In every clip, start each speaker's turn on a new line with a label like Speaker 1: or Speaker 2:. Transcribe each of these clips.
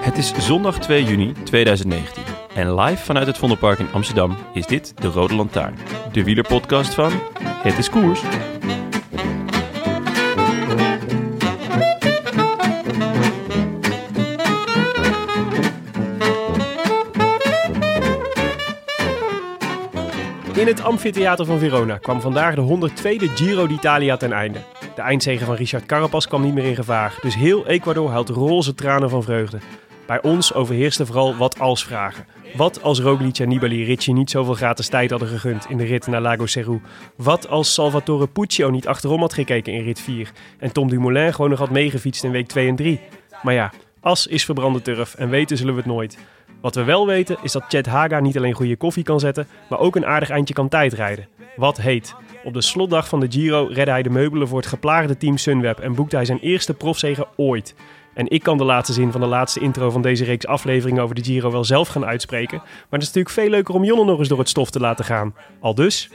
Speaker 1: Het is zondag 2 juni 2019 en live vanuit het Vondelpark in Amsterdam is dit de Rode Lantaarn, de wielerpodcast van Het is Koers.
Speaker 2: In het amfitheater van Verona kwam vandaag de 102e Giro d'Italia ten einde. De eindzege van Richard Carapaz kwam niet meer in gevaar, dus heel Ecuador huilt roze tranen van vreugde. Bij ons overheersten vooral wat als vragen. Wat als Roglic en Nibali Ricci niet zoveel gratis tijd hadden gegund in de rit naar Lago Seru? Wat als Salvatore Puccio niet achterom had gekeken in rit 4 en Tom Dumoulin gewoon nog had meegefietst in week 2 en 3? Maar ja, as is verbrande turf en weten zullen we het nooit. Wat we wel weten is dat Chet Haga niet alleen goede koffie kan zetten, maar ook een aardig eindje kan tijdrijden. Wat heet. Op de slotdag van de Giro redde hij de meubelen voor het geplaagde team Sunweb en boekte hij zijn eerste profzege ooit. En ik kan de laatste zin van de laatste intro van deze reeks afleveringen over de Giro wel zelf gaan uitspreken, maar het is natuurlijk veel leuker om Jonne nog eens door het stof te laten gaan. Al dus,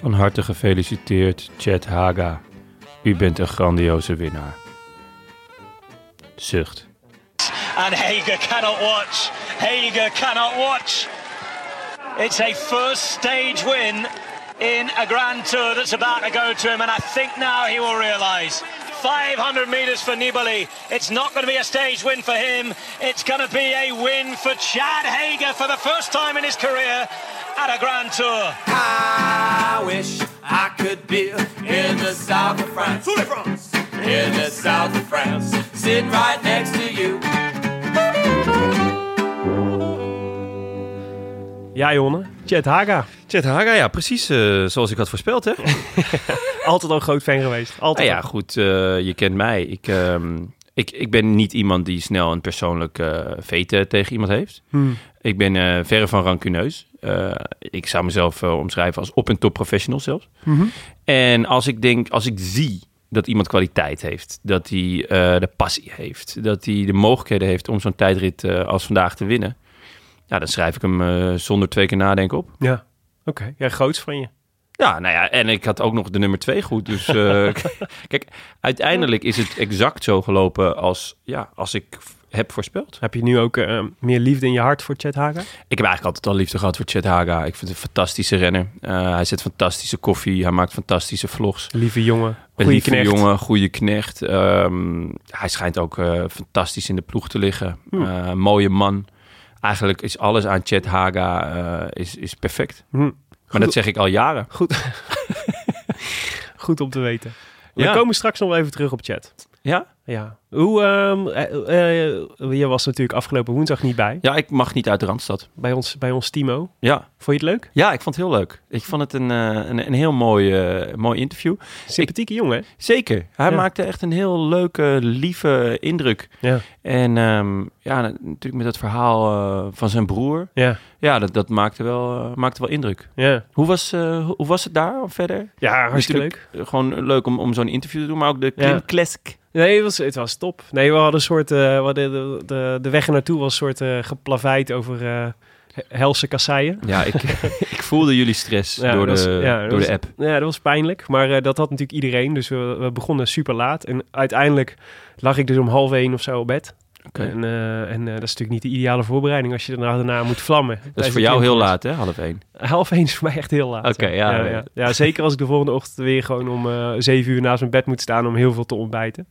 Speaker 1: Van harte gefeliciteerd, Chet Haga. U bent een grandioze winnaar. Zucht.
Speaker 3: and Hager cannot watch. Hager cannot watch. It's a first stage win in a Grand Tour that's about to go to him, and I think now he will realise. 500 metres for Nibali. It's not going to be a stage win for him. It's going to be a win for Chad Hager for the first time in his career at a Grand Tour.
Speaker 4: I wish I could be in the south of France. In the south of France. Sitting right next to you.
Speaker 2: ja Jonne, Chet Haga.
Speaker 1: Chet Haga, ja, precies eh, zoals ik had voorspeld, hè?
Speaker 2: Altijd al een groot fan geweest. Altijd.
Speaker 1: Nou ja,
Speaker 2: al.
Speaker 1: goed, eh, je kent mij. Ik, ehm, ik, ik ben niet iemand die snel een persoonlijk eh vete tegen iemand heeft. Ik ben eh, verre van rancuneus. Eh, ik zou mezelf eh, omschrijven als op- en top professional zelfs. En als ik denk, als ik zie dat iemand kwaliteit heeft, dat hij eh, de passie heeft, dat hij de mogelijkheden heeft om zo'n tijdrit eh, als vandaag te winnen, ja, dan schrijf ik hem eh, zonder twee keer nadenken op.
Speaker 2: Ja, oké. Ja, groots van je.
Speaker 1: Ja, nou ja, en ik had ook nog de nummer twee goed. Dus eh, kijk, uiteindelijk is het exact zo gelopen als, ja, als ik f- heb voorspeld.
Speaker 2: Heb je nu ook eh, meer liefde in je hart voor Chet Haga?
Speaker 1: Ik heb eigenlijk altijd al liefde gehad voor Chet Haga. Ik vind het een fantastische renner. Eh, hij zet fantastische koffie, hij maakt fantastische vlogs.
Speaker 2: Lieve jongen,
Speaker 1: Een
Speaker 2: goede
Speaker 1: lieve
Speaker 2: knecht.
Speaker 1: jongen, goede knecht. Ehm, hij schijnt ook eh, fantastisch in de ploeg te liggen. Eh, mooie man. Eigenlijk is alles aan Chet Haga eh, is, is perfect.
Speaker 2: Hm.
Speaker 1: Maar dat zeg ik al jaren.
Speaker 2: Goed om te weten.
Speaker 1: Ja.
Speaker 2: We komen straks nog wel even terug op chat.
Speaker 1: Ja?
Speaker 2: Ja. Hoe, ehm, eh, eh, je was natuurlijk afgelopen woensdag niet bij.
Speaker 1: ja, ik mag niet uit de Randstad.
Speaker 2: Bij ons, bij ons Timo.
Speaker 1: Ja,
Speaker 2: Vond je het leuk?
Speaker 1: Ja, ik vond het heel leuk. Ik vond het een, eh, een, een heel mooi, eh, mooi interview.
Speaker 2: Sympathieke jongen, hè?
Speaker 1: Zeker. Hij
Speaker 2: Ja.
Speaker 1: maakte echt een heel leuke, lieve indruk.
Speaker 2: Ja.
Speaker 1: En ehm, ja, na- natuurlijk met dat verhaal eh, van zijn broer.
Speaker 2: Ja.
Speaker 1: Ja, dat, dat maakte, wel, eh, maakte wel indruk.
Speaker 2: Ja.
Speaker 1: Hoe was, eh, hoe was het daar verder?
Speaker 2: Ja, hartstikke leuk.
Speaker 1: Natuurlijk, eh, Gewoon leuk om, om zo'n interview te doen, maar ook de
Speaker 2: Ja.
Speaker 1: Klimklassiek.
Speaker 2: Nee, het was, het was top. Nee, we hadden een soort. eh, we hadden de, de, de weg ernaartoe was een soort eh geplaveid over eh, helse kasseien.
Speaker 1: Ja, ik, ik voelde jullie stress
Speaker 2: Ja,
Speaker 1: door,
Speaker 2: dat
Speaker 1: de,
Speaker 2: was- ja,
Speaker 1: door
Speaker 2: dat
Speaker 1: de
Speaker 2: was- eh,
Speaker 1: app.
Speaker 2: Ja, dat was pijnlijk. Maar eh, dat had natuurlijk iedereen. Dus we, we begonnen super laat. En uiteindelijk lag ik dus om half één of zo op bed.
Speaker 1: Oké.
Speaker 2: En, eh, en eh, dat is natuurlijk niet de ideale voorbereiding als je daarna, daarna moet vlammen.
Speaker 1: Dat is
Speaker 2: Tijdens
Speaker 1: voor
Speaker 2: de
Speaker 1: jou heel
Speaker 2: klimtours.
Speaker 1: laat, hè? Half één.
Speaker 2: Half één is voor mij echt heel laat.
Speaker 1: Oké, ja,
Speaker 2: ja,
Speaker 1: ja.
Speaker 2: ja. Ja, zeker als ik de volgende ochtend weer gewoon om eh zeven uur naast mijn bed moet staan om heel veel te ontbijten.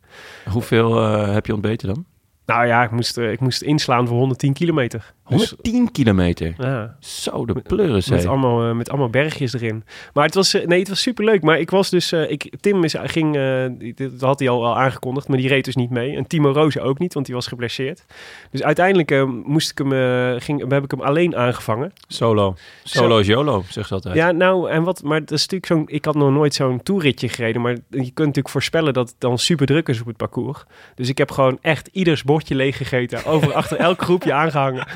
Speaker 1: Hoeveel eh, heb je ontbeten dan?
Speaker 2: Nou ja, ik moest, eh, ik moest inslaan voor 110 kilometer. Dus,
Speaker 1: 110 kilometer.
Speaker 2: ja.
Speaker 1: Zo, de pleuris.
Speaker 2: Met
Speaker 1: hé.
Speaker 2: allemaal, eh, met allemaal bergjes erin. Maar het was, eh, nee, het was superleuk. Maar ik was dus, eh, ik, Tim is, ging, eh, dit- dat had hij al, al aangekondigd, maar die reed dus niet mee. En Timo Rozen ook niet, want die was geblesseerd. Dus uiteindelijk eh, moest ik hem, eh, ging, heb ik hem alleen aangevangen.
Speaker 1: Solo. Solo is YOLO, zegt ze altijd.
Speaker 2: Ja, nou, en wat, maar dat is natuurlijk zo'n, ik had nog nooit zo'n toeritje gereden. Maar je kunt natuurlijk voorspellen dat het dan super druk is op het parcours. Dus ik heb gewoon echt ieders bordje leeggegeten. Over achter elk groepje aangehangen.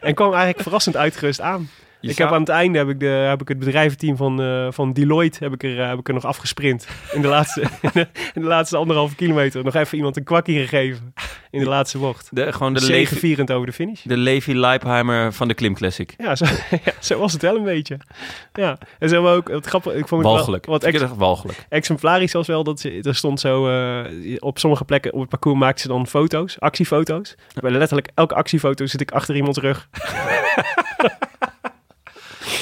Speaker 2: En kwam eigenlijk verrassend uitgerust aan.
Speaker 1: Je
Speaker 2: ik
Speaker 1: zou-
Speaker 2: heb aan het einde heb ik, de, heb ik het bedrijventeam van, eh, van Deloitte heb ik, er, eh, heb ik er nog afgesprint. In de, laatste, in, de, in de laatste anderhalve kilometer. Nog even iemand een kwakkie gegeven. In de laatste bocht.
Speaker 1: de, gewoon de Levi,
Speaker 2: Zegevierend over de finish.
Speaker 1: de Levi Leipheimer van de Klim Classic.
Speaker 2: Ja zo, ja, zo was het wel een beetje. Ja, en ze hebben ook, het grappige, ik vond het wel,
Speaker 1: Walgelijk.
Speaker 2: wat
Speaker 1: ik
Speaker 2: ex-
Speaker 1: dacht walgelijk.
Speaker 2: exemplarisch was wel, dat ze, er stond zo, eh, op sommige plekken op het parcours maakten ze dan foto's, actiefoto's. Bij letterlijk elke actiefoto zit ik achter iemands rug.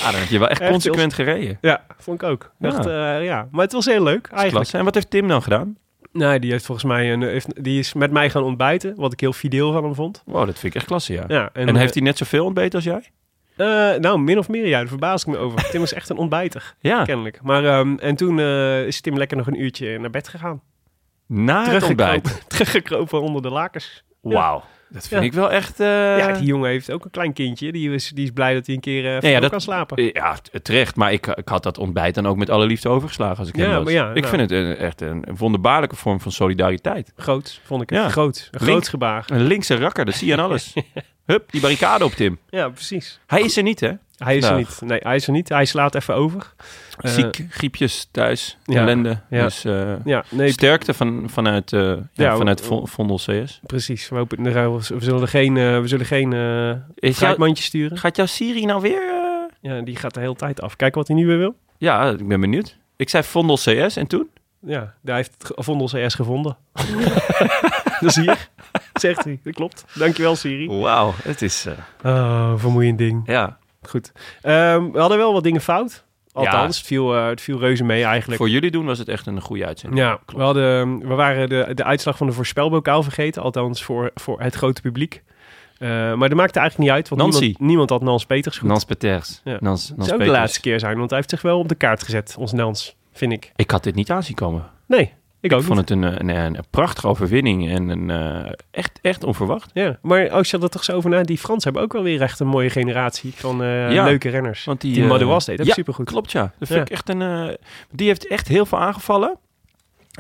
Speaker 1: Ah, dan heb je wel echt
Speaker 2: Echt
Speaker 1: consequent gereden.
Speaker 2: Ja, vond ik ook.
Speaker 1: Ja.
Speaker 2: Dacht, ja. ja. Maar het was heel leuk
Speaker 1: Ah. Dat is
Speaker 2: eigenlijk.
Speaker 1: klasse. En wat heeft Tim dan gedaan?
Speaker 2: Nee, die heeft volgens mij een, heeft, die is met mij gaan ontbijten, wat ik heel fideel van hem vond.
Speaker 1: Wow, dat vind ik echt klasse, ja.
Speaker 2: Ja,
Speaker 1: En, eh, heeft hij net zoveel ontbeten als jij?
Speaker 2: hij... nou, min of meer, ja, daar verbaas ik me over. Tim is echt een ontbijter,
Speaker 1: Ja,
Speaker 2: kennelijk. Maar, ehm, en toen eh, is Tim lekker nog een uurtje naar bed gegaan.
Speaker 1: na Ah, het ontbijt.
Speaker 2: Teruggekropen, teruggekropen onder de lakens.
Speaker 1: Wauw, dat vind
Speaker 2: Ja.
Speaker 1: ik wel echt... eh,
Speaker 2: ja, die jongen heeft ook een klein kindje. Die is, die is blij dat hij een keer eh
Speaker 1: ja,
Speaker 2: vroeg
Speaker 1: dat-
Speaker 2: kan slapen.
Speaker 1: eh, ja, t- terecht. Maar ik, ik had dat ontbijt dan ook met alle liefde overgeslagen als ik
Speaker 2: Ja,
Speaker 1: hem was.
Speaker 2: maar ja,
Speaker 1: ik
Speaker 2: nou.
Speaker 1: vind het een- echt een wonderbaarlijke vorm van solidariteit.
Speaker 2: Groot, vond ik het.
Speaker 1: Ja.
Speaker 2: Groot. Een
Speaker 1: Link.
Speaker 2: groot gebaar.
Speaker 1: Een linkse rakker, dat zie je aan alles. Hup, die barricade op Tim.
Speaker 2: Ja, precies.
Speaker 1: Hij is er niet, hè?
Speaker 2: Hij is er
Speaker 1: Vandaag.
Speaker 2: niet. Nee, hij is er niet. Hij slaat even over. Eh,
Speaker 1: Ziek, griepjes thuis,
Speaker 2: ja,
Speaker 1: ellende.
Speaker 2: ja.
Speaker 1: Dus eh,
Speaker 2: Ja, nee,
Speaker 1: sterkte van, vanuit, eh ja,
Speaker 2: Ja,
Speaker 1: vanuit
Speaker 2: w-
Speaker 1: Vo- Vondel CS.
Speaker 2: precies. We, hopen, we zullen er geen, eh, we zullen geen eh
Speaker 1: Is jou-
Speaker 2: fruitmandje sturen.
Speaker 1: gaat jouw Siri nou weer... eh?
Speaker 2: Ja, die gaat de hele tijd af. Kijk wat hij nu weer wil.
Speaker 1: Ja, ik ben benieuwd. Ik zei Vondel CS en toen?
Speaker 2: Ja, hij heeft het ge- Vondel CS gevonden. dat is hier, zegt hij. Dat klopt. Dankjewel, Siri.
Speaker 1: Wauw, het is... eh,
Speaker 2: Oh, vermoeiend ding.
Speaker 1: ja,
Speaker 2: Goed. Ehm, we hadden wel wat dingen fout. Althans,
Speaker 1: Ja.
Speaker 2: het, viel, eh, het viel reuze mee eigenlijk.
Speaker 1: voor jullie doen was het echt een goede uitzending.
Speaker 2: Ja, we, hadden, we waren de, de uitslag van de voorspelbokaal vergeten. Althans, voor, voor het grote publiek. Eh, maar dat maakte eigenlijk niet uit, want
Speaker 1: Nancy.
Speaker 2: niemand, niemand had Nans Peters goed.
Speaker 1: Nans Peters.
Speaker 2: Ja.
Speaker 1: Nans,
Speaker 2: Het
Speaker 1: Nans
Speaker 2: zou ook de
Speaker 1: Peters.
Speaker 2: laatste keer zijn, want hij heeft zich wel op de kaart gezet, ons Nans, vind ik.
Speaker 1: Ik had dit niet aanzien komen.
Speaker 2: Nee, ik ook
Speaker 1: Ik vond het een, eh, een, een, een prachtige overwinning en een, eh, echt, echt onverwacht.
Speaker 2: Ja, maar als je er toch zo over na, die Fransen hebben ook wel weer echt een mooie generatie van eh,
Speaker 1: Ja,
Speaker 2: leuke renners.
Speaker 1: Want die
Speaker 2: die
Speaker 1: eh,
Speaker 2: Madouas deed ook
Speaker 1: ja,
Speaker 2: supergoed.
Speaker 1: Klopt, ja. Dat vind
Speaker 2: Ja.
Speaker 1: ik echt een, eh, die heeft echt heel veel aangevallen.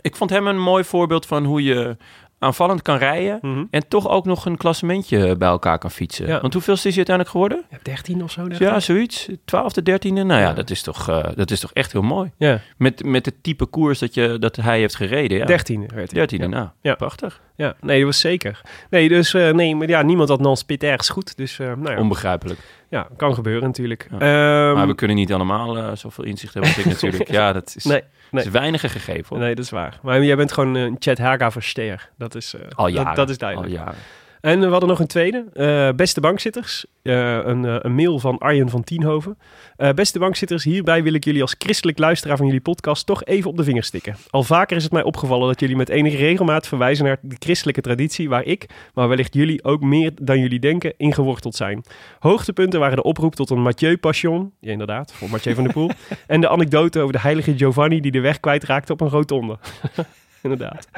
Speaker 1: Ik vond hem een mooi voorbeeld van hoe je aanvallend kan rijden...
Speaker 2: Mhm.
Speaker 1: en toch ook nog een klassementje bij elkaar kan fietsen.
Speaker 2: Ja.
Speaker 1: Want hoeveelste is hij uiteindelijk geworden?
Speaker 2: Je hebt 13 of zo.
Speaker 1: Ja, zoiets. Twaalfde, dertiende. Nou ja, dat is toch, eh, dat is toch echt heel mooi.
Speaker 2: ja.
Speaker 1: Met, met het type koers dat, je, dat hij heeft gereden. Ja.
Speaker 2: 13 werd hij.
Speaker 1: Dertiende, nou,
Speaker 2: Ja.
Speaker 1: prachtig.
Speaker 2: Ja, nee, dat was zeker. Nee, dus eh, nee, maar ja, niemand had Nans Pit ergens goed. Dus eh, nou ja,
Speaker 1: Onbegrijpelijk.
Speaker 2: ja, kan gebeuren natuurlijk. Ehm,
Speaker 1: maar we kunnen niet allemaal eh, zoveel inzicht hebben als ik natuurlijk. Ja, dat is,
Speaker 2: Nee, nee.
Speaker 1: is weinige gegeven. Hoor.
Speaker 2: Nee, dat is waar. Maar jij bent gewoon een Chet Haga versteer. Dat is, eh,
Speaker 1: Al jaren.
Speaker 2: dat, dat is
Speaker 1: Al
Speaker 2: duidelijk.
Speaker 1: jaren.
Speaker 2: En we hadden nog een tweede. Eh, beste bankzitters. Eh, een, eh, een mail van Arjen van Tienhoven. Eh, beste bankzitters, hierbij wil ik jullie als christelijk luisteraar van jullie podcast toch even op de vingers stikken. Al vaker is het mij opgevallen dat jullie met enige regelmaat verwijzen naar de christelijke traditie waar ik, maar wellicht jullie ook meer dan jullie denken, in geworteld zijn. Hoogtepunten waren de oproep tot een Mathieu Passion, ja, inderdaad, voor Mathieu van der Poel, en de anekdote over de heilige Giovanni die de weg kwijtraakte op een rotonde. inderdaad.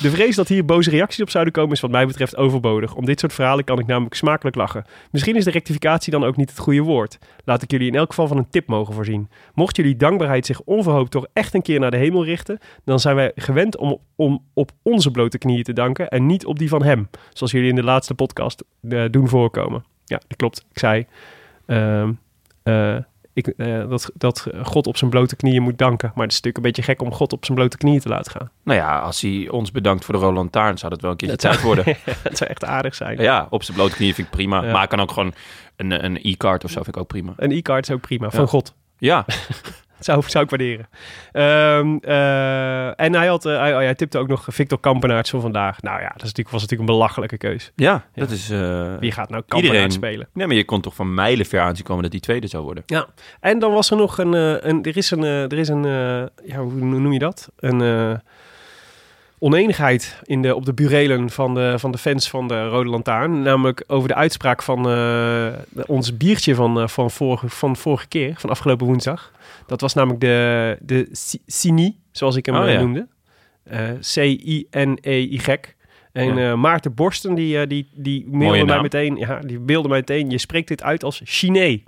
Speaker 2: De vrees dat hier boze reacties op zouden komen is wat mij betreft overbodig. Om dit soort verhalen kan ik namelijk smakelijk lachen. Misschien is de rectificatie dan ook niet het goede woord. Laat ik jullie in elk geval van een tip mogen voorzien. Mocht jullie dankbaarheid zich onverhoopt toch echt een keer naar de hemel richten, dan zijn wij gewend om, om op onze blote knieën te danken en niet op die van hem. Zoals jullie in de laatste podcast eh, doen voorkomen. Ja, dat klopt. Ik zei ehm, eh, ik, eh, dat, dat God op zijn blote knieën moet danken. Maar het is natuurlijk een beetje gek om God op zijn blote knieën te laten gaan.
Speaker 1: Nou ja, als hij ons bedankt voor de Roland Taarn, zou dat wel een keertje tijd worden.
Speaker 2: dat zou echt aardig zijn.
Speaker 1: ja, op zijn blote knieën vind ik prima.
Speaker 2: Ja.
Speaker 1: Maar hij kan ook gewoon een, een e-card of zo vind ik ook prima.
Speaker 2: Een e-card is ook prima. Van God.
Speaker 1: Ja,
Speaker 2: Zou, zou ik waarderen. Ehm, eh, en hij, had, eh, hij, hij tipte ook nog Victor Kampenaerts voor vandaag. Nou ja, dat is natuurlijk, was natuurlijk een belachelijke keus.
Speaker 1: ja, dat is... eh,
Speaker 2: Wie gaat nou
Speaker 1: Iedereen.
Speaker 2: Kampenaerts spelen?
Speaker 1: Nee, maar je kon toch van mijlenver aanzien komen dat die tweede zou worden.
Speaker 2: Ja. En dan was er nog een... eh, een er is een... eh, Er is een eh, ja, hoe noem je dat? Een... eh, oneenigheid in de, op de burelen van de, van de fans van de Rode Lantaarn. Namelijk over de uitspraak van eh, de- ons biertje van, eh, van, vorige, van vorige keer, van afgelopen woensdag. Dat was namelijk de, de Si- Cini, zoals ik hem
Speaker 1: Oh,
Speaker 2: eh,
Speaker 1: ja.
Speaker 2: noemde. Eh, C-I-N-E-Y. En
Speaker 1: Ja.
Speaker 2: eh, Maarten Borsten, die, eh, die, die mailde
Speaker 1: Mooie
Speaker 2: mij
Speaker 1: naam.
Speaker 2: meteen, ja, die beelde mij meteen, je spreekt dit uit als Chiné.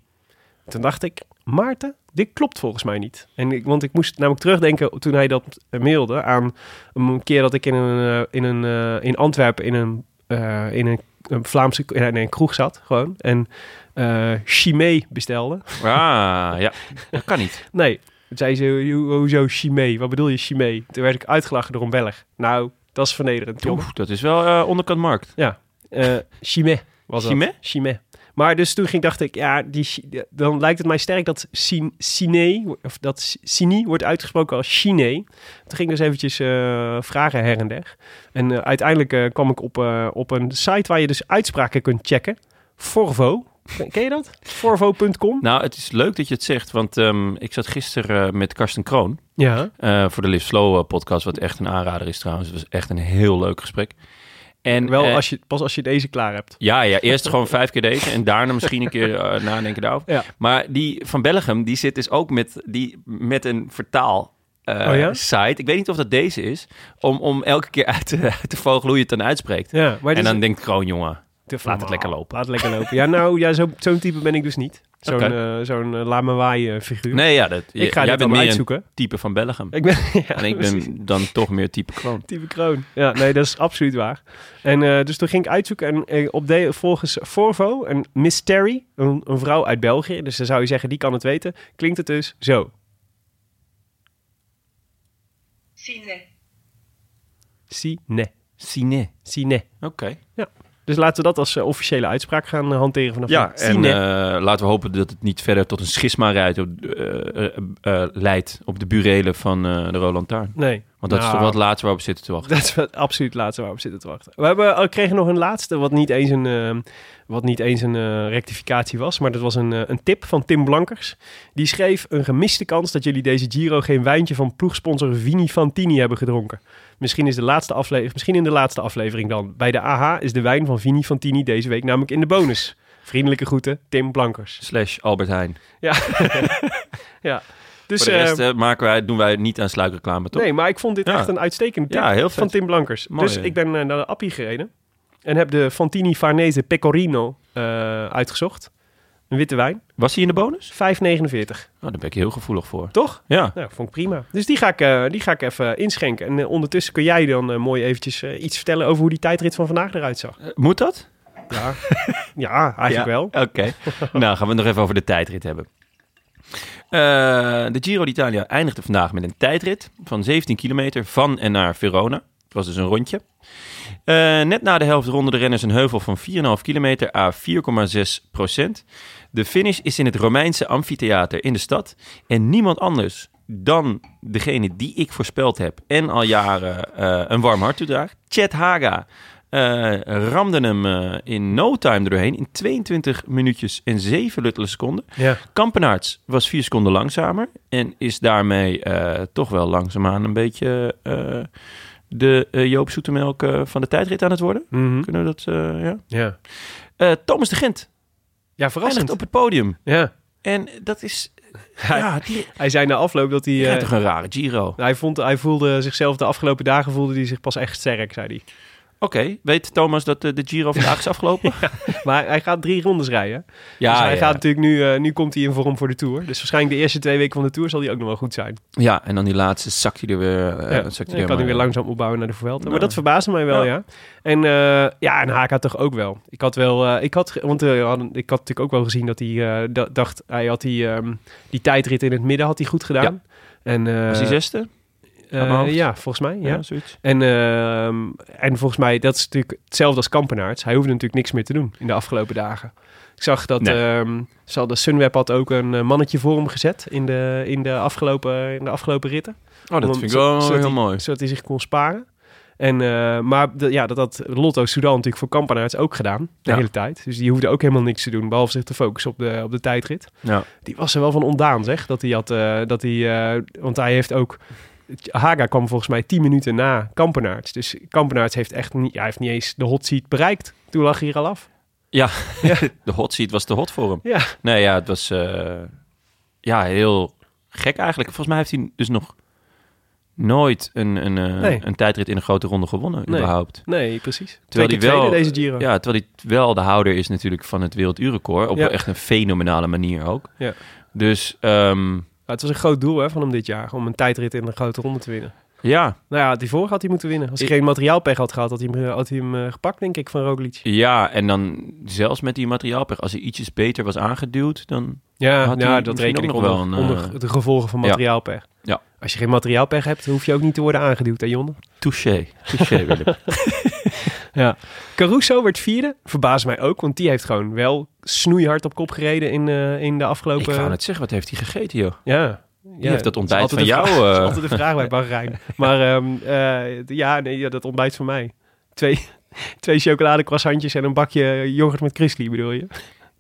Speaker 2: Toen dacht ik, Maarten, dit klopt volgens mij niet. En ik, want ik moest namelijk terugdenken toen hij dat eh, mailde aan een keer dat ik in, een, eh, in, een, eh, in Antwerpen in een, eh, in een, een Vlaamse eh, in een, in een kroeg zat gewoon en eh Chimay bestelde.
Speaker 1: Ah, ja. Dat kan niet.
Speaker 2: Nee, toen zei ze, "Ho- hoezo Chimay? Wat bedoel je Chimay? Toen werd ik uitgelachen door een Belg. Nou, dat is vernederend, jongen.
Speaker 1: Oeh, dat is wel eh, onderkant markt.
Speaker 2: Eh, Chimay was dat.
Speaker 1: Chimay?
Speaker 2: Chimay. Maar dus toen ging, dacht ik, ja, die, Chi- dan lijkt het mij sterk dat Sin- Sine, of dat Si- Sini wordt uitgesproken als Chine. Toen ging ik dus eventjes eh, vragen her en der. En eh, uiteindelijk eh, kwam ik op, eh, op een site waar je dus uitspraken kunt checken. Forvo. Ken- Ken je dat? Forvo.com.
Speaker 1: Nou, het is leuk dat je het zegt, want ehm, ik zat gisteren eh, met Karsten Kroon.
Speaker 2: Ja.
Speaker 1: eh, voor de Live Slow eh, podcast, wat echt een aanrader is trouwens. Het was echt een heel leuk gesprek. En,
Speaker 2: Wel
Speaker 1: eh,
Speaker 2: als je, pas als je deze klaar hebt.
Speaker 1: Ja, ja, eerst gewoon vijf keer deze en daarna misschien een keer eh, nadenken daarover.
Speaker 2: Ja.
Speaker 1: Maar die van Belgium, die zit dus ook met, die, met een vertaal. eh,
Speaker 2: Oh ja?
Speaker 1: site. Ik weet niet of dat deze is. Om, om elke keer uit te, uit te vogelen hoe je het dan uitspreekt.
Speaker 2: Ja, maar dit
Speaker 1: en
Speaker 2: is-
Speaker 1: dan denkt gewoon, jongen, laat het lekker lopen.
Speaker 2: Laat het lekker lopen. Ja, nou, ja, zo- zo'n type ben ik dus niet. Zo'n
Speaker 1: Oké.
Speaker 2: eh, zo'n eh, laat me waaien figuur.
Speaker 1: Nee, ja, dat,
Speaker 2: ik ga
Speaker 1: jij
Speaker 2: dit
Speaker 1: bent
Speaker 2: allemaal
Speaker 1: meer een
Speaker 2: uitzoeken.
Speaker 1: type van Belgium.
Speaker 2: Ik ben, ja,
Speaker 1: en ik ben dan toch meer type kroon.
Speaker 2: Type kroon. Ja, nee, dat is absoluut waar. En eh, dus toen ging ik uitzoeken en eh, op de, volgens Forvo, een Miss Terry, een, een vrouw uit België, dus dan zou je zeggen, die kan het weten, klinkt het dus zo.
Speaker 5: Cine.
Speaker 2: Sine.
Speaker 1: Cine.
Speaker 2: Sine.
Speaker 1: Oké.
Speaker 2: Dus laten we dat als eh, officiële uitspraak gaan eh, hanteren vanaf
Speaker 1: Ja,
Speaker 2: nu.
Speaker 1: en
Speaker 2: Sine.
Speaker 1: eh, laten we hopen dat het niet verder tot een schisma rijdt op, eh, eh, eh, leidt op de burelen van eh, de Roland Taarn.
Speaker 2: nee.
Speaker 1: Want dat is
Speaker 2: Nou,
Speaker 1: toch wat laatst waar we zitten te wachten.
Speaker 2: Dat is wel absoluut het laatste waar we op zitten te wachten. We hebben, eh, kregen nog een laatste, wat niet eens een, eh, wat niet eens een eh, rectificatie was. Maar dat was een, eh, een tip van Tim Blankers. Die schreef een gemiste kans dat jullie deze Giro geen wijntje van ploegsponsor Vini Fantini hebben gedronken. Misschien, is de laatste aflevering, misschien in de laatste aflevering dan. Bij de AH is de wijn van Vini Fantini deze week namelijk in de bonus. Vriendelijke groeten, Tim Blankers.
Speaker 1: Slash Albert Heijn.
Speaker 2: Ja. Dus,
Speaker 1: Voor de rest
Speaker 2: eh,
Speaker 1: eh, maken wij, doen wij niet aan sluikreclame, toch?
Speaker 2: Nee, maar ik vond dit
Speaker 1: Ja.
Speaker 2: echt een uitstekende tip
Speaker 1: Ja, heel
Speaker 2: van
Speaker 1: vet.
Speaker 2: Tim Blankers.
Speaker 1: Mooi,
Speaker 2: dus
Speaker 1: hè?
Speaker 2: ik ben eh, naar de Appie gereden en heb de Fantini Farnese Pecorino eh, uitgezocht. Een witte wijn,
Speaker 1: Was hij in de bonus?
Speaker 2: 5,49.
Speaker 1: Nou, daar ben ik heel gevoelig voor.
Speaker 2: Toch?
Speaker 1: Ja,
Speaker 2: Nou, vond ik prima. Dus die ga ik, eh, die ga ik even inschenken. En eh, ondertussen kun jij dan eh, mooi eventjes eh, iets vertellen over hoe die tijdrit van vandaag eruit zag.
Speaker 1: Eh, moet dat?
Speaker 2: Ja, eigenlijk
Speaker 1: Ja,
Speaker 2: wel.
Speaker 1: Oké. nou, gaan we het nog even over de tijdrit hebben. Eh, de Giro d'Italia eindigde vandaag met een tijdrit van 17 kilometer van en naar Verona. Het was dus een rondje. Eh, net na de helft ronden de renners een heuvel van 4,5 kilometer à 4,6 procent. De finish is in het Romeinse amfitheater in de stad. En niemand anders dan degene die ik voorspeld heb en al jaren eh, een warm hart toedraagt, Chet Haga, eh, ramde hem eh, in no time er doorheen in 22 minuutjes en 7 luttele seconden.
Speaker 2: Ja.
Speaker 1: Kampenaerts was 4 seconden langzamer en is daarmee eh, toch wel langzaamaan een beetje eh, de eh, Joop Zoetemelk eh, van de tijdrit aan het worden.
Speaker 2: Mhm.
Speaker 1: Kunnen we dat, eh, ja?
Speaker 2: ja.
Speaker 1: Eh, Thomas de Gent
Speaker 2: ja,
Speaker 1: eindigt
Speaker 2: verrassend.
Speaker 1: op het podium.
Speaker 2: Ja.
Speaker 1: En dat is... Ja, die
Speaker 2: Hij zei na afloop dat hij...
Speaker 1: die
Speaker 2: eh,
Speaker 1: rijdt toch een rare Giro.
Speaker 2: hij, vond, hij voelde zichzelf de afgelopen dagen voelde hij zich pas echt sterk, zei hij.
Speaker 1: Oké, weet Thomas dat eh, de Giro vandaag is afgelopen?
Speaker 2: Maar hij gaat drie rondes rijden.
Speaker 1: Ja,
Speaker 2: dus hij
Speaker 1: ja.
Speaker 2: gaat natuurlijk nu, eh, nu komt hij in vorm voor de Tour. Dus waarschijnlijk de eerste twee weken van de Tour zal hij ook nog wel goed zijn.
Speaker 1: ja, en dan die laatste zakt hij er weer... eh,
Speaker 2: Ja,
Speaker 1: zakt hij er
Speaker 2: dan kan
Speaker 1: helemaal
Speaker 2: hij weer
Speaker 1: in.
Speaker 2: langzaam opbouwen naar de Vuelta. Maar
Speaker 1: Ja.
Speaker 2: dat verbaasde mij wel, ja.
Speaker 1: Ja.
Speaker 2: En, eh, ja, en Haka toch ook wel. Ik had wel, eh, ik had, ge- want eh, we hadden- ik had natuurlijk ook wel gezien dat hij eh, da- dacht, hij had die, ehm, die tijdrit in het midden had hij goed gedaan. En, eh,
Speaker 1: Was hij zesde?
Speaker 2: eh,
Speaker 1: Uit mijn hoofd?
Speaker 2: ja, volgens mij, ja.
Speaker 1: zoiets.
Speaker 2: En, ehm, en volgens mij, dat is natuurlijk hetzelfde als Kampenaerts. Hij hoefde natuurlijk niks meer te doen in de afgelopen dagen. Ik zag dat
Speaker 1: Nee.
Speaker 2: ehm, ze hadden- Sunweb had ook een eh, mannetje voor hem gezet in de, in de, afgelopen, in de afgelopen ritten.
Speaker 1: Oh, dat
Speaker 2: Om-
Speaker 1: vind ik
Speaker 2: zo-
Speaker 1: wel
Speaker 2: zodat
Speaker 1: heel
Speaker 2: hij-
Speaker 1: mooi.
Speaker 2: Zodat hij zich kon sparen. En, eh, maar de- ja, dat had Lotto Sudan natuurlijk voor Kampenaerts ook gedaan. De
Speaker 1: Ja.
Speaker 2: hele tijd. Dus die hoefde ook helemaal niks te doen. Behalve zich te focussen op de, op de tijdrit.
Speaker 1: Ja.
Speaker 2: Die was er wel van ontdaan, zeg. Dat hij had... eh, dat hij, eh, want hij heeft ook Haga kwam volgens mij 10 minuten na Kampenaerts. Dus Kampenaerts heeft echt niet, hij heeft niet eens de hot seat bereikt. Toen lag hij er al af.
Speaker 1: Ja, de hot seat was te hot voor hem.
Speaker 2: Ja,
Speaker 1: Nee, ja, het was eh, ja, heel gek eigenlijk. Volgens mij heeft hij dus nog nooit een, een, eh,
Speaker 2: Nee.
Speaker 1: een tijdrit in een grote ronde gewonnen,
Speaker 2: Nee.
Speaker 1: überhaupt.
Speaker 2: nee, precies.
Speaker 1: Terwijl
Speaker 2: Twee
Speaker 1: hij
Speaker 2: keer
Speaker 1: wel,
Speaker 2: tweede deze Giro.
Speaker 1: Ja, terwijl hij wel de houder is natuurlijk van het werelduurrecord. Op
Speaker 2: Ja.
Speaker 1: echt een fenomenale manier ook.
Speaker 2: Ja.
Speaker 1: Dus ehm,
Speaker 2: Maar het was een groot doel hè, van hem dit jaar, om een tijdrit in een grote ronde te winnen.
Speaker 1: ja,
Speaker 2: Nou ja, die vorige had hij moeten winnen. Als hij
Speaker 1: Ik-
Speaker 2: geen materiaalpech had gehad, had hij hem, eh, had hij hem eh, gepakt, denk ik, van Roglic.
Speaker 1: ja, en dan zelfs met die materiaalpech, als hij ietsjes beter was aangeduwd, dan...
Speaker 2: Ja,
Speaker 1: Had
Speaker 2: nou,
Speaker 1: hij
Speaker 2: dat
Speaker 1: misschien
Speaker 2: reken ik
Speaker 1: ook nog
Speaker 2: onder,
Speaker 1: wel een, eh,
Speaker 2: onder de gevolgen van
Speaker 1: Ja.
Speaker 2: materiaalpech.
Speaker 1: Ja.
Speaker 2: Als je geen materiaalpech hebt, hoef je ook niet te worden aangeduwd, hè Jonne?
Speaker 1: Touché, touché Willem.
Speaker 2: Ja. Caruso werd vierde. Verbaast mij ook, want die heeft gewoon wel snoeihard op kop gereden in, eh, in de
Speaker 1: Ik
Speaker 2: afgelopen...
Speaker 1: wou net zeggen, wat heeft hij gegeten, joh?
Speaker 2: Ja.
Speaker 1: Die
Speaker 2: Ja,
Speaker 1: heeft dat
Speaker 2: is
Speaker 1: ontbijt
Speaker 2: altijd
Speaker 1: van
Speaker 2: de
Speaker 1: jou...
Speaker 2: vraag-
Speaker 1: eh,
Speaker 2: Dat is altijd de vraag bij Bahrein. Maar ehm, eh, d- ja, nee, ja, dat ontbijt van mij. Twee, twee chocoladecroissantjes en een bakje yoghurt met Chrisley, bedoel je?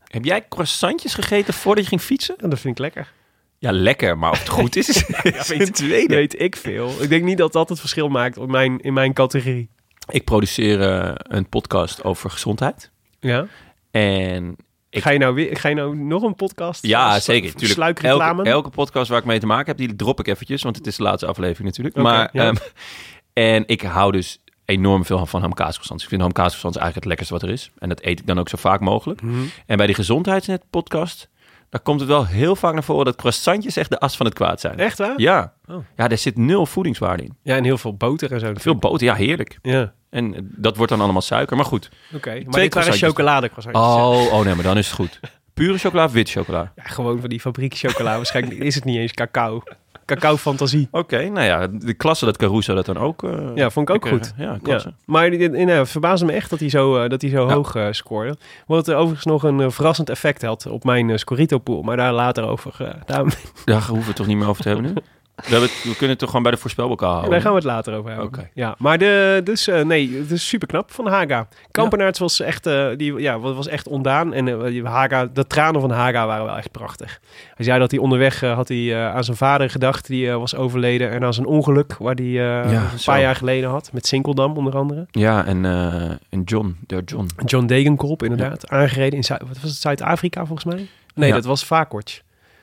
Speaker 1: Heb jij croissantjes gegeten voordat je ging fietsen?
Speaker 2: Ja, dat vind ik lekker.
Speaker 1: Ja, lekker, maar of het goed is, is een tweede.
Speaker 2: Weet ik veel. Ik denk niet dat dat het verschil maakt op mijn, in mijn categorie.
Speaker 1: Ik produceer eh, een podcast over gezondheid.
Speaker 2: Ja?
Speaker 1: En Ik-
Speaker 2: Ga, je nou weer, ga je nou nog een podcast? eh,
Speaker 1: ja,
Speaker 2: Slu-
Speaker 1: zeker. Tuurlijk,
Speaker 2: Sluikreclame?
Speaker 1: elke, elke podcast waar ik mee te maken heb, die drop ik eventjes. Want het is de laatste aflevering natuurlijk.
Speaker 2: Oké,
Speaker 1: maar,
Speaker 2: ja.
Speaker 1: ehm, en ik hou dus enorm veel van hamkaasgezand. Ik vind hamkaasgezand eigenlijk het lekkerste wat er is. En dat eet ik dan ook zo vaak mogelijk. En bij die gezondheidsnet podcast, daar komt het wel heel vaak naar voren... dat croissantjes echt de as van het kwaad zijn.
Speaker 2: Echt waar?
Speaker 1: Ja.
Speaker 2: Oh.
Speaker 1: Ja, daar zit nul voedingswaarde in.
Speaker 2: Ja, en heel veel boter en zo.
Speaker 1: Veel boter, ja, heerlijk.
Speaker 2: Ja,
Speaker 1: En eh, dat wordt dan allemaal suiker, maar goed.
Speaker 2: oké. Maar
Speaker 1: Twee
Speaker 2: dit waren
Speaker 1: croissantjes.
Speaker 2: chocoladecroissantjes. hè?
Speaker 1: Oh, oh nee, maar dan is het goed. Pure chocola of wit chocola?
Speaker 2: Ja, gewoon van die fabriek chocola. Waarschijnlijk is het niet eens cacao. Cacao fantasie.
Speaker 1: Oké, nou ja, de klasse dat Caruso dat dan ook... eh,
Speaker 2: Ja, vond ik ook
Speaker 1: kreeg.
Speaker 2: goed.
Speaker 1: Ja,
Speaker 2: Ja,
Speaker 1: klasse.
Speaker 2: maar die- die- nou, het verbaasde me echt dat hij zo, eh, dat hij zo
Speaker 1: Ja.
Speaker 2: hoog eh, scoorde. Wat eh, overigens nog een eh, verrassend effect had op mijn eh Scorito-pool. Maar daar later over. eh, daar,
Speaker 1: Daar hoeven we het toch niet meer over te hebben nu? We, hebben het- we kunnen het toch gewoon bij de voorspelbokaal houden?
Speaker 2: daar gaan we het later over hebben.
Speaker 1: Oh. Oké.
Speaker 2: Ja, maar de, dus, eh, nee, het is super knap van Haga. Kampenaerts was, echt, eh, die, ja, was echt ondaan. En eh, die Haga, de tranen van Haga waren wel echt prachtig. Hij zei dat hij onderweg eh, had hij, eh, aan zijn vader gedacht. Die eh, was overleden. En aan zijn ongeluk waar hij eh, een
Speaker 1: zo.
Speaker 2: paar jaar geleden had. Met Sinkeldam onder andere.
Speaker 1: Ja, en, eh, en John, der John.
Speaker 2: John Degenkolb, inderdaad. Aangereden in Zuid- wat was het, Zuid-Afrika volgens mij? Nee,
Speaker 1: Ja.
Speaker 2: dat was Vakortje.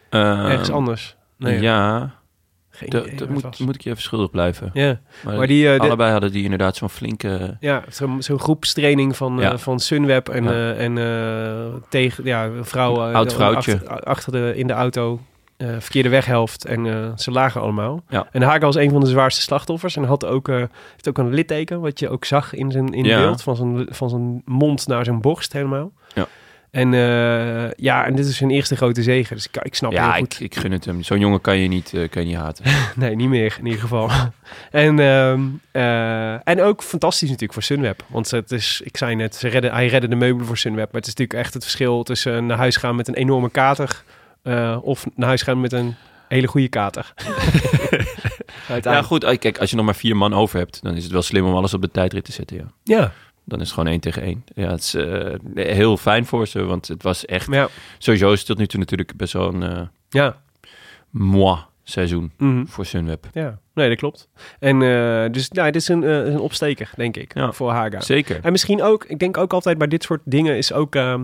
Speaker 1: Eh,
Speaker 2: Ergens anders. Nee,
Speaker 1: ja,
Speaker 2: Geen
Speaker 1: dat-
Speaker 2: idee
Speaker 1: dat
Speaker 2: waar het was.
Speaker 1: moet, moet ik je even schuldig blijven.
Speaker 2: Ja,
Speaker 1: Maar,
Speaker 2: maar die... eh, de-
Speaker 1: allebei hadden die inderdaad zo'n flinke...
Speaker 2: ja, zo'n zo'n groepstraining van, eh,
Speaker 1: Ja.
Speaker 2: van Sunweb en,
Speaker 1: Ja.
Speaker 2: eh, en eh, tegen ja, een vrouw eh,
Speaker 1: Oud vrouwtje.
Speaker 2: achter, achter de, in de auto, eh, verkeerde weghelft en eh, ze lagen allemaal.
Speaker 1: Ja.
Speaker 2: En Haga was een van de zwaarste slachtoffers en had ook, eh, heeft ook een litteken, wat je ook zag in zijn in
Speaker 1: Ja.
Speaker 2: beeld, van zijn, van zijn mond naar zijn borst helemaal.
Speaker 1: Ja.
Speaker 2: En eh, ja, en dit is zijn eerste grote zege, dus ik, ik snap heel
Speaker 1: Ja,
Speaker 2: goed.
Speaker 1: ik, ik gun het hem. Zo'n jongen kan je niet, eh, kan je niet haten.
Speaker 2: Nee, niet meer in ieder geval. en, ehm, eh, en ook fantastisch natuurlijk voor Sunweb. Want het is, ik zei net, ze redden, hij redde de meubelen voor Sunweb. Maar het is natuurlijk echt het verschil tussen naar huis gaan met een enorme kater... eh, of naar huis gaan met een hele goede kater.
Speaker 1: Ja,
Speaker 2: Uiteindelijk.
Speaker 1: goed. ah, Kijk, als je nog maar vier man over hebt, dan is het wel slim om alles op de tijdrit te zetten, ja.
Speaker 2: Ja,
Speaker 1: Dan is het gewoon één tegen één. Ja, het is eh, heel fijn voor ze, want het was echt...
Speaker 2: maar ja.
Speaker 1: Sowieso is het tot nu toe natuurlijk best wel een eh
Speaker 2: ja.
Speaker 1: moi seizoen
Speaker 2: mhm.
Speaker 1: voor Sunweb.
Speaker 2: Ja, nee, dat klopt. En eh, dus nou, dit is een, eh, een opsteker, denk ik,
Speaker 1: Ja.
Speaker 2: voor Haga.
Speaker 1: Zeker.
Speaker 2: En misschien ook, ik denk ook altijd bij dit soort dingen is ook... ehm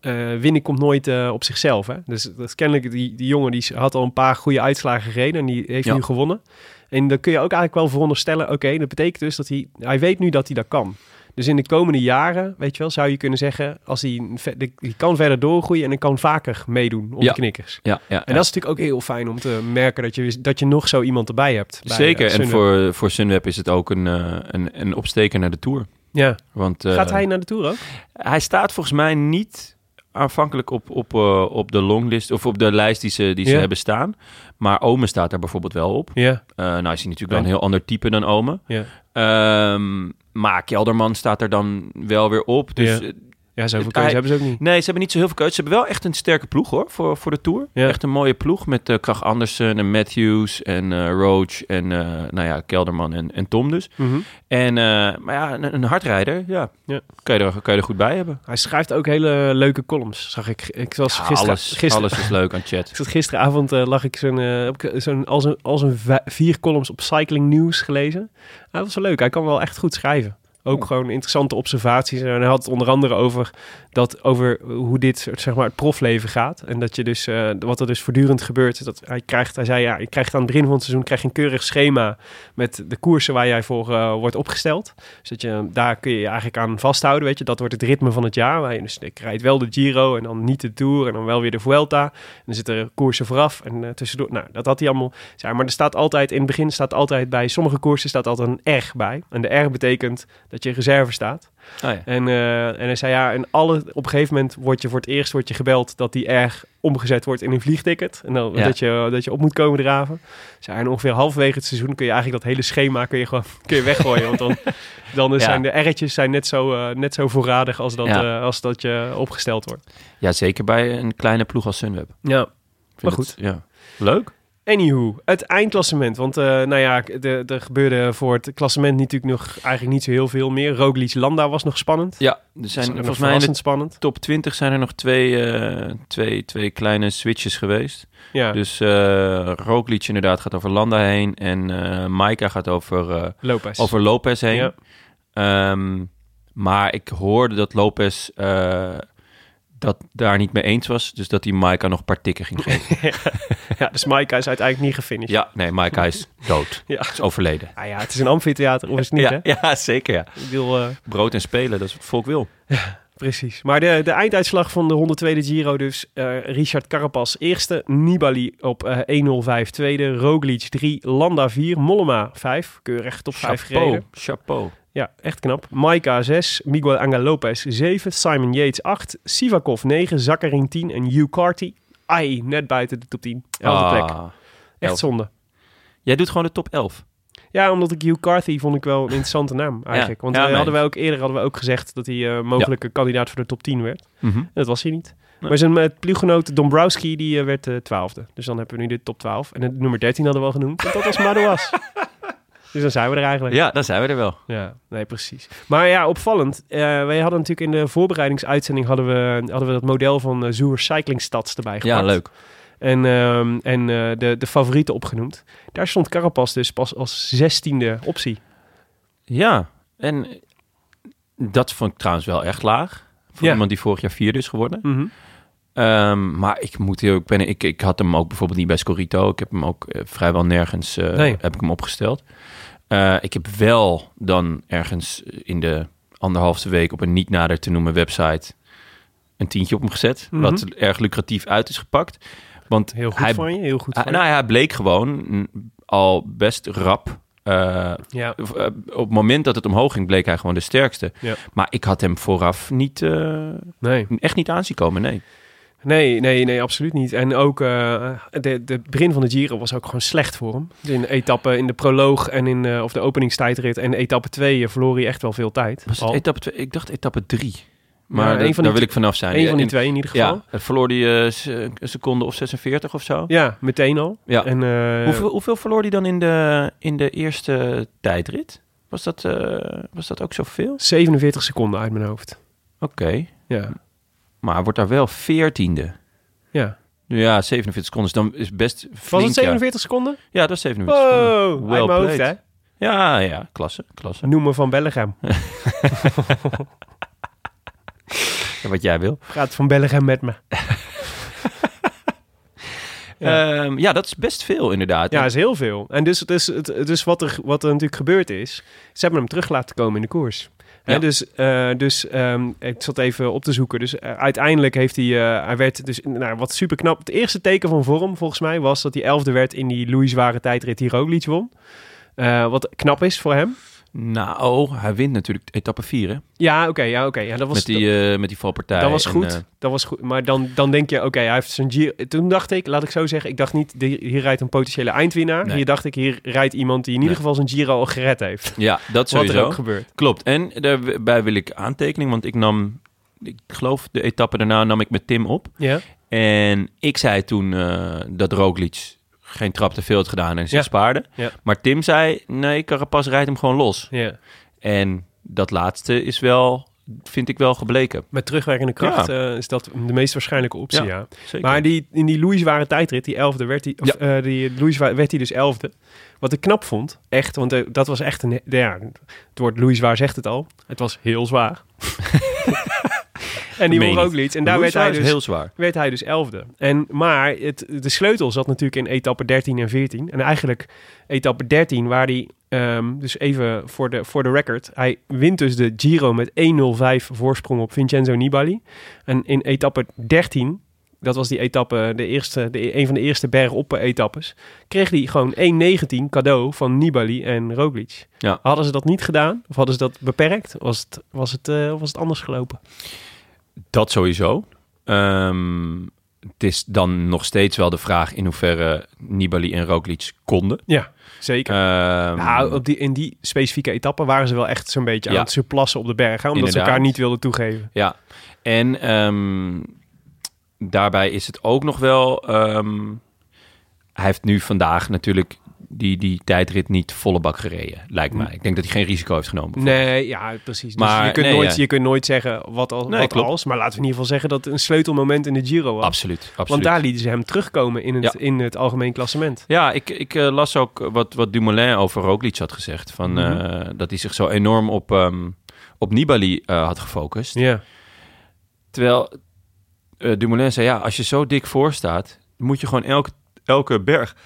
Speaker 2: eh, winnen komt nooit eh, op zichzelf. Hè? Dus dat is kennelijk die, die jongen die had al een paar goede uitslagen gereden en die heeft
Speaker 1: Ja.
Speaker 2: nu gewonnen. En dan kun je ook eigenlijk wel veronderstellen, oké, dat betekent dus dat hij, hij weet nu dat hij dat kan. Dus in de komende jaren, weet je wel, zou je kunnen zeggen, als hij, ve- de- die kan verder doorgroeien en hij kan vaker meedoen op
Speaker 1: Ja.
Speaker 2: de knikkers.
Speaker 1: Ja, ja,
Speaker 2: En dat is natuurlijk ook heel fijn om te merken dat je, dat je nog zo iemand erbij hebt. bij,
Speaker 1: Zeker.
Speaker 2: eh,
Speaker 1: en
Speaker 2: Sunweb.
Speaker 1: voor, voor Sunweb is het ook een, eh, een, een opsteker naar de Tour.
Speaker 2: Ja.
Speaker 1: Want, eh,
Speaker 2: Gaat hij naar de Tour ook?
Speaker 1: hij staat volgens mij niet aanvankelijk op, op, eh, op de longlist of op de lijst die ze, die ze
Speaker 2: Ja.
Speaker 1: hebben staan. Maar Omen staat daar bijvoorbeeld wel op.
Speaker 2: Ja.
Speaker 1: Eh, nou is hij natuurlijk wel een heel ander type dan Omen.
Speaker 2: ja.
Speaker 1: Ehm, maar Kelderman staat er dan wel weer op. Dus
Speaker 2: Ja.
Speaker 1: eh,
Speaker 2: Ja, zoveel
Speaker 1: Hij-
Speaker 2: keuze hebben ze ook niet.
Speaker 1: Nee, ze hebben niet zo heel veel keuze. Ze hebben wel echt een sterke ploeg hoor, voor, voor de Tour.
Speaker 2: Ja.
Speaker 1: Echt een mooie ploeg met eh Krach Andersen en Matthews en eh Roach en eh, nou ja, Kelderman en, en Tom dus. En, eh, maar ja, een, een hardrijder, ja.
Speaker 2: Mhm. Ja.
Speaker 1: Kan, je er, kan je er goed bij hebben.
Speaker 2: Hij schrijft ook hele leuke columns, zag ik. Ik was
Speaker 1: Ja,
Speaker 2: gisteren,
Speaker 1: alles,
Speaker 2: gisteren,
Speaker 1: alles is leuk aan
Speaker 2: Ik
Speaker 1: chat.
Speaker 2: zat gisteravond eh, lag ik zo'n, eh, heb ik zo'n, als een, als een va- vier columns op Cycling News gelezen. Hij was wel leuk. Hij kan wel echt goed schrijven. Ook gewoon interessante observaties. En hij had het onder andere over, dat, over hoe dit soort, zeg maar, het profleven gaat. En dat je dus, eh, wat er dus voortdurend gebeurt. is Dat hij, krijgt, hij zei, ja, je krijgt aan het begin van het seizoen krijg je een keurig schema met de koersen waar jij voor eh, wordt opgesteld. Dus dat je, daar kun je je eigenlijk aan vasthouden. Weet je. Dat wordt het ritme van het jaar. Waar je, dus ik rijd wel de Giro en dan niet de Tour en dan wel weer de Vuelta. En dan zitten er koersen vooraf en eh, tussendoor. Nou, dat had hij allemaal. Ja, maar er staat altijd in het begin staat altijd bij sommige koersen staat altijd een R bij. En de R betekent dat je in reserve staat.
Speaker 1: Ah, ja.
Speaker 2: En, eh, en hij zei ja, en alle, op een gegeven moment word je voor het eerst word je gebeld dat die R omgezet wordt in een vliegticket. En dan,
Speaker 1: Ja.
Speaker 2: dat, je, dat je op moet komen draven. Dus ja, en ongeveer halverwege het seizoen kun je eigenlijk dat hele schema kun je gewoon kun je weggooien. want dan, dan eh,
Speaker 1: Ja.
Speaker 2: zijn de R'tjes zijn net, zo, eh, net zo voorradig als dat,
Speaker 1: Ja.
Speaker 2: eh, als dat je opgesteld wordt.
Speaker 1: ja, zeker bij een kleine ploeg als Sunweb. Ik
Speaker 2: Ja,
Speaker 1: vind
Speaker 2: maar
Speaker 1: het-
Speaker 2: goed.
Speaker 1: ja. Leuk.
Speaker 2: Anywho, het eindklassement. Want eh, nou ja, de- er gebeurde voor het klassement natuurlijk nog eigenlijk niet zo heel veel meer. Roglic Landa was nog spannend.
Speaker 1: Ja, er
Speaker 2: Dat
Speaker 1: zijn
Speaker 2: is nog
Speaker 1: volgens mij in de
Speaker 2: verrassend spannend.
Speaker 1: top 20 zijn er nog twee, eh, twee, twee kleine switches geweest.
Speaker 2: Ja,
Speaker 1: Dus eh Roglic inderdaad gaat over Landa heen en eh Maika gaat over, eh,
Speaker 2: Lopez.
Speaker 1: over Lopez heen.
Speaker 2: Ja.
Speaker 1: Ehm, maar ik hoorde dat Lopez eh, dat daar niet mee eens was. Dus dat hij Maika nog een paar tikken ging geven.
Speaker 2: ja, dus Maika is uiteindelijk niet gefinished.
Speaker 1: ja, nee, Maika is dood.
Speaker 2: Ja.
Speaker 1: Is overleden.
Speaker 2: Ah ja, het is een amfitheater, of is het niet, hè?
Speaker 1: ja, ja, zeker ja.
Speaker 2: Ik bedoel, eh,
Speaker 1: Brood en spelen, dat is wat het volk wil.
Speaker 2: precies. Maar de, de einduitslag van de 102e Giro dus. eh, Richard Carapaz eerste, Nibali op eh 1.05 tweede, Roglic 3, Landa 4, Mollema 5. Keurig top 5 gereden.
Speaker 1: Chapeau, chapeau.
Speaker 2: Ja, echt knap. Maika 6, Miguel Angel Lopez 7, Simon Yates 8, Sivakov 9, Zakarin 10 en Hugh Carty. Ai, net buiten de top 10. Elfde plek.
Speaker 1: Ah.
Speaker 2: Echt
Speaker 1: elf.
Speaker 2: zonde.
Speaker 1: Jij doet gewoon de top 11.
Speaker 2: Ja, omdat ik Hugh Carthy vond ik wel een interessante naam eigenlijk. Want
Speaker 1: Ja,
Speaker 2: eh,
Speaker 1: nee.
Speaker 2: hadden wij ook, eerder hadden we ook gezegd dat hij eh, mogelijke kandidaat voor de top 10 werd. En dat was hij niet. Maar zijn eh, ploeggenoot Dombrowski die eh, werd eh, twaalfde. Dus dan hebben we nu de top 12. En het nummer 13 hadden we al genoemd. want dat was Madouas. dus dan zijn we er eigenlijk.
Speaker 1: Ja, dan zijn we er wel.
Speaker 2: Ja, nee, precies. Maar ja, opvallend. Eh, wij hadden natuurlijk in de voorbereidingsuitzending hadden we, hadden we dat model van eh Zoer Cycling Stads erbij gepakt.
Speaker 1: Ja, leuk.
Speaker 2: En, ehm, en eh, de, de favorieten opgenoemd. Daar stond Carapaz dus pas als zestiende optie.
Speaker 1: Ja, en dat vond ik trouwens wel echt laag. Voor
Speaker 2: Ja.
Speaker 1: iemand die vorig jaar vierde is geworden.
Speaker 2: Mhm.
Speaker 1: Ehm, maar ik moet heel, ik, ben, ik, ik had hem ook bijvoorbeeld niet bij Scorito. Ik heb hem ook eh, vrijwel nergens eh,
Speaker 2: Nee.
Speaker 1: heb ik hem opgesteld. Eh, ik heb wel dan ergens in de anderhalfste week op een niet nader te noemen website een tientje op hem gezet. Wat erg lucratief uit is gepakt. Want
Speaker 2: Mhm. Heel goed
Speaker 1: hij,
Speaker 2: van je, heel goed
Speaker 1: Ah,
Speaker 2: van
Speaker 1: nou
Speaker 2: je.
Speaker 1: ja, hij bleek gewoon mm, al best rap. eh,
Speaker 2: Ja,
Speaker 1: of, eh, op het moment dat het omhoog ging, bleek hij gewoon de sterkste.
Speaker 2: Ja.
Speaker 1: Maar ik had hem vooraf niet, eh,
Speaker 2: nee.
Speaker 1: echt niet aanzien komen, nee.
Speaker 2: Nee, nee, nee, absoluut niet. En ook eh, de, de begin van de Giro was ook gewoon slecht voor hem. Dus In etappe, in de proloog en in eh, of de openingstijdrit en etappe 2 verloor hij echt wel veel tijd.
Speaker 1: Was het
Speaker 2: Al.
Speaker 1: etappe twee? Ik dacht etappe 3. Maar
Speaker 2: Ja,
Speaker 1: dat-
Speaker 2: een van die
Speaker 1: daar wil
Speaker 2: twee-
Speaker 1: ik vanaf zijn.
Speaker 2: Eén van die
Speaker 1: In-
Speaker 2: twee in ieder geval.
Speaker 1: Ja, het verloor hij eh, se- een seconde of 46 of zo.
Speaker 2: Ja, meteen al.
Speaker 1: Ja.
Speaker 2: En, eh,
Speaker 1: hoeveel, hoeveel verloor hij dan in de, in de eerste tijdrit? Was dat, eh, was dat ook zoveel?
Speaker 2: 47 seconden uit mijn hoofd.
Speaker 1: Oké,
Speaker 2: Ja,
Speaker 1: maar hij wordt daar wel 14e.
Speaker 2: ja.
Speaker 1: Ja, 47 seconden is dan is best flink.
Speaker 2: Was het Oh.
Speaker 1: ja.
Speaker 2: 47 seconden?
Speaker 1: Ja, dat is 47
Speaker 2: Wow,
Speaker 1: seconden.
Speaker 2: uit mijn hoofd hè.
Speaker 1: played. Ja, ja, klasse, klasse.
Speaker 2: Noem me Van Bellegem.
Speaker 1: Ja, wat jij wil.
Speaker 2: Praat Van Bellegem met me.
Speaker 1: Ja. Ehm, ja, dat is best veel inderdaad.
Speaker 2: Ja, is heel veel. En dus, dus, het- dus wat, er, wat er natuurlijk gebeurd is, ze hebben hem terug laten komen in de koers. Hè,
Speaker 1: Ja.
Speaker 2: dus eh, dus ehm, ik zat even op te zoeken. Dus eh, uiteindelijk heeft hij, eh, hij werd dus, nou, wat super knap. Het eerste teken van vorm volgens mij was dat hij elfde werd in die Louis-zware tijdrit die Roglic won. Eh, wat knap is voor hem.
Speaker 1: Nou, hij wint natuurlijk etappe 4 hè.
Speaker 2: Ja, oké, ja, oké. ja, dat was
Speaker 1: Met die, eh, met die valpartij.
Speaker 2: Dat was
Speaker 1: en,
Speaker 2: goed.
Speaker 1: eh,
Speaker 2: dat was goed. Maar dan, dan denk je, oké, hij heeft zijn Giro. Toen dacht ik, laat ik zo zeggen, ik dacht niet, die- hier rijdt een potentiële eindwinnaar.
Speaker 1: Nee.
Speaker 2: Hier dacht ik, hier rijdt iemand die in ieder
Speaker 1: Nee.
Speaker 2: geval zijn Giro al gered heeft.
Speaker 1: ja, dat
Speaker 2: Wat er
Speaker 1: sowieso.
Speaker 2: ook gebeurt.
Speaker 1: Klopt. En daarbij wil ik aantekening, want ik nam ik geloof de etappe daarna nam ik met Tim op.
Speaker 2: Ja.
Speaker 1: En ik zei toen eh, dat Roglic geen trap te veel had gedaan en zes
Speaker 2: Ja.
Speaker 1: paarden.
Speaker 2: Ja.
Speaker 1: Maar Tim zei, nee, Carapaz rijdt hem gewoon los.
Speaker 2: ja.
Speaker 1: En dat laatste is wel, vind ik wel gebleken.
Speaker 2: Met terugwerkende kracht
Speaker 1: Ja.
Speaker 2: eh, is dat de meest waarschijnlijke optie, ja.
Speaker 1: Ja, zeker.
Speaker 2: Maar die, in die Louis waren tijdrit, die elfde, werd hij, of, eh, die Louis wa- werd hij dus elfde. Wat ik knap vond, echt, want eh, dat was echt een, ja, het woord Louis waar zegt het al. Het was heel zwaar. en die
Speaker 1: meen
Speaker 2: won
Speaker 1: je
Speaker 2: ook
Speaker 1: niet.
Speaker 2: lied. En daar werd
Speaker 1: Louis
Speaker 2: hij
Speaker 1: is
Speaker 2: dus
Speaker 1: heel zwaar.
Speaker 2: werd hij dus elfde. En, maar het, de sleutel zat natuurlijk in etappe 13 en 14. En eigenlijk etappe 13 waar hij, ehm, dus even voor de, voor de record, hij wint dus de Giro met 1.05 voorsprong op Vincenzo Nibali. En in etappe 13, dat was die etappe, de eerste, de, een van de eerste bergoppen-etappes, kreeg hij gewoon 1.19 cadeau van Nibali en Roglic.
Speaker 1: Ja.
Speaker 2: Hadden ze dat niet gedaan, of hadden ze dat beperkt, was het, was het, eh, was het anders gelopen?
Speaker 1: Dat sowieso. Ehm, het is dan nog steeds wel de vraag in hoeverre Nibali en Roglic konden.
Speaker 2: Ja, zeker.
Speaker 1: Ehm,
Speaker 2: Nou, op die, in die specifieke etappe waren ze wel echt zo'n beetje
Speaker 1: Ja.
Speaker 2: aan het surplassen op de bergen. Omdat ze
Speaker 1: Inderdaad.
Speaker 2: elkaar niet wilden toegeven.
Speaker 1: Ja, en ehm, daarbij is het ook nog wel. ehm, hij heeft nu vandaag natuurlijk die, die tijdrit niet volle bak gereden, lijkt mij. Ik denk dat hij geen risico heeft genomen.
Speaker 2: Mm. Nee, ja, precies. Dus
Speaker 1: Maar,
Speaker 2: je, kunt
Speaker 1: nee,
Speaker 2: nooit,
Speaker 1: ja.
Speaker 2: je kunt nooit zeggen wat, al,
Speaker 1: Nee,
Speaker 2: wat
Speaker 1: klopt.
Speaker 2: als. Maar laten we in ieder geval zeggen dat het een sleutelmoment in de Giro was.
Speaker 1: Absoluut, absoluut.
Speaker 2: Want daar lieten ze hem terugkomen in het,
Speaker 1: Ja.
Speaker 2: in het algemeen klassement.
Speaker 1: Ja, ik, ik eh, las ook wat, wat Dumoulin over Roglic had gezegd. Van,
Speaker 2: Mhm.
Speaker 1: eh, dat hij zich zo enorm op, ehm, op Nibali eh, had gefocust.
Speaker 2: Ja,
Speaker 1: Terwijl eh, Dumoulin zei, ja, als je zo dik voor staat... moet je gewoon elke, elke berg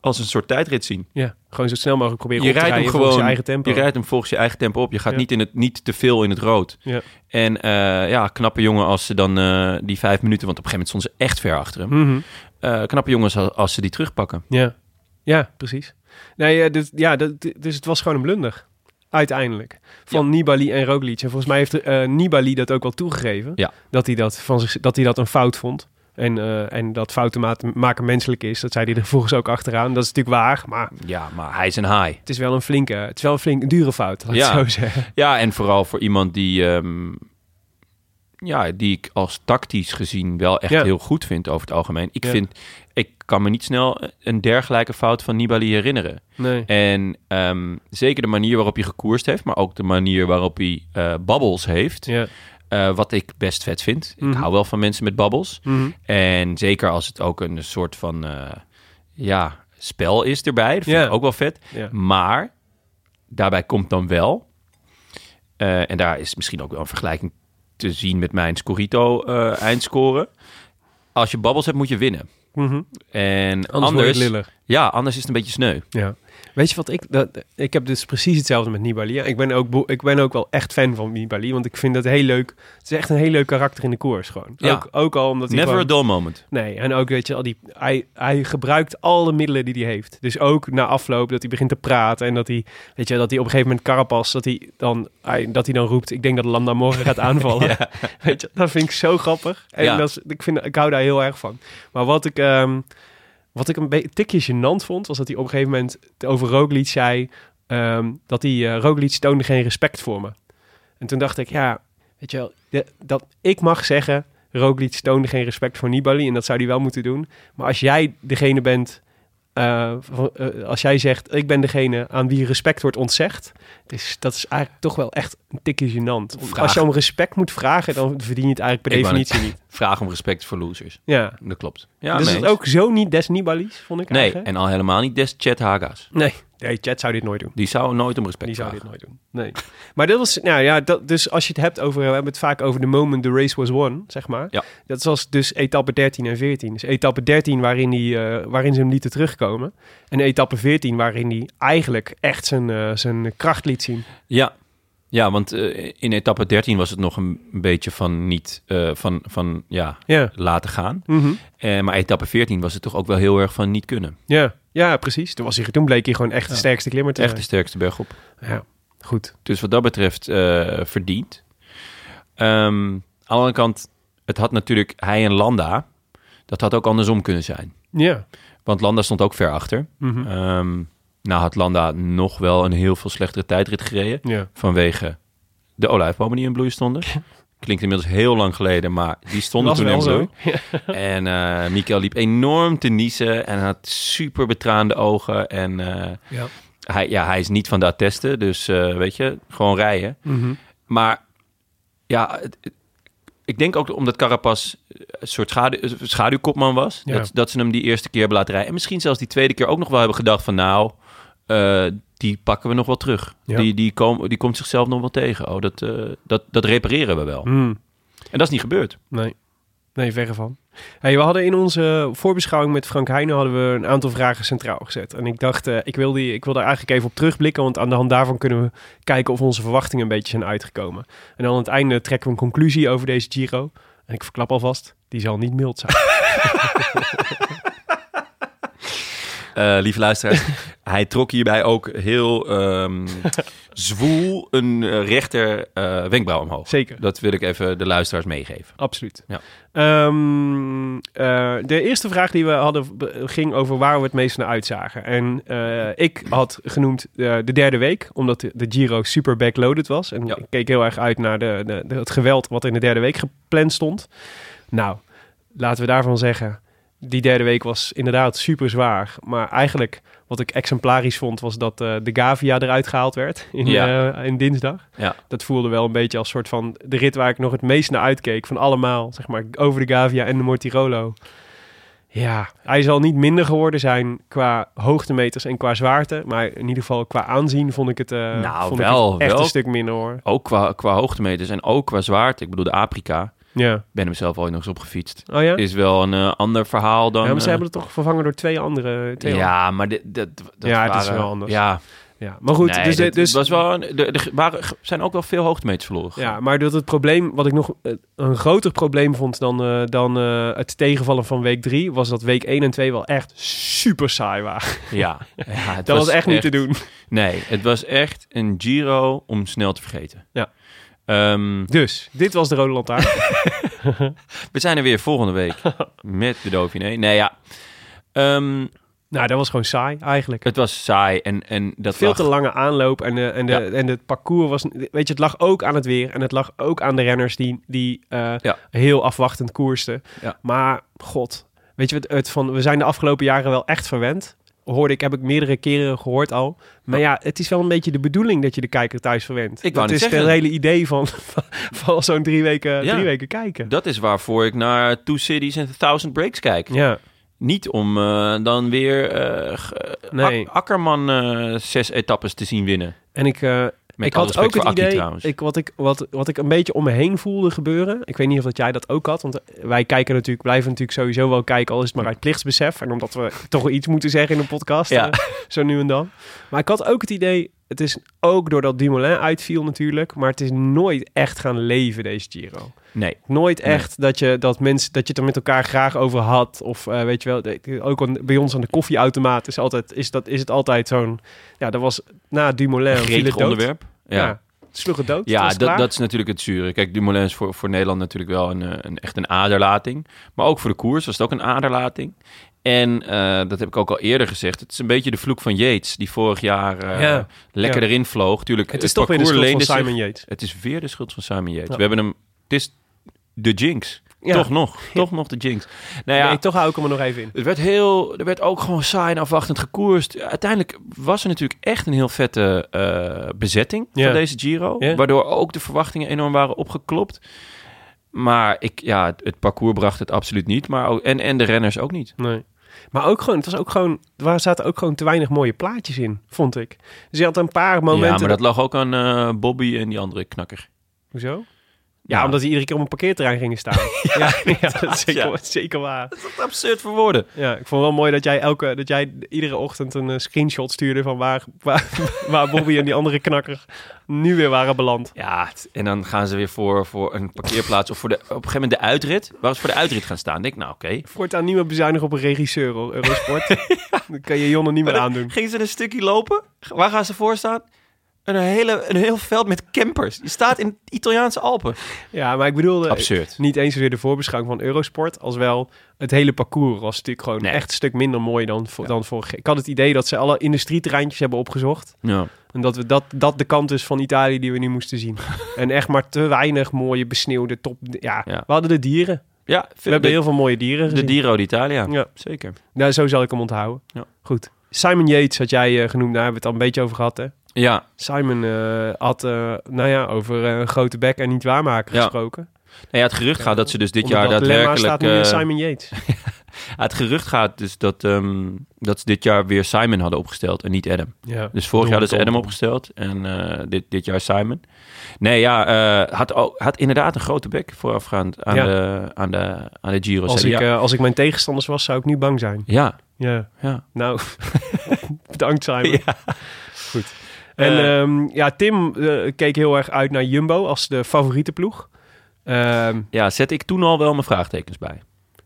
Speaker 1: als een soort tijdrit zien.
Speaker 2: ja. gewoon zo snel mogelijk proberen
Speaker 1: je
Speaker 2: op te
Speaker 1: rijdt hem
Speaker 2: rijden
Speaker 1: gewoon
Speaker 2: volgens je eigen tempo.
Speaker 1: Je rijdt hem volgens je eigen tempo op. Je gaat
Speaker 2: Ja.
Speaker 1: niet, in het, niet te veel in het rood.
Speaker 2: Ja.
Speaker 1: En eh, ja, knappe jongen als ze dan eh, die vijf minuten, want op een gegeven moment stonden ze echt ver achter hem.
Speaker 2: Mhm.
Speaker 1: Eh, knappe jongens als, als ze die terugpakken.
Speaker 2: Ja, ja precies. Nee, eh, dit, ja, dat, dit- dus het was gewoon een blunder. Uiteindelijk. Van Nibali en Roglic. En volgens mij heeft eh, Nibali dat ook wel toegegeven.
Speaker 1: Ja.
Speaker 2: Dat, hij dat, van zich, dat hij dat een fout vond. En, eh, en dat fouten ma- maken menselijk is. Dat zei hij er vervolgens ook achteraan. Dat is natuurlijk waar. Maar
Speaker 1: Ja, maar hij is een haai.
Speaker 2: het is wel een flinke, het is wel een flink dure fout. Laat
Speaker 1: Ja.
Speaker 2: ik het zo zeggen.
Speaker 1: Ja, en vooral voor iemand die, ehm, ja, die ik als tactisch gezien wel echt
Speaker 2: Ja.
Speaker 1: heel goed vind over het algemeen. Ik,
Speaker 2: Ja.
Speaker 1: vind, ik kan me niet snel een dergelijke fout van Nibali herinneren.
Speaker 2: Nee.
Speaker 1: En ehm, zeker de manier waarop hij gekoerst heeft, maar ook de manier waarop hij eh babbels heeft.
Speaker 2: Ja.
Speaker 1: Eh, wat ik best vet vind.
Speaker 2: Mhm.
Speaker 1: Ik hou wel van mensen met babbels.
Speaker 2: Mhm.
Speaker 1: En zeker als het ook een soort van eh, ja, spel is erbij. Dat vind
Speaker 2: Ja.
Speaker 1: ik ook wel vet.
Speaker 2: Ja.
Speaker 1: Maar daarbij komt dan wel... eh, en daar is misschien ook wel een vergelijking te zien met mijn Scorito-eindscore. als je babbels hebt, moet je winnen.
Speaker 2: Mhm.
Speaker 1: En anders,
Speaker 2: Anders, word je liller.
Speaker 1: ja, anders is het een beetje sneu.
Speaker 2: Ja. Weet je wat ik... Dat, ik heb dus precies hetzelfde met Nibali. Ja, ik, ben ook, bo- ik ben ook wel echt fan van Nibali. Want ik vind dat heel leuk. Het is echt een heel leuk karakter in de koers gewoon.
Speaker 1: Ja.
Speaker 2: Ook, ook al omdat hij
Speaker 1: Never
Speaker 2: gewoon-
Speaker 1: a dull moment.
Speaker 2: Nee, en ook weet je al die... Hij, hij gebruikt alle middelen die hij heeft. Dus ook na afloop dat hij begint te praten. En dat hij, weet je, dat hij op een gegeven moment Carapas... Dat hij dan, hij, dat hij dan roept, ik denk dat Landa morgen gaat aanvallen. Weet je, dat vind ik zo grappig. En
Speaker 1: Ja.
Speaker 2: dat is, ik, vind, ik hou daar heel erg van. Maar wat ik, ehm, wat ik een beetje tikje gênant vond, was dat hij op een gegeven moment over Roglic zei... ehm, dat hij, eh, Roglic toonde geen respect voor me. En toen dacht ik, ja, weet je wel, de- dat ik mag zeggen... Roglic toonde geen respect voor Nibali en dat zou hij wel moeten doen. Maar als jij degene bent, eh, van- eh, als jij zegt, ik ben degene aan wie respect wordt ontzegd, dus dat is eigenlijk toch wel echt een tikje gênant.
Speaker 1: Vraag.
Speaker 2: Als je om respect moet vragen, dan verdien je het eigenlijk per
Speaker 1: Ik wou net-
Speaker 2: definitie niet.
Speaker 1: Vraag om respect voor losers.
Speaker 2: Ja.
Speaker 1: Dat klopt. Ja,
Speaker 2: dus
Speaker 1: mee
Speaker 2: het is
Speaker 1: eens.
Speaker 2: ook zo niet des Nibali's, vond ik
Speaker 1: Nee,
Speaker 2: eigenlijk.
Speaker 1: en al helemaal niet des Chet Haga's.
Speaker 2: Nee, nee, Chad zou dit nooit doen.
Speaker 1: Die zou nooit om respect
Speaker 2: Die zou dit
Speaker 1: vragen.
Speaker 2: nooit doen. Nee. Maar dat was, nou ja, dat, dus als je het hebt over, we hebben het vaak over de moment the race was won, zeg maar.
Speaker 1: Ja.
Speaker 2: Dat was dus etappe 13 en 14. Dus etappe 13 waarin, die, eh, waarin ze hem lieten terugkomen. En etappe 14 waarin hij eigenlijk echt zijn, eh, zijn kracht liet zien.
Speaker 1: Ja, ja want eh, in etappe 13 was het nog een beetje van niet eh, van, van ja,
Speaker 2: Ja.
Speaker 1: laten gaan.
Speaker 2: Mhm.
Speaker 1: Eh, maar etappe 14 was het toch ook wel heel erg van niet kunnen.
Speaker 2: Ja. ja, precies. Toen, was hij, toen bleek hij gewoon echt de sterkste klimmer te
Speaker 1: Echt de
Speaker 2: zijn.
Speaker 1: sterkste berg op.
Speaker 2: Ja, goed.
Speaker 1: Dus wat dat betreft eh, verdiend. Ehm, aan de andere kant, het had natuurlijk hij en Landa. Dat had ook andersom kunnen zijn.
Speaker 2: Ja.
Speaker 1: Want Landa stond ook ver achter.
Speaker 2: Mhm.
Speaker 1: Ehm, nou had Landa nog wel een heel veel slechtere tijdrit gereden.
Speaker 2: Ja.
Speaker 1: Vanwege de olijfbomen die in bloei stonden. Klinkt inmiddels heel lang geleden, maar die stonden
Speaker 2: Was
Speaker 1: toen
Speaker 2: wel
Speaker 1: in
Speaker 2: zo.
Speaker 1: bloei. En eh Mikael liep enorm te niezen en had super betraande ogen. En eh,
Speaker 2: Ja.
Speaker 1: hij, ja, hij is niet van de attesten, dus eh, weet je, gewoon rijden.
Speaker 2: Mhm.
Speaker 1: Maar ja, het- het- ik denk ook omdat Carapaz een soort schadu- een schaduwkopman was,
Speaker 2: Ja.
Speaker 1: dat, dat ze hem die eerste keer hebben laten rijden. En misschien zelfs die tweede keer ook nog wel hebben gedacht van nou, eh, die pakken we nog wel terug.
Speaker 2: Ja.
Speaker 1: Die, die, kom, die komt zichzelf nog wel tegen. Oh, dat, eh, dat, dat repareren we wel.
Speaker 2: Hmm.
Speaker 1: En dat is niet gebeurd.
Speaker 2: Nee. Nee, verre van. Hey, we hadden in onze voorbeschouwing met Frank Heijnen hadden we een aantal vragen centraal gezet. En ik dacht, eh, ik, wil die, ik wil daar eigenlijk even op terugblikken. Want aan de hand daarvan kunnen we kijken of onze verwachtingen een beetje zijn uitgekomen. En dan aan het einde trekken we een conclusie over deze Giro. En ik verklap alvast, die zal niet mild zijn.
Speaker 1: Eh, lieve luisteraars, hij trok hierbij ook heel ehm, zwoel een eh, rechter eh, wenkbrauw omhoog.
Speaker 2: Zeker.
Speaker 1: Dat wil ik even de luisteraars meegeven.
Speaker 2: Absoluut.
Speaker 1: Ja.
Speaker 2: Ehm, eh, de eerste vraag die we hadden be- ging over waar we het meest naar uitzagen. En eh, ik had genoemd eh, de derde week, omdat de, de Giro super backloaded was. En
Speaker 1: Ja.
Speaker 2: ik keek heel erg uit naar de, de, de- het geweld wat in de derde week gepland stond. Nou, laten we daarvan zeggen, die derde week was inderdaad super zwaar. Maar eigenlijk wat ik exemplarisch vond, was dat eh, de Gavia eruit gehaald werd in,
Speaker 1: Ja.
Speaker 2: eh, in dinsdag
Speaker 1: Ja.
Speaker 2: dat voelde wel een beetje als soort van de rit waar ik nog het meest naar uitkeek. Van allemaal, zeg maar, over de Gavia en de Mortirolo. Ja, hij zal niet minder geworden zijn qua hoogtemeters en qua zwaarte. Maar in ieder geval qua aanzien vond ik het, eh,
Speaker 1: Nou,
Speaker 2: vond ik
Speaker 1: wel,
Speaker 2: het echt
Speaker 1: wel.
Speaker 2: een stuk minder hoor.
Speaker 1: Ook qua, qua hoogtemeters en ook qua zwaarte. Ik bedoel, de Afrika,
Speaker 2: Ja.
Speaker 1: ben hem zelf ooit nog eens opgefietst.
Speaker 2: Oh ja?
Speaker 1: Is wel een eh, ander verhaal dan...
Speaker 2: ja, maar ze
Speaker 1: eh,
Speaker 2: hebben het toch vervangen door twee andere. Twee andere-
Speaker 1: ja, maar dit, dat, dat
Speaker 2: Ja, het is
Speaker 1: waren-
Speaker 2: wel anders.
Speaker 1: Ja,
Speaker 2: ja. Maar goed,
Speaker 1: Nee,
Speaker 2: dus,
Speaker 1: dit
Speaker 2: dus
Speaker 1: was wel een, er, er waren, zijn ook wel veel hoogtemeters verloren.
Speaker 2: Ja, maar dat het probleem, wat ik nog eh, een groter probleem vond dan, eh, dan eh, het tegenvallen van week 3, was dat week 1 en 2 wel echt super saai waren.
Speaker 1: ja. Ja, het
Speaker 2: Dat was, echt niet te doen.
Speaker 1: Nee, het was echt een Giro om snel te vergeten.
Speaker 2: Ja.
Speaker 1: Ehm,
Speaker 2: Dus, dit was de Rode Lantaarn.
Speaker 1: we zijn er weer volgende week met de Dauphiné. Nee, ja. Ehm,
Speaker 2: nou, dat was gewoon saai eigenlijk.
Speaker 1: het was saai en, en dat
Speaker 2: Veel
Speaker 1: lag-
Speaker 2: te lange aanloop en, de, en, de,
Speaker 1: Ja.
Speaker 2: en het parcours was... Weet je, het lag ook aan het weer en het lag ook aan de renners die, die eh,
Speaker 1: Ja.
Speaker 2: heel afwachtend koersten.
Speaker 1: Ja.
Speaker 2: Maar, god, weet je, het, het van, we zijn de afgelopen jaren wel echt verwend. Hoorde ik, heb ik meerdere keren gehoord al. Maar ja, het is wel een beetje de bedoeling dat je de kijker thuis verwendt.
Speaker 1: Ik wou
Speaker 2: dat
Speaker 1: net
Speaker 2: is het
Speaker 1: zeggen.
Speaker 2: hele idee van, van, van zo'n drie weken,
Speaker 1: Ja.
Speaker 2: drie weken kijken.
Speaker 1: Dat is waarvoor ik naar Two Cities en Thousand Breaks kijk.
Speaker 2: Ja,
Speaker 1: Niet om eh, dan weer eh, g- eh,
Speaker 2: Nee.
Speaker 1: Ak- Akkerman eh, zes etappes te zien winnen.
Speaker 2: en ik, eh,
Speaker 1: Met
Speaker 2: ik
Speaker 1: alle
Speaker 2: had ook
Speaker 1: respect
Speaker 2: het
Speaker 1: voor Akkie
Speaker 2: idee,
Speaker 1: trouwens.
Speaker 2: Ik, wat, ik, wat, wat ik een beetje om me heen voelde gebeuren. Ik weet niet of dat jij dat ook had. Want eh, wij kijken natuurlijk, blijven natuurlijk sowieso wel kijken. Al is het maar uit plichtsbesef. En omdat we toch wel iets moeten zeggen in een podcast.
Speaker 1: Ja.
Speaker 2: eh, zo nu en dan. Maar ik had ook het idee... Het is ook doordat Dumoulin uitviel natuurlijk. Maar het is nooit echt gaan leven, deze Giro.
Speaker 1: Nee.
Speaker 2: Nooit
Speaker 1: Nee.
Speaker 2: echt dat, je, dat, mensen, dat je het er met elkaar graag over had. Of eh, weet je wel, de- ook aan- bij ons aan de koffieautomaat is, altijd, is, dat, is het altijd zo'n... Ja, dat was na Dumoulin...
Speaker 1: Een
Speaker 2: viel het
Speaker 1: gretig
Speaker 2: dood.
Speaker 1: onderwerp.
Speaker 2: Ja.
Speaker 1: Ja,
Speaker 2: het sloeg het dood. het
Speaker 1: ja
Speaker 2: was klaar.
Speaker 1: dat, dat is natuurlijk het zure. Kijk, Dumoulin is voor, voor Nederland natuurlijk wel een, eh, een, echt een aderlating. Maar ook voor de koers was het ook een aderlating. En eh, dat heb ik ook al eerder gezegd. Het is een beetje de vloek van Yates, die vorig jaar eh,
Speaker 2: Ja.
Speaker 1: lekker
Speaker 2: Ja.
Speaker 1: erin vloog. Tuurlijk,
Speaker 2: Het is toch weer de
Speaker 1: parcours
Speaker 2: schuld van
Speaker 1: leende zich-
Speaker 2: Simon Yates.
Speaker 1: Het is weer de schuld van Simon Yates.
Speaker 2: Ja.
Speaker 1: We hebben hem... Het is de jinx.
Speaker 2: Ja.
Speaker 1: Toch nog. Toch nog de jinx. Nou ja,
Speaker 2: Nee, toch hou ik hem er nog even in.
Speaker 1: Het werd heel, er werd ook gewoon saai en afwachtend gekoerst. Uiteindelijk was er natuurlijk echt een heel vette eh, bezetting
Speaker 2: Ja.
Speaker 1: van deze Giro.
Speaker 2: Ja.
Speaker 1: Waardoor ook de verwachtingen enorm waren opgeklopt. Maar ik, ja, het, het parcours bracht het absoluut niet. Maar ook, en, en de renners ook niet.
Speaker 2: Nee. Maar ook gewoon, het was ook gewoon, er zaten ook gewoon te weinig mooie plaatjes in, vond ik. Dus je had een paar momenten...
Speaker 1: ja, maar dat lag ook aan eh, Bobby en die andere knakker.
Speaker 2: Hoezo? Ja,
Speaker 1: Ja.
Speaker 2: omdat ze iedere keer op een parkeerterrein gingen staan. ja, ja, dat is zeker,
Speaker 1: ja.
Speaker 2: dat is zeker waar.
Speaker 1: Absurd voor woorden.
Speaker 2: Ja, ik vond wel mooi dat jij, elke, dat jij iedere ochtend een eh, screenshot stuurde van waar, waar, waar Bobby en die andere knakker nu weer waren beland.
Speaker 1: Ja, het- en dan gaan ze weer voor, voor een parkeerplaats of voor de, op een gegeven moment de uitrit. Waar ze voor de uitrit gaan staan. denk ik, nou oké.
Speaker 2: Voortaan niet meer bezuinigen op een regisseur, hoor, Eurosport. Dan kan je Jonne niet meer aandoen.
Speaker 1: Gingen ze een stukje lopen? Waar gaan ze voor staan?
Speaker 6: een, hele, een heel veld met campers. Je staat in de Italiaanse Alpen.
Speaker 2: Ja, maar ik bedoelde
Speaker 1: Absurd.
Speaker 2: niet eens weer de voorbeschouwing van Eurosport, als wel het hele parcours was natuurlijk gewoon
Speaker 1: Nee.
Speaker 2: echt een stuk minder mooi dan, vo- dan vorig jaar. Ik had het idee dat ze alle industrieterreintjes hebben opgezocht
Speaker 1: Ja.
Speaker 2: en dat, we dat dat de kant is van Italië die we nu moesten zien. en echt maar te weinig mooie besneeuwde top... Ja,
Speaker 1: Ja.
Speaker 2: we hadden de dieren.
Speaker 1: Ja,
Speaker 2: We hebben
Speaker 1: de,
Speaker 2: heel veel mooie dieren
Speaker 1: de
Speaker 2: gezien.
Speaker 1: Giro d'Italia.
Speaker 2: Ja.
Speaker 1: Zeker.
Speaker 2: Nou, zo zal ik hem onthouden.
Speaker 1: Ja.
Speaker 2: Goed. Simon Yates had jij eh, genoemd, daar hebben we het al een beetje over gehad, hè?
Speaker 1: Ja, Nou
Speaker 2: Simon eh, had, eh, nou ja, over eh, een grote bek en niet waarmaken
Speaker 1: Ja.
Speaker 2: gesproken.
Speaker 1: Nou ja, het gerucht gaat dat ze dus dit
Speaker 2: Onder
Speaker 1: jaar
Speaker 2: dat dilemma
Speaker 1: daadwerkelijk...
Speaker 2: staat nu
Speaker 1: eh,
Speaker 2: eh, Simon Yates.
Speaker 1: het gerucht gaat dus dat, ehm, dat ze dit jaar weer Simon hadden opgesteld en niet Adam.
Speaker 2: ja.
Speaker 1: Dus vorig jaar hadden ze
Speaker 2: dom.
Speaker 1: Adam opgesteld en eh, dit, dit jaar Simon. Nee, ja, eh, had, ook- had inderdaad een grote bek voorafgaand aan,
Speaker 2: Ja.
Speaker 1: de, aan, de, aan de Giro.
Speaker 2: Als, ik,
Speaker 1: ja.
Speaker 2: eh, als ik mijn tegenstanders was, zou ik nu bang zijn.
Speaker 1: ja,
Speaker 2: Ja.
Speaker 1: ja.
Speaker 2: Nou, bedankt Simon. Goed. En
Speaker 1: Eh.
Speaker 2: ehm, ja, Tim eh, keek heel erg uit naar Jumbo als de favoriete ploeg. Ehm,
Speaker 1: ja, zet ik toen al wel mijn vraagtekens bij.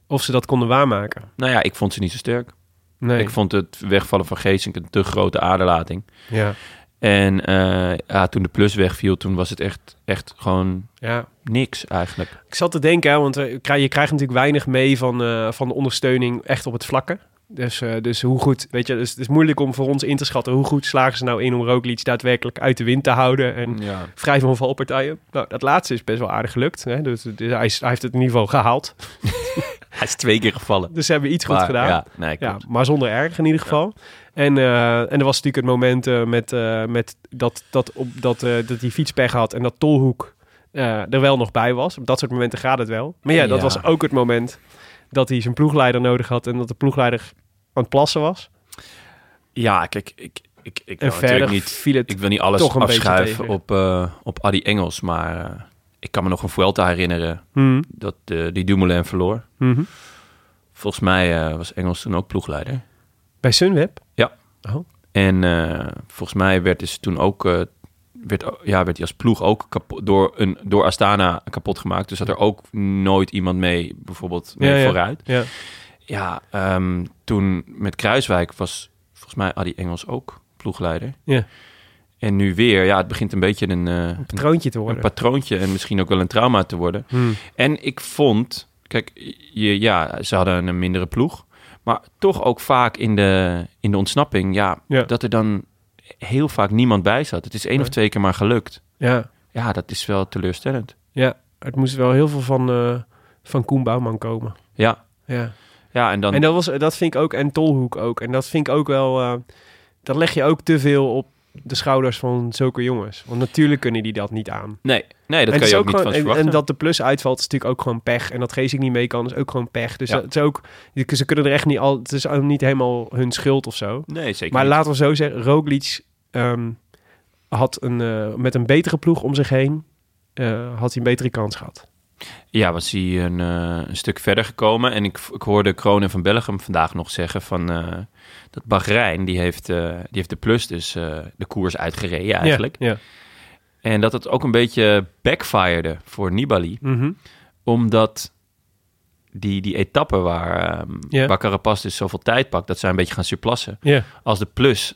Speaker 2: of ze dat konden waarmaken.
Speaker 1: Nou ja, ik vond ze niet zo sterk.
Speaker 2: Nee.
Speaker 1: Ik vond het wegvallen van Geesink een te grote aderlating.
Speaker 2: Ja.
Speaker 1: En eh, ja, toen de plus wegviel, toen was het echt, echt gewoon
Speaker 2: ja.
Speaker 1: niks eigenlijk.
Speaker 2: Ik zat te denken, hè, want eh, je krijgt je krijgt natuurlijk weinig mee van, eh, van de ondersteuning echt op het vlakke. Dus, eh, dus hoe goed, weet je, dus het is moeilijk om voor ons in te schatten hoe goed slagen ze nou in om Roglic daadwerkelijk uit de wind te houden en
Speaker 1: Ja.
Speaker 2: vrij van valpartijen. Nou, dat laatste is best wel aardig gelukt. Hè? Dus, dus hij, is- hij heeft het in ieder geval gehaald.
Speaker 1: Hij is twee keer gevallen.
Speaker 2: Dus ze hebben iets goed
Speaker 1: Maar,
Speaker 2: gedaan.
Speaker 1: Ja,
Speaker 2: Ja,
Speaker 1: nee, klopt.
Speaker 2: maar zonder erg in ieder geval. En, eh, en er was natuurlijk het moment eh, met, eh, met dat, dat, op, dat, eh, dat hij fietspech had en dat Tolhoek eh, er wel nog bij was. Op dat soort momenten gaat het wel. Maar ja, dat
Speaker 1: Ja.
Speaker 2: was ook het moment dat hij zijn ploegleider nodig had en dat de ploegleider aan het plassen was.
Speaker 1: Ja, kijk, ik, ik, ik,
Speaker 2: En
Speaker 1: wil natuurlijk
Speaker 2: verder
Speaker 1: niet,
Speaker 2: viel het
Speaker 1: ik wil niet alles
Speaker 2: toch een beetje
Speaker 1: afschuiven
Speaker 2: tegen.
Speaker 1: op, eh op Adi Engels, maar eh, ik kan me nog een Vuelta herinneren
Speaker 2: Hmm.
Speaker 1: dat eh, die Dumoulin verloor.
Speaker 2: Mhm.
Speaker 1: Volgens mij eh, was Engels toen ook ploegleider.
Speaker 2: bij Sunweb.
Speaker 1: Ja.
Speaker 2: Oh.
Speaker 1: En eh, volgens mij werd dus toen ook, eh, werd, o- ja, werd hij als ploeg ook kapot, door, een, door Astana kapot gemaakt. Dus had er ook nooit iemand mee, bijvoorbeeld, mee
Speaker 2: Ja, ja.
Speaker 1: vooruit.
Speaker 2: Ja.
Speaker 1: Ja, ehm, toen met Kruiswijk was volgens mij Adi Engels ook ploegleider.
Speaker 2: Ja.
Speaker 1: En nu weer, ja, het begint een beetje een, eh, een,
Speaker 2: Troontje te
Speaker 1: een
Speaker 2: worden.
Speaker 1: patroontje en misschien ook wel een trauma te worden.
Speaker 2: Hmm.
Speaker 1: En ik vond, kijk, je, ja, ze hadden een mindere ploeg. Maar toch ook vaak in de, in de ontsnapping, ja,
Speaker 2: Ja.
Speaker 1: dat er dan heel vaak niemand bij zat. Het is één of twee keer maar gelukt.
Speaker 2: Ja.
Speaker 1: Ja, dat is wel teleurstellend.
Speaker 2: Ja, het moest wel heel veel van, eh, van Koen Bouwman komen.
Speaker 1: Ja,
Speaker 2: Ja.
Speaker 1: ja en dan...
Speaker 2: En dat, was, dat vind ik ook, en Tolhoek ook. En dat vind ik ook wel, eh, dat leg je ook te veel op de schouders van zulke jongens. Want natuurlijk kunnen die dat niet aan.
Speaker 1: nee, nee, dat kan
Speaker 2: en het
Speaker 1: je
Speaker 2: is
Speaker 1: ook niet
Speaker 2: gewoon-
Speaker 1: van ze
Speaker 2: en- en,
Speaker 1: verwachten.
Speaker 2: dat de plus uitvalt is natuurlijk ook gewoon pech. En dat Geesink niet mee kan is ook gewoon pech. Dus
Speaker 1: Ja.
Speaker 2: dat is ook, ze kunnen er echt niet al, het is ook niet helemaal hun schuld of zo.
Speaker 1: Nee, zeker
Speaker 2: Maar
Speaker 1: niet.
Speaker 2: laten we zo zeggen, Roglic ehm, had een, eh, met een betere ploeg om zich heen, eh, had hij een betere kans gehad.
Speaker 1: Ja, was hij een, eh, een stuk verder gekomen. En ik, ik hoorde Kroon en van Bellegem vandaag nog zeggen van... eh, dat Bahrein, die heeft, eh, die heeft de plus dus eh, de koers uitgereden eigenlijk.
Speaker 2: Ja, ja.
Speaker 1: En dat het ook een beetje backfirede voor Nibali.
Speaker 2: Mhm.
Speaker 1: Omdat die, die etappe waar, ehm
Speaker 2: Ja.
Speaker 1: waar Carapaz dus zoveel tijd pakt... dat zij een beetje gaan surplassen.
Speaker 2: Ja,
Speaker 1: Als de plus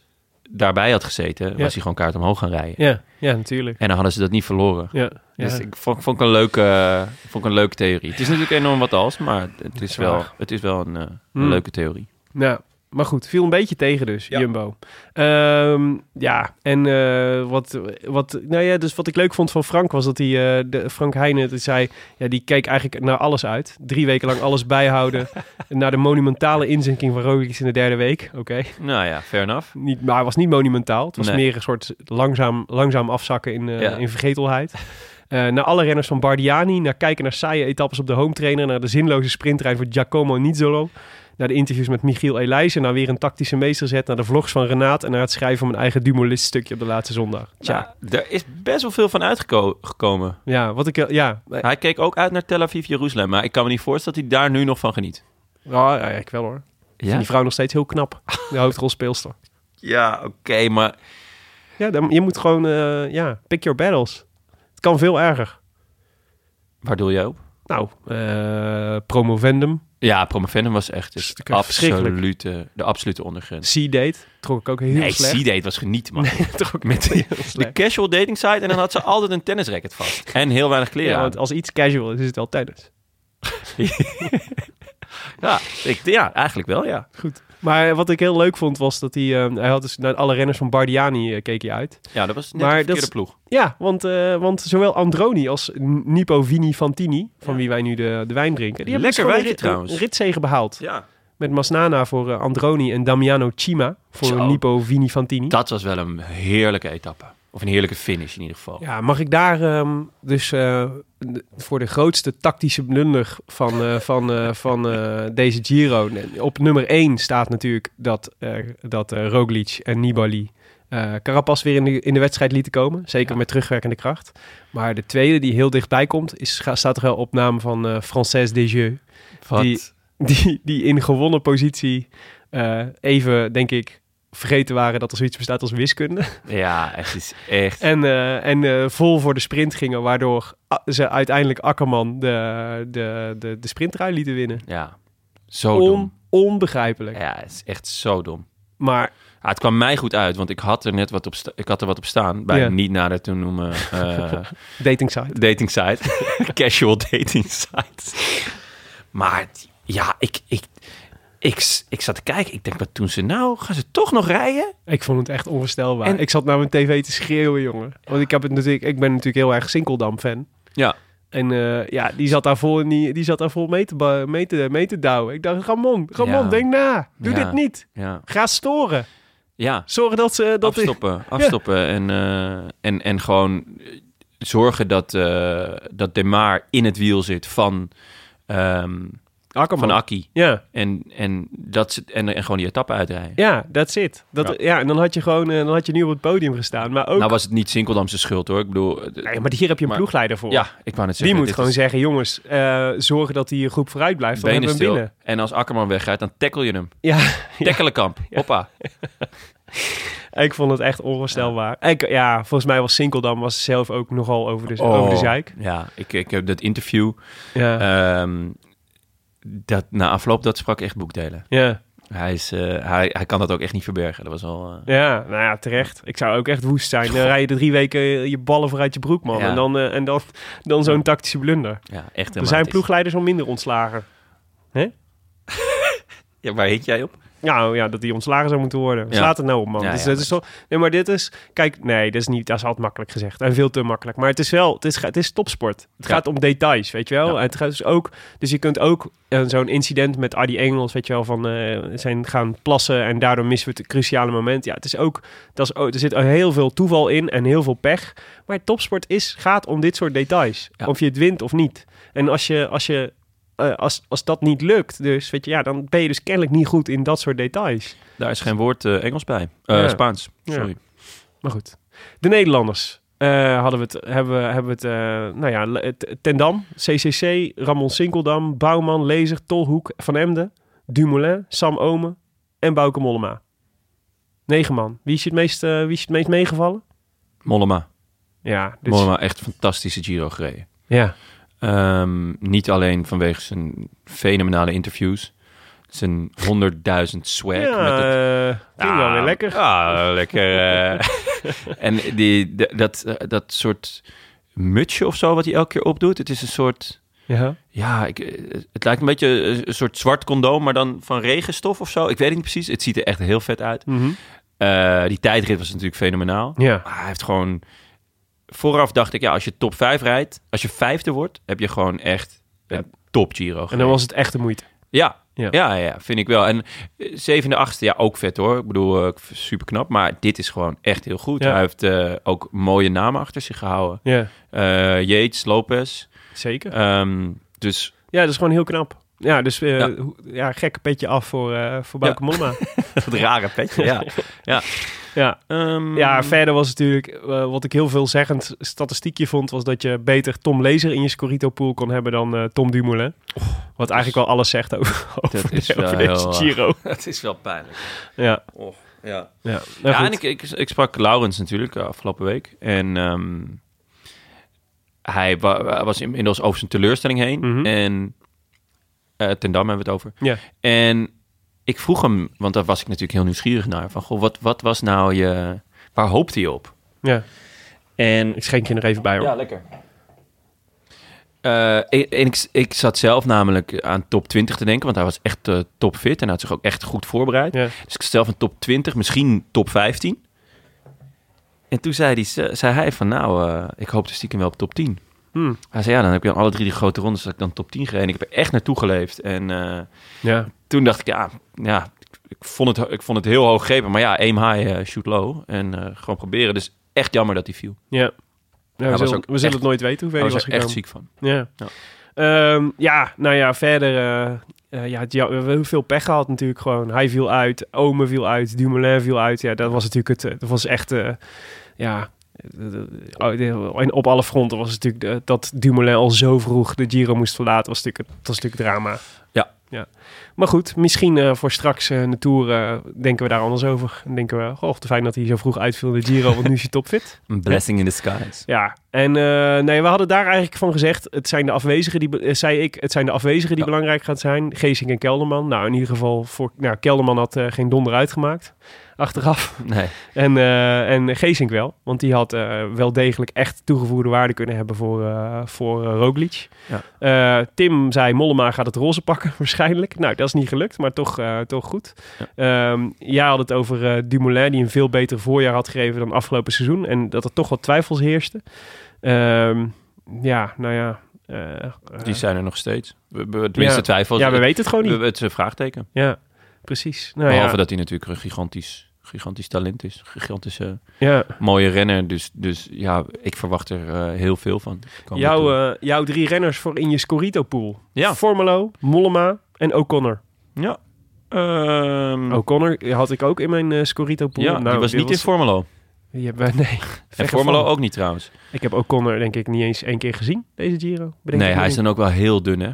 Speaker 1: daarbij had gezeten, was hij gewoon kaart omhoog gaan rijden.
Speaker 2: ja, ja, natuurlijk.
Speaker 1: En dan hadden ze dat niet verloren.
Speaker 2: Ja, ja.
Speaker 1: Dus ik vond, vond, ik een leuke, eh, vond ik een leuke theorie. Het is natuurlijk enorm wat als, maar het is wel,
Speaker 2: waar.
Speaker 1: het is wel een, eh, een
Speaker 2: Hmm.
Speaker 1: leuke theorie.
Speaker 2: Nou, maar goed, viel een beetje tegen dus, Jumbo. Ehm, ja, en eh, wat, wat, nou ja, dus wat ik leuk vond van Frank was dat hij, eh, de, Frank Heijnen, die zei, ja, die keek eigenlijk naar alles uit. Drie weken lang alles bijhouden. naar de monumentale inzinking van Roglic in de derde week. Oké,
Speaker 1: Nou ja, fair enough.
Speaker 2: niet, maar hij was niet monumentaal. Het was
Speaker 1: Nee.
Speaker 2: meer een soort langzaam, langzaam afzakken in, eh,
Speaker 1: Ja.
Speaker 2: in vergetelheid. Eh, naar alle renners van Bardiani, naar kijken naar saaie etappes op de home trainer, naar de zinloze sprintrij voor Giacomo Nizzolo, naar de interviews met Michiel Elijzen, naar weer een tactische meesterzet, naar de vlogs van Renaat en naar het schrijven van mijn eigen Dumoulin-stukje op de laatste zondag. Tja,
Speaker 1: Nou, er is best wel veel van uitgekomen.
Speaker 2: ja, wat ik, ja, eh,
Speaker 1: Hij keek ook uit naar Tel Aviv, Jeruzalem. Maar ik kan me niet voorstellen dat hij daar nu nog van geniet.
Speaker 2: nou, ja, ik wel hoor. Ik vind
Speaker 1: Ja?
Speaker 2: die vrouw nog steeds heel knap, de hoofdrolspeelster.
Speaker 1: Ja, oké, maar
Speaker 2: Ja, dan, je moet gewoon, eh, ja, pick your battles. Het kan veel erger.
Speaker 1: waar doe jij op?
Speaker 2: Nou, eh, promovendum,
Speaker 1: Ja, Promovendum was echt
Speaker 2: Is
Speaker 1: het
Speaker 2: natuurlijk verschrikkelijk.
Speaker 1: absolute, de absolute ondergrens.
Speaker 2: C-date, trok ik ook heel
Speaker 1: Nee,
Speaker 2: slecht.
Speaker 1: C-date was geniet, man.
Speaker 2: trok ik
Speaker 1: Met die-
Speaker 2: heel
Speaker 1: de
Speaker 2: slecht.
Speaker 1: casual dating site en dan had ze altijd een tennisracket vast. En heel weinig kleren
Speaker 2: Ja,
Speaker 1: aan.
Speaker 2: want als iets casual is, is het wel tennis.
Speaker 1: Ja, ik, ja, eigenlijk wel, ja.
Speaker 2: Goed. Maar wat ik heel leuk vond, was dat hij... eh, hij had dus naar alle renners van Bardiani eh, keek hij uit.
Speaker 1: Ja, dat was net
Speaker 2: Maar
Speaker 1: de
Speaker 2: dat
Speaker 1: verkeerde
Speaker 2: is-
Speaker 1: ploeg.
Speaker 2: Ja, want, eh, want zowel Androni als N- Nipo Vini Fantini, van wie wij nu de, de wijn drinken... Die
Speaker 1: Lekker
Speaker 2: hebben dus gewoon
Speaker 1: wijntje
Speaker 2: een rit-
Speaker 1: trouwens.
Speaker 2: Een ritzege behaald.
Speaker 1: Ja.
Speaker 2: Met Masnana voor eh, Androni en Damiano Cima voor
Speaker 1: Zo.
Speaker 2: Nipo Vini Fantini.
Speaker 1: Dat was wel een heerlijke etappe. Of een heerlijke finish in ieder geval.
Speaker 2: Ja, mag ik daar ehm, dus eh, de- voor de grootste tactische blunder van, eh, van, eh, van eh, deze Giro. Op nummer 1 staat natuurlijk dat, eh, dat eh, Roglic en Nibali eh Carapaz weer in de, in de wedstrijd lieten komen. Zeker met terugwerkende kracht. Maar de tweede die heel dichtbij komt, is, ga- staat toch wel op naam van eh Française Desjeux.
Speaker 1: Wat?
Speaker 2: Die, die, die in gewonnen positie eh, even, denk ik, vergeten waren dat er zoiets bestaat als wiskunde.
Speaker 1: Ja, het is echt...
Speaker 2: En, eh, en eh, vol voor de sprint gingen, waardoor a- ze uiteindelijk Akkerman de, de, de, de sprintrui lieten winnen.
Speaker 1: Ja, zo dom.
Speaker 2: onbegrijpelijk.
Speaker 1: Ja, het is echt zo dom.
Speaker 2: Maar
Speaker 1: Ja, het kwam mij goed uit, want ik had er net wat op, sta- ik had er wat op staan. Bij
Speaker 2: Ja.
Speaker 1: een niet nader te noemen eh,
Speaker 2: dating site.
Speaker 1: dating site. Casual dating site. Maar die- ja, ik, ik, ik, ik zat te kijken. Ik denk, wat doen ze nou? Gaan ze toch nog rijden?
Speaker 2: Ik vond het echt onvoorstelbaar.
Speaker 1: En-
Speaker 2: Ik zat naar mijn tv te schreeuwen, jongen. Want ik, heb het natuurlijk, ik ben natuurlijk heel erg Sinkeldam-fan.
Speaker 1: Ja.
Speaker 2: En eh, ja, die zat daar vol, in die, die zat daar vol mee, te, ba- mee, te, mee te douwen. Ik dacht, Ramon, Ramon,
Speaker 1: Ja.
Speaker 2: denk na. Doe
Speaker 1: Ja.
Speaker 2: dit niet.
Speaker 1: Ja,
Speaker 2: Ga storen.
Speaker 1: ja.
Speaker 2: Zorg dat ze... Dat die-
Speaker 1: afstoppen, afstoppen en, eh, en, en gewoon eh, zorgen dat, eh dat De Maar in het wiel zit van, ehm
Speaker 2: Akkerman.
Speaker 1: van Akki.
Speaker 2: ja.
Speaker 1: En, en, dat ze, en, en gewoon die etappe uitrijden.
Speaker 2: Ja, that's it. Dat, ja. en dan had je gewoon eh, dan had je nu op het podium gestaan. Maar ook.
Speaker 1: Nou was het niet Sinkeldamse schuld hoor. Ik bedoel, eh,
Speaker 2: nee, maar hier heb je een
Speaker 1: maar-
Speaker 2: ploegleider voor.
Speaker 1: ja, ik wou net
Speaker 2: Die
Speaker 1: zeggen.
Speaker 2: moet
Speaker 1: dit
Speaker 2: gewoon
Speaker 1: is
Speaker 2: zeggen: jongens, eh zorgen dat die groep vooruit blijft. Dan
Speaker 1: benen
Speaker 2: hebben we hem
Speaker 1: stil.
Speaker 2: binnen.
Speaker 1: En als Akkerman wegrijdt, dan tackle je hem.
Speaker 2: Ja,
Speaker 1: Tacklekamp, hoppa.
Speaker 2: ik vond het echt onvoorstelbaar. Ja, ik, ja volgens mij was Sinkeldam was zelf ook nogal over de, over de zeik.
Speaker 1: Oh. Ja, ik, ik heb dat interview.
Speaker 2: Ja.
Speaker 1: ehm, dat, na afloop, dat sprak echt boekdelen.
Speaker 2: ja.
Speaker 1: Hij, is, eh, hij, hij kan dat ook echt niet verbergen. Dat was wel... eh,
Speaker 2: Ja, nou ja, terecht. Ik zou ook echt woest zijn. Dan rij je de drie weken je ballen vooruit je broek, man.
Speaker 1: Ja.
Speaker 2: En dan, eh, en dan, dan zo'n tactische blunder.
Speaker 1: Ja, echt
Speaker 2: Er zijn
Speaker 1: dramatisch.
Speaker 2: ploegleiders al minder ontslagen.
Speaker 1: Ja, waar heet jij op?
Speaker 2: Nou ja, dat die ontslagen zou moeten worden.
Speaker 1: Ja.
Speaker 2: Slaat het nou op, man.
Speaker 1: Ja,
Speaker 2: dus
Speaker 1: ja,
Speaker 2: dat is zo... Nee, maar dit is... Kijk, nee, dat is niet... Dat is altijd makkelijk gezegd. En veel te makkelijk. Maar het is wel... Het is, het is topsport. Het
Speaker 1: Ja.
Speaker 2: gaat om details, weet je wel.
Speaker 1: Ja.
Speaker 2: En het gaat dus ook... Dus je kunt ook eh, zo'n incident met Adi Engels, weet je wel, van eh, zijn gaan plassen en daardoor missen we het cruciale moment. Ja, het is ook... Dat is, ook- er zit heel veel toeval in en heel veel pech. Maar topsport is, gaat om dit soort details.
Speaker 1: Ja.
Speaker 2: Of je het wint of niet. En als je... Als je eh, als, als dat niet lukt, dus weet je, ja, dan ben je dus kennelijk niet goed in dat soort details.
Speaker 1: Daar is geen woord eh, Engels bij. Eh,
Speaker 2: Ja.
Speaker 1: Spaans,
Speaker 2: Ja.
Speaker 1: sorry.
Speaker 2: Maar goed. De Nederlanders. eh, hadden we het, hebben, we- hebben we het, eh, nou ja, Le- T- Tendam, CCC, Ramon Sinkeldam, Bouwman, Lezer, Tolhoek, Van Emden, Dumoulin, Sam Omen en Bouke Mollema. Negen man. Wie is je het meest, eh, wie is je het meest meegevallen?
Speaker 1: Mollema.
Speaker 2: Ja, dus,
Speaker 1: Mollema, echt fantastische Giro gereden.
Speaker 2: ja.
Speaker 1: Ehm, niet alleen vanwege zijn fenomenale interviews. Zijn 100.000 swag. met het-
Speaker 2: ja eh, ging wel weer lekker.
Speaker 1: Ja, lekker. eh. en die, de- dat, eh, dat soort mutsje of zo wat hij elke keer opdoet. Het is een soort...
Speaker 2: Ja.
Speaker 1: Ja, ik, eh, het lijkt een beetje een- een soort zwart condoom, maar dan van regenstof of zo. Ik weet het niet precies. Het ziet er echt heel vet uit.
Speaker 2: Mhm.
Speaker 1: Eh, die tijdrit was natuurlijk fenomenaal.
Speaker 2: Ja.
Speaker 1: Maar hij heeft gewoon... Vooraf dacht ik, ja, als je top 5 rijdt, als je vijfde wordt, heb je gewoon echt een top Giro.
Speaker 2: En
Speaker 1: gereden.
Speaker 2: dan was het echt de moeite.
Speaker 1: Ja.
Speaker 2: Ja.
Speaker 1: Ja. ja, ja, vind ik wel. En eh, zevende, achtste, ja, ook vet hoor. Ik bedoel, super knap. Maar dit is gewoon echt heel goed.
Speaker 2: Ja.
Speaker 1: Hij heeft eh, ook mooie namen achter zich gehouden.
Speaker 2: Ja,
Speaker 1: Eh Yates, Lopez.
Speaker 2: zeker.
Speaker 1: Ehm, dus
Speaker 2: Ja, dat is gewoon heel knap. Ja, dus eh,
Speaker 1: Ja.
Speaker 2: hoe- ja. gek petje af voor, eh, voor Bouke Mollema.
Speaker 1: dat rare petje, ja. ja.
Speaker 2: Ja.
Speaker 1: Ehm,
Speaker 2: Ja, verder was natuurlijk, eh, wat ik heel veelzeggend statistiekje vond, was dat je beter Tom Lezer in je Scorito pool kon hebben dan eh, Tom Dumoulin.
Speaker 1: Oh,
Speaker 2: wat eigenlijk wel alles zegt over, over,
Speaker 1: is
Speaker 2: de-
Speaker 1: wel
Speaker 2: over deze
Speaker 1: heel, eh,
Speaker 2: Giro.
Speaker 1: Het is wel pijnlijk. Oh,
Speaker 2: Ja,
Speaker 1: Ja,
Speaker 2: ja. Nou,
Speaker 1: ja
Speaker 2: goed.
Speaker 1: en ik, ik, ik sprak Laurens natuurlijk eh, afgelopen week. En ehm, hij wa- was inmiddels over zijn teleurstelling heen.
Speaker 2: Mhm.
Speaker 1: En eh ten Dam hebben we het over.
Speaker 2: Ja.
Speaker 1: En ik vroeg hem, want daar was ik natuurlijk heel nieuwsgierig naar. Van, goh, wat, wat was nou je... Waar hoopte je op?
Speaker 2: ja.
Speaker 1: En
Speaker 2: Ik schenk je er even bij hoor.
Speaker 1: lekker. en en Eh, ik, ik zat zelf namelijk aan top 20 te denken, want hij was echt eh, topfit en had zich ook echt goed voorbereid.
Speaker 2: Ja.
Speaker 1: Dus ik stel van top 20, misschien top 15. En toen zei, die, ze- zei hij van, nou, eh ik hoop stiekem wel op top 10.
Speaker 2: Hmm.
Speaker 1: Hij zei, ja, dan heb je dan alle drie die grote rondes, dat ik dan top 10 gereden. Ik heb er echt naartoe geleefd. En eh,
Speaker 2: Ja.
Speaker 1: toen dacht ik, ja, ja ik, ik vond het, ik vond het heel hoog gegrepen. Maar ja, aim high, eh, shoot low. En eh, gewoon proberen. Dus echt jammer dat hij viel.
Speaker 2: Ja. Ja, we
Speaker 1: was
Speaker 2: zullen,
Speaker 1: ook
Speaker 2: we zullen
Speaker 1: echt-
Speaker 2: het nooit weten hoeveel
Speaker 1: Hij
Speaker 2: hij
Speaker 1: was
Speaker 2: was
Speaker 1: er
Speaker 2: gekomen.
Speaker 1: echt ziek van.
Speaker 2: Ja.
Speaker 1: Ja.
Speaker 2: Ehm, ja, nou ja, verder. eh, eh, ja, het- ja, we hebben veel pech gehad natuurlijk gewoon. Hij viel uit, Ome viel uit, Dumoulin viel uit. Ja, dat was natuurlijk het. eh, Dat was echt, eh, ja... eh, eh, eh, En op alle fronten was het natuurlijk de- dat Dumoulin al zo vroeg de Giro moest verlaten. Was natuurlijk, het- dat was natuurlijk drama.
Speaker 1: Ja.
Speaker 2: ja. Maar goed, misschien eh, voor straks eh, in de Tour eh, denken we daar anders over. En denken we, goh, te fijn dat hij zo vroeg uitviel in de Giro, want nu is hij topfit.
Speaker 1: Een blessing in disguise.
Speaker 2: Ja, en eh, nee, we hadden daar eigenlijk van gezegd, het zijn de afwezigen die, be- eh, zei ik, het zijn de afwezigen die belangrijk gaan zijn. Geesink en Kelderman. Nou, in ieder geval, voor, nou, Kelderman had eh, geen donder uitgemaakt, achteraf.
Speaker 1: Nee.
Speaker 2: En, eh, en Geesink wel, want die had eh, wel degelijk echt toegevoegde waarde kunnen hebben voor, eh, voor eh, Roglic.
Speaker 1: Ja.
Speaker 2: Eh, Tim zei, Mollema gaat het roze pakken waarschijnlijk. Nou, dat is niet gelukt, maar toch, eh, toch goed. Ja. jij had het over eh, Dumoulin, die een veel beter voorjaar had gegeven dan afgelopen seizoen. En dat er toch wat twijfels heersten. Ehm, ja, nou ja. eh, eh,
Speaker 1: Die zijn er nog steeds. We, we, tenminste,
Speaker 2: Ja.
Speaker 1: twijfels.
Speaker 2: ja, we weten het gewoon
Speaker 1: we-
Speaker 2: niet.
Speaker 1: we- Het is een vraagteken.
Speaker 2: Ja, precies. Nou,
Speaker 1: Behalve
Speaker 2: ja.
Speaker 1: dat hij natuurlijk een gigantisch, gigantisch talent is. Gigantische,
Speaker 2: ja.
Speaker 1: mooie renner. Dus, dus ja, ik verwacht er eh, heel veel van. Komende
Speaker 2: Jouw,
Speaker 1: tour.
Speaker 2: eh, jouw drie renners voor in je Scorito-pool.
Speaker 1: Ja.
Speaker 2: Formelo, Mollema en O'Connor.
Speaker 1: ja.
Speaker 2: eh,
Speaker 1: Ehm,
Speaker 2: O'Connor had ik ook in mijn eh, Scorito-pool.
Speaker 1: ja, die was niet in Formelo.
Speaker 2: in... Die hebben wij- nee.
Speaker 1: En
Speaker 2: Ver
Speaker 1: Formelo
Speaker 2: ervan.
Speaker 1: ook niet trouwens.
Speaker 2: Ik heb O'Connor denk ik niet eens één keer gezien, deze Giro. Bedenk
Speaker 1: nee,
Speaker 2: ik
Speaker 1: hij
Speaker 2: nu.
Speaker 1: is dan ook wel heel dun, hè?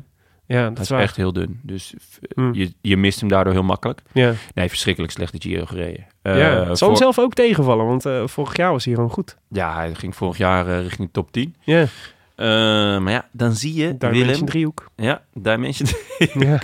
Speaker 2: Ja, dat
Speaker 1: Hij
Speaker 2: is
Speaker 1: is
Speaker 2: waar.
Speaker 1: echt heel dun. Dus f-
Speaker 2: Hmm.
Speaker 1: je, je mist hem daardoor heel makkelijk.
Speaker 2: Ja.
Speaker 1: Nee, verschrikkelijk slecht de Giro gereden. Eh,
Speaker 2: ja. Het zal
Speaker 1: voor-
Speaker 2: hem zelf ook tegenvallen, want eh, vorig jaar was hij gewoon goed.
Speaker 1: ja, hij ging vorig jaar eh, richting de top 10.
Speaker 2: Ja,
Speaker 1: Eh, maar ja, dan zie je
Speaker 2: daar
Speaker 1: Willem.
Speaker 2: een driehoek.
Speaker 1: Ja, Dimension.
Speaker 2: Ja.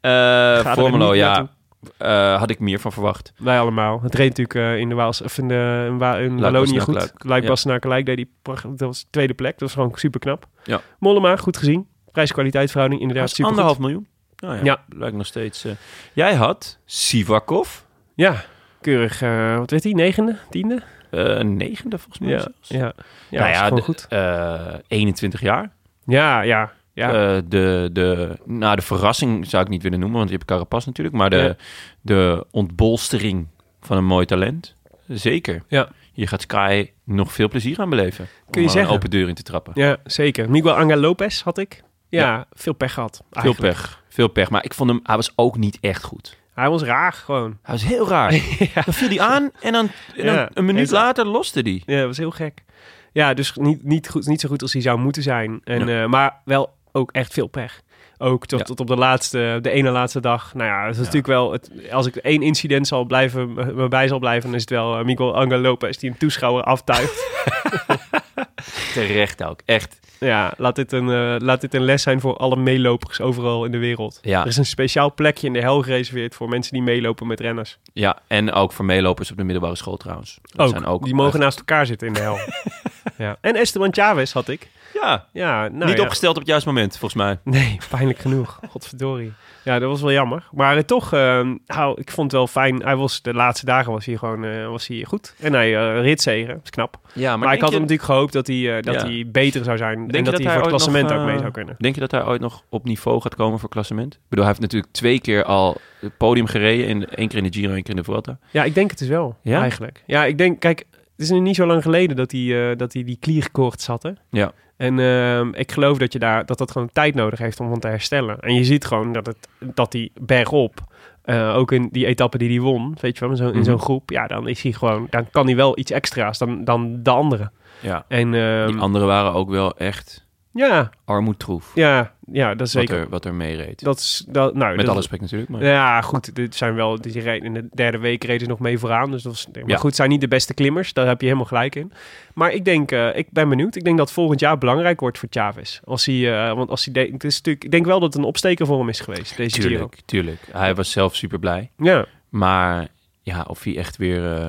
Speaker 1: Eh
Speaker 2: er
Speaker 1: Formelo,
Speaker 2: niet
Speaker 1: ja.
Speaker 2: naartoe.
Speaker 1: Eh, had ik meer van verwacht.
Speaker 2: Wij allemaal. Het reed natuurlijk eh, in de Waals, of in, de, in, Wa- in Wallonië goed.
Speaker 1: Luik.
Speaker 2: Luik
Speaker 1: Ja.
Speaker 2: Bas naar Luik deed die pracht- dat was tweede plek. Dat was gewoon super knap.
Speaker 1: Ja.
Speaker 2: Mollema, goed gezien. Prijs-kwaliteitverhouding
Speaker 1: Dat
Speaker 2: inderdaad
Speaker 1: is
Speaker 2: super
Speaker 1: anderhalf miljoen. Nou ja,
Speaker 2: Ja.
Speaker 1: lijkt nog steeds. eh. Jij had Sivakov,
Speaker 2: Ja, keurig. eh, wat werd hij? Negende? Tiende?
Speaker 1: eh, negende volgens mij.
Speaker 2: Ja,
Speaker 1: zelfs.
Speaker 2: ja. ja
Speaker 1: nou ja,
Speaker 2: gewoon
Speaker 1: de-
Speaker 2: goed.
Speaker 1: eh, 21 jaar.
Speaker 2: Ja, ja, ja.
Speaker 1: Eh, de, de, nou, de verrassing zou ik niet willen noemen, want je hebt Carapaz natuurlijk. Maar de,
Speaker 2: Ja.
Speaker 1: de ontbolstering van een mooi talent, zeker.
Speaker 2: Ja.
Speaker 1: Je gaat Sky nog veel plezier aan beleven. om
Speaker 2: je
Speaker 1: er
Speaker 2: zeggen.
Speaker 1: een open deur in te trappen.
Speaker 2: ja, zeker. Miguel Angel Lopez had ik. Ja, veel pech gehad.
Speaker 1: Veel
Speaker 2: eigenlijk.
Speaker 1: pech. Veel pech. Maar ik vond hem, hij was ook niet echt goed.
Speaker 2: Hij was raar gewoon.
Speaker 1: Hij was heel raar. Dan viel hij aan en dan, en dan
Speaker 2: Ja,
Speaker 1: een minuut
Speaker 2: exact.
Speaker 1: later loste hij.
Speaker 2: Ja, dat was heel gek. Ja, dus niet, niet, goed, niet zo goed als hij zou moeten zijn. En, eh, maar wel ook echt veel pech. Ook tot,
Speaker 1: Ja.
Speaker 2: tot op de laatste, de ene laatste dag. Nou ja, het is natuurlijk wel... Het, als ik één incident zal blijven, me- me bij zal blijven... dan is het wel eh, Miguel Angel Lopez die een toeschouwer aftuigt.
Speaker 1: Terecht ook, echt.
Speaker 2: Ja, laat dit, een, eh, laat dit een les zijn voor alle meelopers overal in de wereld.
Speaker 1: Ja.
Speaker 2: Er is een speciaal plekje in de hel gereserveerd voor mensen die meelopen met renners.
Speaker 1: Ja, en ook voor meelopers op de middelbare school trouwens. Dat
Speaker 2: Ook,
Speaker 1: zijn ook
Speaker 2: die mogen
Speaker 1: echt-
Speaker 2: naast elkaar zitten in de hel. ja. En Esteban Chavez had ik.
Speaker 1: ja,
Speaker 2: Ja, nou
Speaker 1: niet
Speaker 2: ja.
Speaker 1: opgesteld op het juiste moment, volgens mij.
Speaker 2: Nee, pijnlijk genoeg. Godverdorie. Ja, dat was wel jammer. Maar eh, toch, eh, nou, ik vond het wel fijn. Hij was, de laatste dagen was hij gewoon eh, was hij goed. En hij eh ritzegen, dat is knap. Maar,
Speaker 1: Ja, maar,
Speaker 2: ik had
Speaker 1: je,
Speaker 2: hem natuurlijk gehoopt dat hij, eh, dat
Speaker 1: Ja.
Speaker 2: hij beter zou zijn.
Speaker 1: je
Speaker 2: en dat,
Speaker 1: dat hij
Speaker 2: hij voor het
Speaker 1: ooit nog,
Speaker 2: klassement ook
Speaker 1: eh,
Speaker 2: mee zou kunnen.
Speaker 1: Denk je dat hij ooit nog op niveau gaat komen voor klassement? Ik bedoel, hij heeft natuurlijk twee keer al het podium gereden. In, één keer in de Giro, één keer in de Vuelta.
Speaker 2: Ja, ik denk het dus wel,
Speaker 1: Ja?
Speaker 2: eigenlijk. Ja, ik denk, kijk, het is nu niet zo lang geleden dat hij, eh, dat hij die klierkoorts had, hè?
Speaker 1: Ja.
Speaker 2: En ehm, ik geloof dat, je daar, dat dat gewoon tijd nodig heeft om van te herstellen. En je ziet gewoon dat, het, dat die bergop, eh, ook in die etappe die hij won, weet je wel, in zo'n in zo'n
Speaker 1: Mhm.
Speaker 2: groep, ja, dan is hij gewoon, dan kan hij wel iets extra's dan, dan de anderen.
Speaker 1: Ja.
Speaker 2: En ehm,
Speaker 1: Die anderen waren ook wel echt
Speaker 2: Ja,
Speaker 1: Armoedtroef.
Speaker 2: ja, ja, dat is
Speaker 1: Wat
Speaker 2: zeker.
Speaker 1: er, wat er mee reed.
Speaker 2: Dat is, dat, nou,
Speaker 1: Met
Speaker 2: dat-
Speaker 1: alle respect natuurlijk. Maar...
Speaker 2: Ja, goed. Dit zijn wel, die reed, in de derde week reden ze nog mee vooraan. Dus dat was, maar
Speaker 1: Ja.
Speaker 2: goed, het zijn niet de beste klimmers. Daar heb je helemaal gelijk in. Maar ik denk, eh, ik ben benieuwd. Ik denk dat volgend jaar belangrijk wordt voor Chavez. Als hij, eh, want als hij denkt, het is natuurlijk, ik denk wel dat het een opsteker voor hem is geweest, deze Giro.
Speaker 1: Tuurlijk, tuurlijk. Hij was zelf super blij.
Speaker 2: Ja.
Speaker 1: Maar ja, of hij echt weer eh,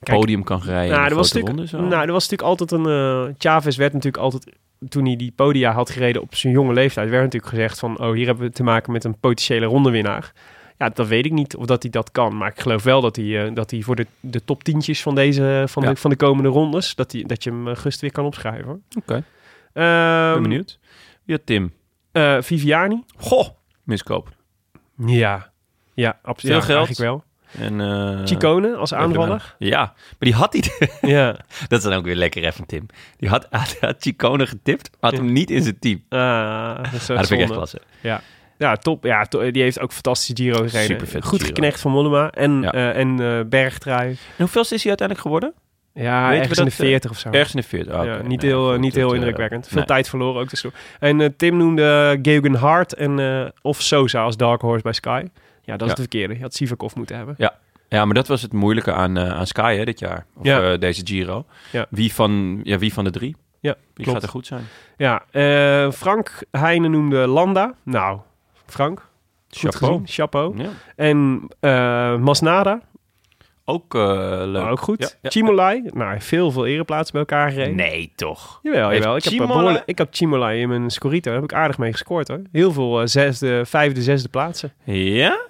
Speaker 1: podium kan gaan rijden
Speaker 2: Nou,
Speaker 1: in
Speaker 2: er
Speaker 1: de
Speaker 2: was,
Speaker 1: grote
Speaker 2: natuurlijk,
Speaker 1: ronde. Zo.
Speaker 2: nou, er was natuurlijk altijd een... eh Chavez werd natuurlijk altijd... Toen hij die podia had gereden op zijn jonge leeftijd... werd natuurlijk gezegd van... Oh, hier hebben we te maken met een potentiële rondewinnaar. Ja, dat weet ik niet of dat hij dat kan. Maar ik geloof wel dat hij, eh, dat hij voor de, de top tientjes van, deze, van,
Speaker 1: Ja.
Speaker 2: de, van de komende rondes... Dat, hij, dat je hem eh, gust weer kan opschrijven. hoor.
Speaker 1: Oké.
Speaker 2: Ehm,
Speaker 1: ben benieuwd. Ja, Tim.
Speaker 2: eh, Viviani?
Speaker 1: Goh, miskoop.
Speaker 2: Ja. Ja,
Speaker 1: Veel
Speaker 2: absoluut. Ja,
Speaker 1: geld.
Speaker 2: Eigenlijk wel.
Speaker 1: En, eh,
Speaker 2: Chicone als aanvaller?
Speaker 1: Ja, maar die had hij.
Speaker 2: Ja.
Speaker 1: dat is dan ook weer lekker even, Tim. Die had, had, had Chicone getipt, had hem niet in zijn team.
Speaker 2: Ah, dat is, eh,
Speaker 1: Ah, dat vind ik echt
Speaker 2: zonde.
Speaker 1: klasse.
Speaker 2: Ja. Ja, top. Ja, to- die heeft ook fantastische Giro gereden.
Speaker 1: Supervette
Speaker 2: Goed
Speaker 1: Giro.
Speaker 2: geknecht van Mollema en,
Speaker 1: Ja.
Speaker 2: eh, en eh, Bergtrui.
Speaker 1: En hoeveelste is hij uiteindelijk geworden?
Speaker 2: Ja,
Speaker 1: Weten we
Speaker 2: ergens in de
Speaker 1: dat, eh,
Speaker 2: 40 of zo.
Speaker 1: Ergens in de 40. Ah,
Speaker 2: ja,
Speaker 1: oké.
Speaker 2: niet
Speaker 1: Nou,
Speaker 2: heel, eh,
Speaker 1: goed,
Speaker 2: niet heel
Speaker 1: dat, eh,
Speaker 2: indrukwekkend. Veel
Speaker 1: nee.
Speaker 2: tijd verloren ook. Dus. En eh, Tim noemde Geoghegan Hart en, eh, of Sosa als Dark Horse bij Sky. Ja, dat is
Speaker 1: Ja.
Speaker 2: de verkeerde. Je had Sivakov moeten hebben.
Speaker 1: Ja, maar dat was het moeilijke aan, eh, aan Sky hè, dit jaar. Of
Speaker 2: Ja.
Speaker 1: eh, deze Giro.
Speaker 2: Ja.
Speaker 1: Wie, van, ja, wie van de drie?
Speaker 2: Ja,
Speaker 1: Wie
Speaker 2: klopt.
Speaker 1: gaat er goed zijn?
Speaker 2: Ja, eh, Frank Heijnen noemde Landa. Nou, Frank, goed
Speaker 1: Chapeau.
Speaker 2: gezien. Chapeau.
Speaker 1: Ja.
Speaker 2: En eh, Masnada,
Speaker 1: Ook eh, leuk.
Speaker 2: ook goed.
Speaker 1: Ja, ja.
Speaker 2: Chimolai, nou, veel, veel ereplaatsen bij elkaar gereden.
Speaker 1: Nee, toch?
Speaker 2: Jawel,
Speaker 1: Heeft
Speaker 2: jawel. Ik heb, eh,
Speaker 1: Chimola-
Speaker 2: behoorlijk- ik heb Chimolai in mijn Scorito. Daar heb ik aardig mee gescoord hoor. Heel veel eh, zesde, vijfde, zesde plaatsen.
Speaker 1: Ja?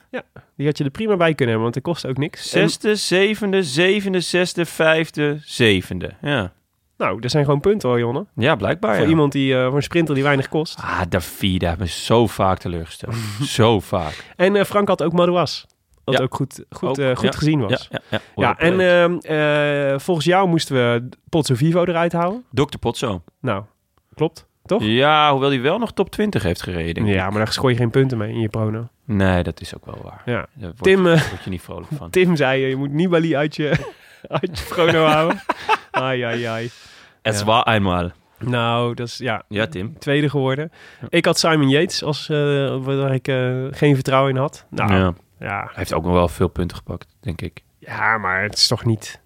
Speaker 2: Die had je er prima bij kunnen hebben, want het kost ook niks.
Speaker 1: Zesde, zevende, zevende, zesde, vijfde, zevende. Ja,
Speaker 2: En, nou, dat zijn gewoon punten hoor, Jonne.
Speaker 1: ja blijkbaar.
Speaker 2: Voor
Speaker 1: Oh ja.
Speaker 2: iemand die, eh, voor een sprinter die weinig kost.
Speaker 1: Ah, Davida heeft me zo vaak teleurgesteld. zo vaak.
Speaker 2: En eh, Frank had ook Madouas. Dat
Speaker 1: Ja.
Speaker 2: ook goed, goed,
Speaker 1: Ook,
Speaker 2: eh, goed
Speaker 1: ja.
Speaker 2: gezien was. Ja.
Speaker 1: Ja, ja, eh, ja.
Speaker 2: en eh, ehm, eh, volgens jou moesten we Pozzo Vivo eruit houden.
Speaker 1: Dr. Potso.
Speaker 2: Nou, klopt, toch?
Speaker 1: Ja, hoewel hij wel nog top 20 heeft gereden. denk ik.
Speaker 2: Ja, maar daar scoor je geen punten mee in je prono.
Speaker 1: Nee, dat is ook wel waar.
Speaker 2: Ja.
Speaker 1: Daar word,
Speaker 2: Tim,
Speaker 1: je,
Speaker 2: eh,
Speaker 1: word je niet vrolijk van.
Speaker 2: Tim zei, eh, je moet Nibali uit je, uit je prono houden. Ai, ai, ai.
Speaker 1: Het is wel eenmaal.
Speaker 2: Nou, dat is, ja,
Speaker 1: Ja, Tim.
Speaker 2: tweede geworden. Ik had Simon Yates als eh, waar ik eh, geen vertrouwen in had. Nou, ja.
Speaker 1: Ja.
Speaker 2: Ja,
Speaker 1: Hij heeft ook nog wel veel punten gepakt, denk ik.
Speaker 2: maar het is toch niet. Eh,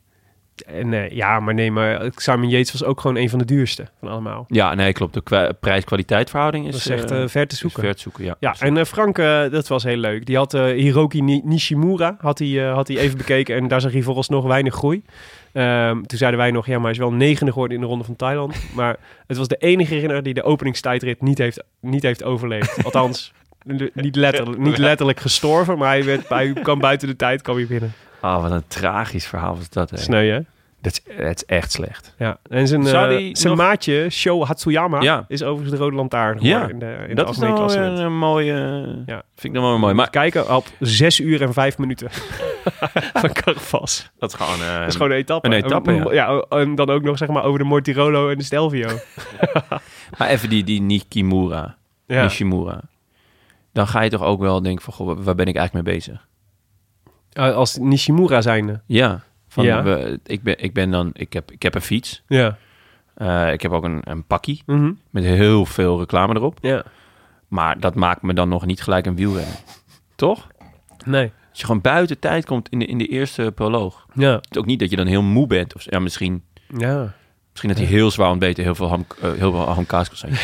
Speaker 2: Nee, ja, maar nee, maar Simon Yates was ook gewoon een van de duurste van allemaal.
Speaker 1: Ja, nee, klopt. De kwa- prijs-kwaliteit verhouding
Speaker 2: Dat
Speaker 1: is,
Speaker 2: is echt
Speaker 1: eh,
Speaker 2: eh, ver te
Speaker 1: is
Speaker 2: zoeken.
Speaker 1: ver te zoeken. Ja,
Speaker 2: Ja, en eh, Frank, eh, dat was heel leuk. Die had eh, Hiroki Ni- Nishimura had hij, eh, had hij even bekeken. En daar zag hij vooralsnog weinig groei. Ehm, toen zeiden wij nog, ja, maar hij is wel negende geworden in de ronde van Thailand. Maar het was de enige renner die de openingstijdrit niet heeft, niet heeft overleefd. Althans, de- niet letterlijk, niet letterlijk gestorven, maar hij, werd, hij kwam buiten de tijd, kwam hij binnen.
Speaker 1: Ah, wat een tragisch verhaal was dat. Hè.
Speaker 2: Sneu, hè?
Speaker 1: Dat is, het is echt slecht.
Speaker 2: Ja. En zijn, eh,
Speaker 1: Zou die
Speaker 2: zijn
Speaker 1: nog-
Speaker 2: maatje, Sho Hatsuyama,
Speaker 1: Ja.
Speaker 2: is overigens de rode lantaarn
Speaker 1: Ja,
Speaker 2: geworden in de, in de
Speaker 1: dat is
Speaker 2: algemene
Speaker 1: nou weer
Speaker 2: klassement.
Speaker 1: een mooie...
Speaker 2: Ja.
Speaker 1: Vind ik dan wel weer mooi. Maar
Speaker 2: Kijken op 6 uur en 5 minuten van Carvas.
Speaker 1: dat is gewoon... eh,
Speaker 2: Dat is gewoon een etappe.
Speaker 1: Een etappe,
Speaker 2: En- en dan ook nog zeg maar over de Mortirolo en de Stelvio.
Speaker 1: Maar even die, die Nikimura,
Speaker 2: Ja.
Speaker 1: Nishimura. Dan ga je toch ook wel denken van, goh, waar ben ik eigenlijk mee bezig?
Speaker 2: Eh, Als Nishimura zijnde.
Speaker 1: Ja. Van,
Speaker 2: Ja.
Speaker 1: we- ik, ben, ik ben dan... Ik heb, ik heb een fiets.
Speaker 2: Ja.
Speaker 1: Eh, ik heb ook een, een pakkie
Speaker 2: Mhm.
Speaker 1: met heel veel reclame erop.
Speaker 2: Ja.
Speaker 1: Maar dat maakt me dan nog niet gelijk een wielrenner. Toch?
Speaker 2: Nee.
Speaker 1: Als je gewoon buiten tijd komt in de, in de eerste proloog.
Speaker 2: Ja.
Speaker 1: Het is ook niet dat je dan heel moe bent. Of, ja, misschien,
Speaker 2: Ja.
Speaker 1: misschien dat hij heel zwaar ontbeten heel veel ham, eh, heel veel hamkaas kan zijn.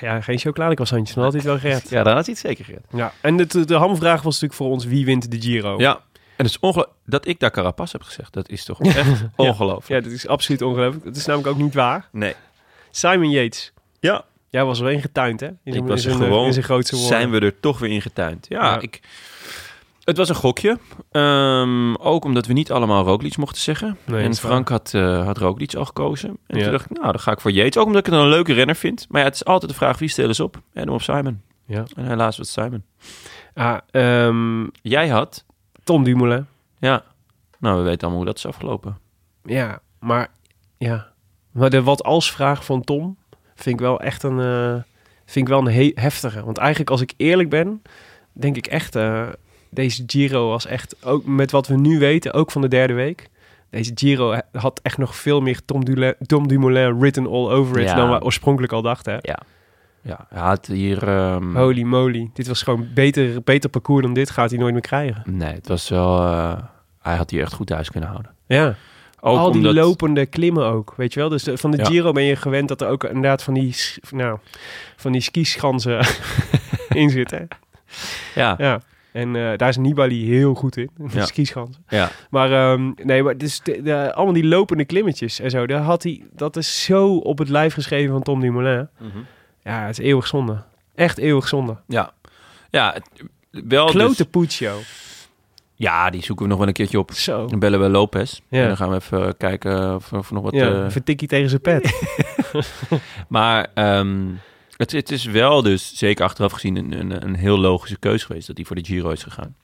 Speaker 2: Ja, geen chocoladekroissantjes. Dan had hij het wel gered.
Speaker 1: Ja, dan had hij het zeker gered.
Speaker 2: Ja. En de, de hamvraag was natuurlijk voor ons, wie wint de Giro?
Speaker 1: Ja. En het is ongelooflijk dat ik daar Carapaz heb gezegd. Dat is toch echt ongelooflijk.
Speaker 2: Ja, dat is absoluut ongelooflijk. Dat is namelijk ook niet waar.
Speaker 1: Nee.
Speaker 2: Simon Yates.
Speaker 1: Ja.
Speaker 2: Jij was er een getuind, hè? In zijn-
Speaker 1: Ik was
Speaker 2: in
Speaker 1: er
Speaker 2: zijn, eh,
Speaker 1: gewoon.
Speaker 2: In zijn grootste woorden.
Speaker 1: Zijn we er toch weer in getuind? Ja,
Speaker 2: Ja.
Speaker 1: ik... Het was een gokje. Ehm, ook omdat we niet allemaal Roglic mochten zeggen.
Speaker 2: Nee,
Speaker 1: en
Speaker 2: dat is
Speaker 1: Frank had, eh had Roglic al gekozen. En
Speaker 2: Ja.
Speaker 1: toen dacht ik, nou, dan ga ik voor Yates. Ook omdat ik het een leuke renner vind. Maar ja, het is altijd de vraag, wie stelen ze op? En of Simon.
Speaker 2: Ja.
Speaker 1: En helaas was het Simon.
Speaker 2: Ah, ehm,
Speaker 1: Jij had...
Speaker 2: Tom Dumoulin.
Speaker 1: Ja. Nou, we weten allemaal hoe dat is afgelopen.
Speaker 2: Ja, maar ja. Maar de wat als vraag van Tom vind ik wel echt een, eh, vind ik wel een he- heftige. Want eigenlijk als ik eerlijk ben, denk ik echt, eh, deze Giro was echt, ook met wat we nu weten, ook van de derde week. Deze Giro he- had echt nog veel meer Tom, Dule- Tom Dumoulin written all over it
Speaker 1: Ja.
Speaker 2: dan we oorspronkelijk al dachten. hè.
Speaker 1: Ja. Ja, hij had hier... ehm,
Speaker 2: Holy moly. Dit was gewoon beter, beter parcours dan dit. Gaat hij nooit meer krijgen.
Speaker 1: Nee, het was wel... eh, hij had hier echt goed thuis kunnen houden.
Speaker 2: Ja.
Speaker 1: Ook
Speaker 2: Al die
Speaker 1: omdat-
Speaker 2: lopende klimmen ook, weet je wel. Dus de- van de
Speaker 1: Ja.
Speaker 2: Giro ben je gewend dat er ook inderdaad van die, s- nou, van die skischansen in zitten.
Speaker 1: Ja,
Speaker 2: Ja. En eh, daar is Nibali heel goed in, de
Speaker 1: Ja.
Speaker 2: skischansen.
Speaker 1: ja.
Speaker 2: Maar ehm, nee, maar dus de, de- allemaal die lopende klimmetjes en zo. Daar had hij, dat is zo op het lijf geschreven van Tom Dumoulin. Ja, het is eeuwig zonde. Echt eeuwig zonde.
Speaker 1: Ja, ja het- wel.
Speaker 2: Klote
Speaker 1: Oh, dus-
Speaker 2: Puccio.
Speaker 1: ja, die zoeken we nog wel een keertje op.
Speaker 2: Zo.
Speaker 1: Dan bellen we Lopez.
Speaker 2: Ja.
Speaker 1: En dan gaan we even eh, kijken of, of nog wat.
Speaker 2: Ja,
Speaker 1: eh,
Speaker 2: vertikkie tegen zijn pet.
Speaker 1: maar ehm, het, het is wel dus, zeker achteraf gezien, een, een, een heel logische keus geweest dat hij voor de Giro is gegaan.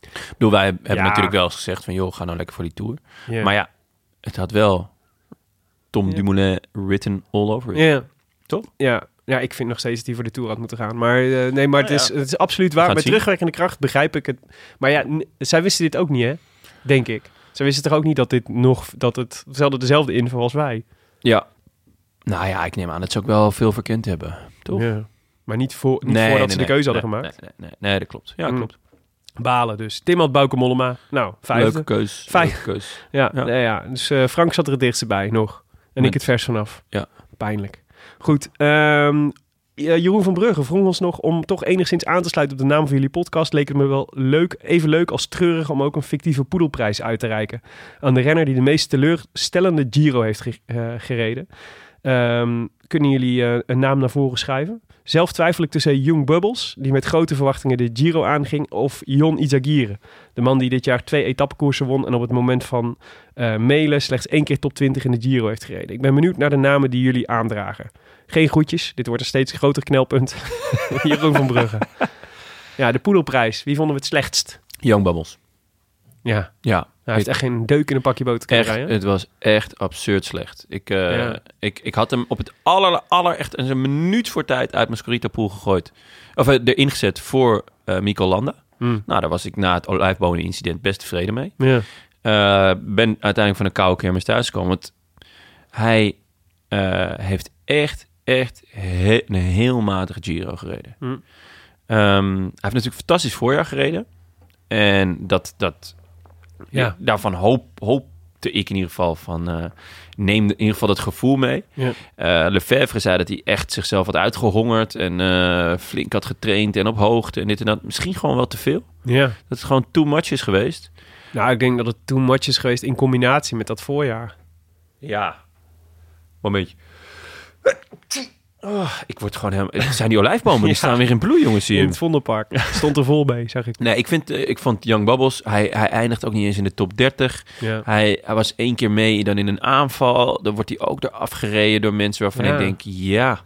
Speaker 1: Ik bedoel, wij hebben
Speaker 2: Ja.
Speaker 1: natuurlijk wel eens gezegd van joh, ga nou lekker voor die tour.
Speaker 2: Ja.
Speaker 1: Maar ja, het had wel Tom Dumoulin written all over it.
Speaker 2: Ja.
Speaker 1: Toch?
Speaker 2: Ja. Ja, ik vind nog steeds dat hij voor de Tour had moeten gaan. Maar eh, nee, maar het, is, het is absoluut
Speaker 1: gaan
Speaker 2: waar.
Speaker 1: het
Speaker 2: Met
Speaker 1: zien.
Speaker 2: terugwerkende kracht begrijp ik het. Maar ja, n- zij wisten dit ook niet, hè? Denk ik. Zij wisten toch ook niet dat dit nog... Dat het dezelfde, dezelfde info als wij.
Speaker 1: Ja. Nou ja, ik neem aan dat ze ook wel veel verkend hebben, toch?
Speaker 2: Ja. Maar niet, voor, niet voordat ze de keuze hadden
Speaker 1: nee,
Speaker 2: gemaakt.
Speaker 1: Nee, nee, nee, nee, dat klopt. Hm. Ja,
Speaker 2: Mm.
Speaker 1: klopt.
Speaker 2: Balen dus. Tim had Bauke Mollema. Nou, vijfde.
Speaker 1: Leuke keus.
Speaker 2: Vijf-
Speaker 1: Leuke keus.
Speaker 2: Ja,
Speaker 1: Ja.
Speaker 2: ja. ja. dus eh, Frank zat er het dichtst bij nog. En
Speaker 1: Nee.
Speaker 2: ik het vers vanaf.
Speaker 1: Ja.
Speaker 2: Pijnlijk. Goed. ehm, ja, Jeroen van Brugge vroeg ons nog om toch enigszins aan te sluiten op de naam van jullie podcast. Leek het me wel leuk, even leuk als treurig om ook een fictieve poedelprijs uit te reiken. Aan de renner die de meest teleurstellende Giro heeft ge- eh, gereden. Ehm, kunnen jullie eh, een naam naar voren schrijven? Zelf twijfel ik tussen Young Bubbles, die met grote verwachtingen de Giro aanging, of Jon Izagirre. De man die dit jaar twee etappekoersen won en op het moment van eh, mailen slechts één keer top 20 in de Giro heeft gereden. Ik ben benieuwd naar de namen die jullie aandragen. Geen groetjes, dit wordt een steeds groter knelpunt. Jeroen van Brugge. Ja, de poedelprijs. Wie vonden we het slechtst?
Speaker 1: Young Bubbles.
Speaker 2: Ja,
Speaker 1: Ja.
Speaker 2: hij heeft
Speaker 1: Ik-
Speaker 2: echt geen deuk in een pakje boter kunnen
Speaker 1: echt,
Speaker 2: rijden.
Speaker 1: het was echt absurd slecht. Ik, eh,
Speaker 2: Ja.
Speaker 1: ik, ik had hem op het aller, aller echt eens een minuut voor tijd uit mijn Scorita-pool gegooid. Of eh, erin gezet voor eh Mico Landa.
Speaker 2: Hmm.
Speaker 1: Nou, daar was ik na het olijfbonen-incident best tevreden mee.
Speaker 2: Ja.
Speaker 1: Eh, ben uiteindelijk van de koude kermis thuisgekomen. Want hij eh, heeft echt, echt he- een heel matige Giro gereden.
Speaker 2: Mm.
Speaker 1: Ehm, hij heeft natuurlijk fantastisch voorjaar gereden. En dat, dat
Speaker 2: Ja.
Speaker 1: daarvan hoop, hoopte ik in ieder geval van... eh, neem in ieder geval dat gevoel mee.
Speaker 2: Ja.
Speaker 1: Eh, Lefebvre zei dat hij echt zichzelf had uitgehongerd... en eh, flink had getraind en op hoogte en dit en dat. Misschien gewoon wel te veel.
Speaker 2: ja.
Speaker 1: Dat het gewoon too much is geweest.
Speaker 2: Nou, ik denk dat het too much is geweest in combinatie met dat voorjaar.
Speaker 1: Ja. Momentje. Oh, ik word gewoon helemaal... Het zijn die olijfbomen, die
Speaker 2: Ja.
Speaker 1: staan weer in bloei, jongens. Hier.
Speaker 2: In het Vondelpark. Stond er vol mee, zag ik.
Speaker 1: Nee, ik, vind, eh, ik vond Young Bubbles... Hij, hij eindigt ook niet eens in de top 30.
Speaker 2: Ja.
Speaker 1: Hij, hij was één keer mee dan in een aanval. Dan wordt hij ook door afgereden door mensen waarvan
Speaker 2: Ja.
Speaker 1: ik denk... Ja,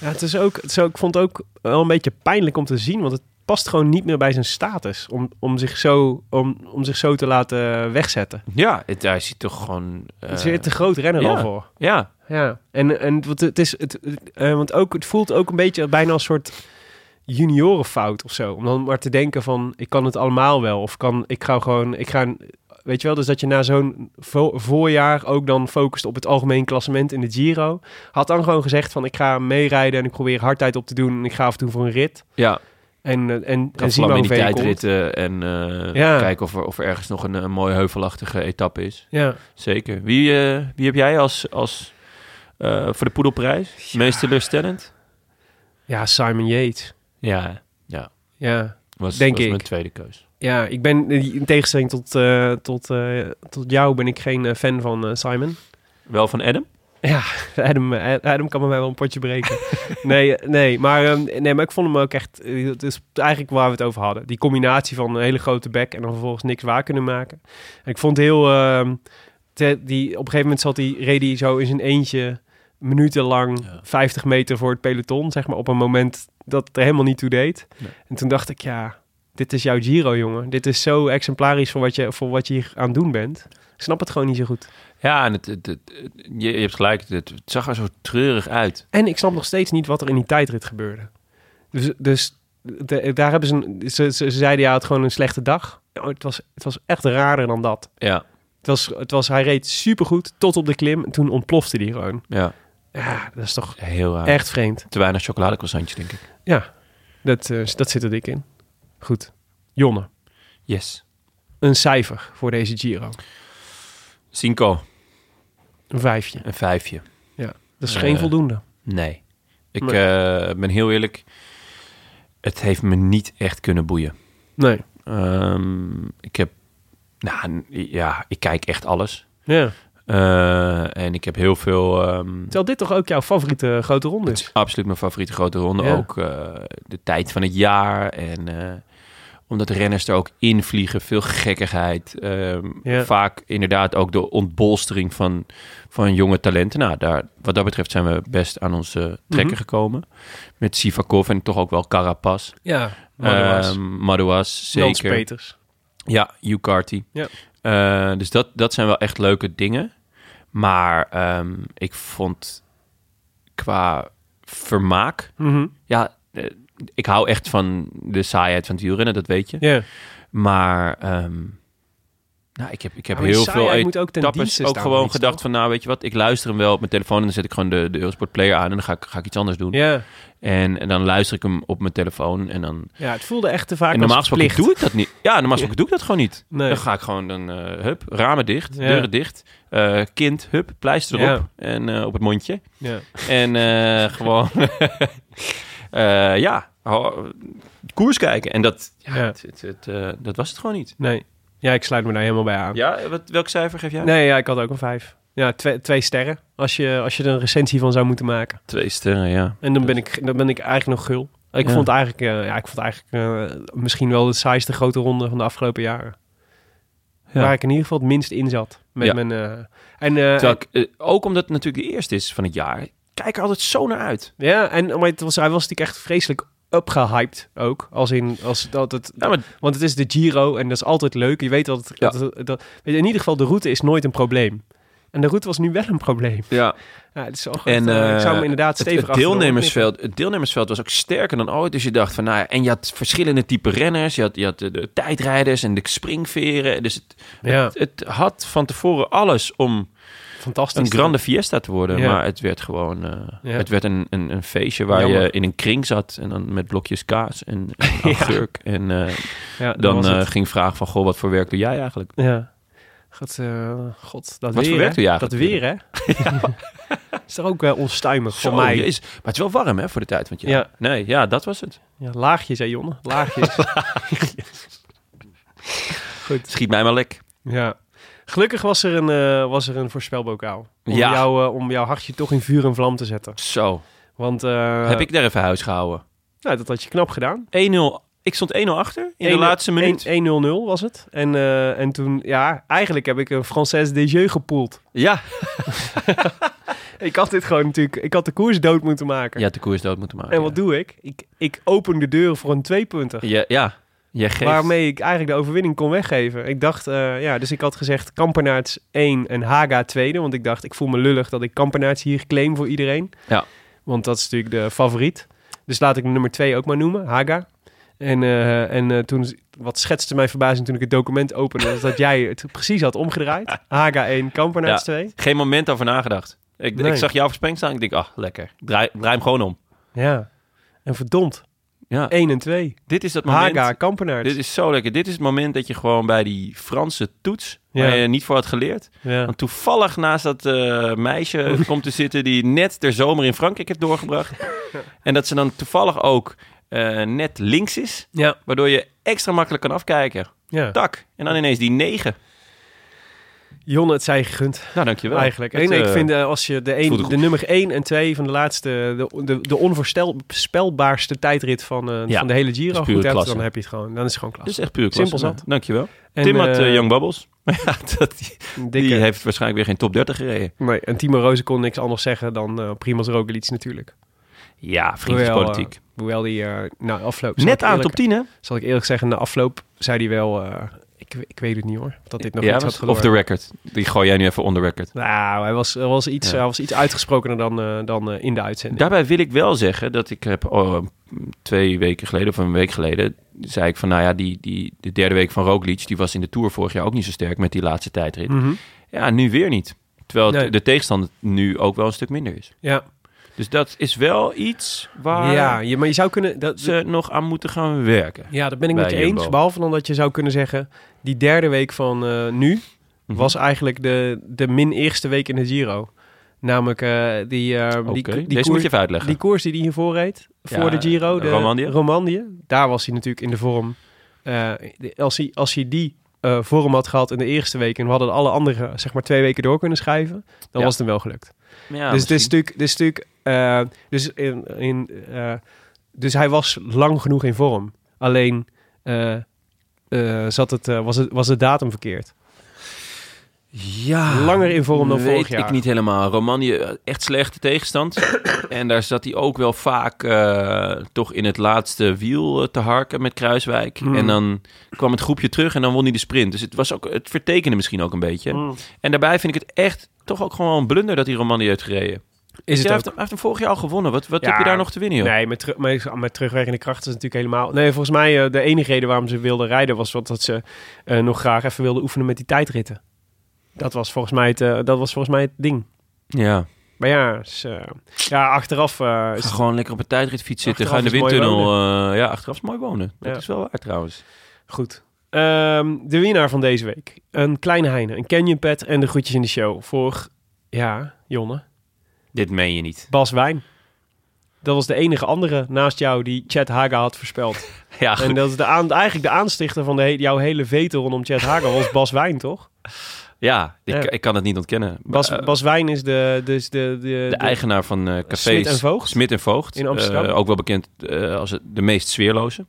Speaker 2: Ja, het is ook, het is ook, ik vond het ook wel een beetje pijnlijk om te zien, want het past gewoon niet meer bij zijn status om, om, zich, zo, om, om zich zo te laten wegzetten.
Speaker 1: ja het, hij ziet toch gewoon... eh,
Speaker 2: het is weer te groot renner
Speaker 1: ja.
Speaker 2: al voor.
Speaker 1: ja,
Speaker 2: Ja, en, en want het, is, het, het- eh, want ook, het voelt ook een beetje bijna als een soort juniorenfout of zo. Om dan maar te denken van, ik kan het allemaal wel. Of kan, ik ga gewoon, ik ga, weet je wel, dus dat je na zo'n vo- voorjaar ook dan focust op het algemeen klassement in de Giro. Had dan gewoon gezegd van, ik ga meerijden en ik probeer hardheid op te doen en ik ga af en toe voor een rit.
Speaker 1: ja.
Speaker 2: En, eh, en,
Speaker 1: Kan
Speaker 2: en zien we hoe ver je komt.
Speaker 1: tijdritten en eh,
Speaker 2: Ja.
Speaker 1: kijken of er, of er ergens nog een, een mooie heuvelachtige etappe is.
Speaker 2: Ja.
Speaker 1: Zeker. Wie, eh, wie heb jij als, als eh, voor de poedelprijs? Meest teleurstellend?
Speaker 2: ja, Simon Yates.
Speaker 1: Ja. Ja,
Speaker 2: Ja.
Speaker 1: was,
Speaker 2: Denk
Speaker 1: was
Speaker 2: ik.
Speaker 1: mijn tweede keus.
Speaker 2: Ja, ik ben in tegenstelling tot, eh, tot, eh, tot jou ben ik geen eh, fan van eh, Simon.
Speaker 1: Wel van Adam?
Speaker 2: Ja, Adam, eh, Adam kan bij mij wel een potje breken. nee, eh, nee, maar, ehm, nee, maar ik vond hem ook echt... eh, Het is eigenlijk waar we het over hadden. Die combinatie van een hele grote bek en dan vervolgens niks waar kunnen maken. En ik vond het heel... ehm, te- die, op een gegeven moment zat hij, reed hij zo in zijn eentje... minutenlang 50 meter voor het peloton, zeg maar. Op een moment dat het er helemaal niet toe deed. En toen dacht ik, ja, dit is jouw Giro, jongen. Dit is zo exemplarisch voor wat je, voor wat je hier aan het doen bent. Ik snap het gewoon niet zo goed.
Speaker 1: Ja, en het, het, het- het- je, je hebt gelijk. Het, het zag er zo treurig uit.
Speaker 2: En ik snap nog steeds niet wat er in die tijdrit gebeurde. Dus, dus de- daar hebben ze, een- ze, ze, ze zeiden ja, het gewoon een slechte dag. Nou, het, was, het was echt raarder dan dat.
Speaker 1: Ja,
Speaker 2: Het was, het was, hij reed supergoed tot op de klim en toen ontplofte hij gewoon.
Speaker 1: ja.
Speaker 2: En Ja, dat is toch
Speaker 1: Heel raar.
Speaker 2: echt vreemd.
Speaker 1: Te weinig chocoladecroissantje, denk ik.
Speaker 2: Ja, dat, eh, dat zit er dik in. Goed. Jonne,
Speaker 1: Yes.
Speaker 2: een cijfer voor deze Giro.
Speaker 1: Cinco.
Speaker 2: Een vijfje.
Speaker 1: Een vijfje.
Speaker 2: Ja, dat is geen
Speaker 1: Eh,
Speaker 2: voldoende.
Speaker 1: Nee. Ik eh, ben heel eerlijk. Het heeft me niet echt kunnen boeien.
Speaker 2: Nee.
Speaker 1: Ehm, ik heb... Nou, n- ja, ik kijk echt alles.
Speaker 2: Ja.
Speaker 1: Eh, en ik heb heel veel... ehm,
Speaker 2: Terwijl dit toch ook jouw favoriete grote ronde
Speaker 1: Het
Speaker 2: is.
Speaker 1: is absoluut mijn favoriete grote ronde.
Speaker 2: Ja.
Speaker 1: Ook eh, de tijd van het jaar. En eh, omdat renners er ook in vliegen. Veel gekkigheid. Ehm,
Speaker 2: Ja.
Speaker 1: Vaak inderdaad ook de ontbolstering van, van jonge talenten. Nou, daar, wat dat betreft zijn we best aan onze trekken
Speaker 2: Mhm.
Speaker 1: gekomen. Met Sivakov en toch ook wel Carapaz.
Speaker 2: Ja, Madouas.
Speaker 1: Ehm, Madouas,
Speaker 2: Nans
Speaker 1: zeker.
Speaker 2: Peters.
Speaker 1: Ja, Ucarty.
Speaker 2: Ja.
Speaker 1: Eh, dus dat, dat zijn wel echt leuke dingen. Maar ehm, ik vond qua vermaak...
Speaker 2: Mhm.
Speaker 1: Ja, eh, ik hou echt van de saaiheid van het wielrennen, dat weet je.
Speaker 2: Ja.
Speaker 1: Maar ehm, nou, ik heb, ik heb
Speaker 2: Maar die
Speaker 1: heel veel
Speaker 2: saaiheid moet ook ten
Speaker 1: etappes
Speaker 2: dienste
Speaker 1: ook
Speaker 2: staan van
Speaker 1: gewoon
Speaker 2: iets,
Speaker 1: gedacht
Speaker 2: toch?
Speaker 1: van... nou, weet je wat, ik luister hem wel op mijn telefoon... en dan zet ik gewoon de, de Eurosport Player aan... en dan ga ik, ga ik iets anders doen.
Speaker 2: Ja.
Speaker 1: En, en dan luister ik hem op mijn telefoon en dan...
Speaker 2: ja, het voelde echt te vaak
Speaker 1: en normaal
Speaker 2: als
Speaker 1: gesproken
Speaker 2: plicht.
Speaker 1: doe ik dat niet. Ja, normaal gesproken doe ik dat gewoon niet.
Speaker 2: Nee.
Speaker 1: Dan ga ik gewoon, dan, eh, hup, ramen dicht,
Speaker 2: Ja.
Speaker 1: deuren dicht... eh, kind, hup, pleister erop
Speaker 2: Ja.
Speaker 1: en eh, op het mondje.
Speaker 2: Ja.
Speaker 1: En eh, gewoon, eh, ja, ho- koers kijken. En dat, ja,
Speaker 2: Ja.
Speaker 1: het, het, het, eh, dat was het gewoon niet.
Speaker 2: Nee. Ja, ik sluit me daar helemaal bij aan.
Speaker 1: Ja, wat, welk cijfer geef jij?
Speaker 2: Nee, ja, ik had ook een vijf. Ja, twee, twee sterren. Als je, als je er een recensie van zou moeten maken.
Speaker 1: Twee sterren, ja.
Speaker 2: En dan ben ik, dan ben ik eigenlijk nog gul. Ik
Speaker 1: Ja.
Speaker 2: vond eigenlijk, eh, ja, ik vond eigenlijk eh, misschien wel de saaiste grote ronde van de afgelopen jaren.
Speaker 1: Ja.
Speaker 2: Waar ik in ieder geval het minst in zat. Met
Speaker 1: Ja.
Speaker 2: mijn, eh, en, eh,
Speaker 1: Terwijl ik, eh, ook omdat het natuurlijk de eerste is van het jaar, ik kijk er altijd zo naar uit.
Speaker 2: ja, en maar het was, hij was natuurlijk echt vreselijk upgehyped ook. Als in, als dat het,
Speaker 1: Ja, maar
Speaker 2: Want het is de Giro en dat is altijd leuk. Je weet dat, het-
Speaker 1: Ja.
Speaker 2: dat, dat- weet je, in ieder geval de route is nooit een probleem. En de route was nu wel een probleem.
Speaker 1: ja.
Speaker 2: Ja, het is al
Speaker 1: En,
Speaker 2: eh, ik zou
Speaker 1: eh,
Speaker 2: hem inderdaad
Speaker 1: het,
Speaker 2: stevig
Speaker 1: het
Speaker 2: achter de oren
Speaker 1: deelnemersveld, het deelnemersveld was ook sterker dan ooit. Dus je dacht van, nou ja, en je had verschillende type renners. Je had, je had de, de tijdrijders en de springveren. Dus het,
Speaker 2: knippen. Ja,
Speaker 1: het had van tevoren alles om
Speaker 2: fantastisch.
Speaker 1: een grande fiesta te worden.
Speaker 2: Ja.
Speaker 1: Maar het werd gewoon... eh,
Speaker 2: Ja.
Speaker 1: Het werd een, een, een feestje waar je
Speaker 2: Jammer.
Speaker 1: in een kring zat. En dan met blokjes kaas en, en augurk. En eh,
Speaker 2: Ja, dat
Speaker 1: dan
Speaker 2: was
Speaker 1: eh,
Speaker 2: het.
Speaker 1: ging vragen van... Goh, wat voor werk doe jij eigenlijk?
Speaker 2: Ja. God, eh, God, dat
Speaker 1: Wat
Speaker 2: weer,
Speaker 1: voor werk
Speaker 2: hè?
Speaker 1: doe je
Speaker 2: Dat
Speaker 1: eigenlijk?
Speaker 2: weer, hè? is toch ook wel onstuimig voor mij.
Speaker 1: Is, maar het is wel warm hè, voor de tijd. Want ja,
Speaker 2: Ja.
Speaker 1: Nee, ja, dat was het.
Speaker 2: Ja, laagjes, hè, Jonne? Laagjes.
Speaker 1: Schiet mij maar lek.
Speaker 2: ja. Gelukkig was er een, eh, was er een voorspelbokaal. Om,
Speaker 1: Ja.
Speaker 2: jou, eh, om jouw hartje toch in vuur en vlam te zetten.
Speaker 1: Zo,
Speaker 2: Want eh,
Speaker 1: heb ik daar even huis gehouden.
Speaker 2: nou, dat had je knap gedaan.
Speaker 1: 1-0. Ik stond 1-0 achter in de laatste minuut.
Speaker 2: 1 0 0 was het. En, eh, en toen, ja, eigenlijk heb ik een Française de jeu gepoeld.
Speaker 1: Ja.
Speaker 2: Ik had dit gewoon natuurlijk, ik had de koers dood moeten maken.
Speaker 1: Je had de koers dood moeten maken.
Speaker 2: en wat
Speaker 1: ja.
Speaker 2: doe ik? ik? Ik open de deuren voor een tweepunter.
Speaker 1: je? Ja, jij geeft...
Speaker 2: Waarmee ik eigenlijk de overwinning kon weggeven. Ik dacht, eh, ja, dus ik had gezegd Kampenaerts 1 en Haga tweede. Want ik dacht, ik voel me lullig dat ik Kampenaerts hier claim voor iedereen.
Speaker 1: Ja.
Speaker 2: Want dat is natuurlijk de favoriet. Dus laat ik nummer 2 ook maar noemen, Haga. En, eh, en eh, toen, wat schetste mijn verbazing toen ik het document opende, is dat jij het precies had omgedraaid. Haga 1, Kampenaerts
Speaker 1: Ja.
Speaker 2: 2.
Speaker 1: Geen moment over nagedacht. Ik,
Speaker 2: Nee.
Speaker 1: ik zag jou op Speng staan. Ik denk, ah, lekker. Draai, draai hem gewoon om.
Speaker 2: Ja. En verdomd,
Speaker 1: Ja,
Speaker 2: 1 en 2.
Speaker 1: dit is dat moment.
Speaker 2: Haga, Kampenaerts.
Speaker 1: Dit is zo lekker. Dit is het moment dat je gewoon bij die Franse toets, waar
Speaker 2: Ja.
Speaker 1: je niet voor had geleerd,
Speaker 2: Ja.
Speaker 1: want toevallig naast dat eh, meisje komt te zitten die net de zomer in Frankrijk heeft doorgebracht. en dat ze dan toevallig ook eh, net links is,
Speaker 2: Ja.
Speaker 1: waardoor je extra makkelijk kan afkijken.
Speaker 2: ja.
Speaker 1: Tak. En dan ineens die negen.
Speaker 2: Jonne, het zij gegund.
Speaker 1: Nou, dankjewel.
Speaker 2: Eigenlijk.
Speaker 1: Het,
Speaker 2: En ik
Speaker 1: eh,
Speaker 2: vind eh, als je de, een,
Speaker 1: voelde goed.
Speaker 2: de nummer 1 en 2 van de laatste, de, de, de onvoorspelbaarste tijdrit van, eh,
Speaker 1: Ja,
Speaker 2: van de hele
Speaker 1: dat
Speaker 2: Giro
Speaker 1: is pure
Speaker 2: goed hebt,
Speaker 1: klasse.
Speaker 2: dan heb je het gewoon. Dan is het gewoon
Speaker 1: dit is
Speaker 2: klasse.
Speaker 1: echt puur klasse. Nou,
Speaker 2: Simpel zat.
Speaker 1: Dankjewel.
Speaker 2: En,
Speaker 1: Tim had
Speaker 2: eh,
Speaker 1: eh, Young Bubbles. Maar ja, dat, die,
Speaker 2: een
Speaker 1: die
Speaker 2: dikke-
Speaker 1: heeft waarschijnlijk weer geen top 30 gereden.
Speaker 2: nee, en Timo Rozen kon niks anders zeggen dan eh Primoz Roglic natuurlijk.
Speaker 1: Ja, vriendjespolitiek.
Speaker 2: Hoewel, eh, hoewel die, eh nou, afloop... zal
Speaker 1: net
Speaker 2: ik
Speaker 1: aan de
Speaker 2: eerlijk-
Speaker 1: top 10, hè?
Speaker 2: Zal ik eerlijk zeggen, na afloop zei hij wel... eh, ik, ik weet het niet hoor, dat dit nog
Speaker 1: ja,
Speaker 2: iets had
Speaker 1: was off
Speaker 2: gelopen.
Speaker 1: the record. Die gooi jij nu even on the record.
Speaker 2: Nou, hij was, hij was, iets,
Speaker 1: Ja.
Speaker 2: hij was iets uitgesprokener dan, eh, dan eh, in de uitzending.
Speaker 1: Daarbij wil ik wel zeggen dat ik heb oh, twee weken geleden of een week geleden zei ik van nou ja, die, die, de derde week van Roglic, die was in de Tour vorig jaar ook niet zo sterk met die laatste tijdrit.
Speaker 2: Mhm.
Speaker 1: Ja, nu weer niet. Terwijl het-
Speaker 2: Nee.
Speaker 1: de tegenstander nu ook wel een stuk minder is.
Speaker 2: Ja,
Speaker 1: Dus dat is wel iets waar
Speaker 2: ja je, maar je zou kunnen... Dat,
Speaker 1: ze nog aan moeten gaan werken.
Speaker 2: ja, dat ben ik
Speaker 1: Bij
Speaker 2: met je eens.
Speaker 1: Jumbo.
Speaker 2: Behalve dan dat je zou kunnen zeggen... die derde week van eh, nu
Speaker 1: Mhm.
Speaker 2: was eigenlijk de, de min eerste week in de Giro. Namelijk eh, die, eh, die,
Speaker 1: Oké,
Speaker 2: die,
Speaker 1: Deze
Speaker 2: koers,
Speaker 1: moet je even uitleggen.
Speaker 2: die koers die hij hiervoor reed
Speaker 1: Ja,
Speaker 2: voor de Giro. De
Speaker 1: Romandie.
Speaker 2: Daar was hij natuurlijk in de vorm. Eh, de- als, hij, als hij die eh, vorm had gehad in de eerste week... en we hadden alle andere zeg maar twee weken door kunnen schuiven...
Speaker 1: Ja.
Speaker 2: dan was het hem wel gelukt.
Speaker 1: Ja,
Speaker 2: dus
Speaker 1: Ah,
Speaker 2: het is
Speaker 1: misschien.
Speaker 2: natuurlijk, dit is natuurlijk eh, dus, in, in, eh, dus hij was lang genoeg in vorm. Alleen eh, eh, zat het, eh, was, het, was de datum verkeerd.
Speaker 1: ja,
Speaker 2: Langer in vorm dan
Speaker 1: Ah, weet
Speaker 2: vorig jaar.
Speaker 1: ik niet helemaal. Romani, eh, echt slechte tegenstand. en daar zat hij ook wel vaak eh, toch in het laatste wiel eh, te harken met Kruiswijk.
Speaker 2: Hmm.
Speaker 1: En dan kwam het groepje terug en dan won hij de sprint. Dus het, was ook, het vertekende misschien ook een beetje.
Speaker 2: Hmm. Mm.
Speaker 1: En daarbij vind ik het echt toch ook gewoon een blunder dat hij Romani heeft gereden.
Speaker 2: Is
Speaker 1: Hij heeft, hem- hij heeft hem vorig jaar al gewonnen. Wat, wat
Speaker 2: Ja.
Speaker 1: heb je daar nog te winnen, joh?
Speaker 2: Nee, met, teru- met, met terugwerkende kracht is het natuurlijk helemaal... Nee, volgens mij eh, de enige reden waarom ze wilden rijden... was wat dat ze eh, nog graag even wilden oefenen met die tijdritten. Dat was volgens mij het, eh, dat was volgens mij het ding.
Speaker 1: Ja.
Speaker 2: Maar ja, ze- ja achteraf eh, is
Speaker 1: Ga
Speaker 2: het
Speaker 1: gewoon lekker op een tijdrit fiets zitten. Ga in de
Speaker 2: Achteraf is mooi
Speaker 1: windtunnel. eh, ja, achteraf is mooi wonen. Dat
Speaker 2: Ja.
Speaker 1: is wel waar trouwens.
Speaker 2: Goed. Ehm, de winnaar van deze week. Een kleine heine, een Canyon Pet en de groetjes in de show voor, ja, Jonne,
Speaker 1: Dit meen je niet.
Speaker 2: Bas Wijn. Dat was de enige andere naast jou die Chad Haga had voorspeld.
Speaker 1: Ja, goed.
Speaker 2: En dat is de aan, eigenlijk de aanstichter van de, he- jouw hele veter rondom Chad Haga was Bas Wijn, toch?
Speaker 1: ja, ik,
Speaker 2: Ja.
Speaker 1: ik kan het niet ontkennen.
Speaker 2: Bas,
Speaker 1: Eh,
Speaker 2: Bas Wijn is de... Dus de, de,
Speaker 1: de eigenaar van eh Café
Speaker 2: Smit en Voogd?
Speaker 1: Smit en Voogd.
Speaker 2: In Amsterdam.
Speaker 1: Eh, ook wel bekend eh, als het- de meest sfeerloze.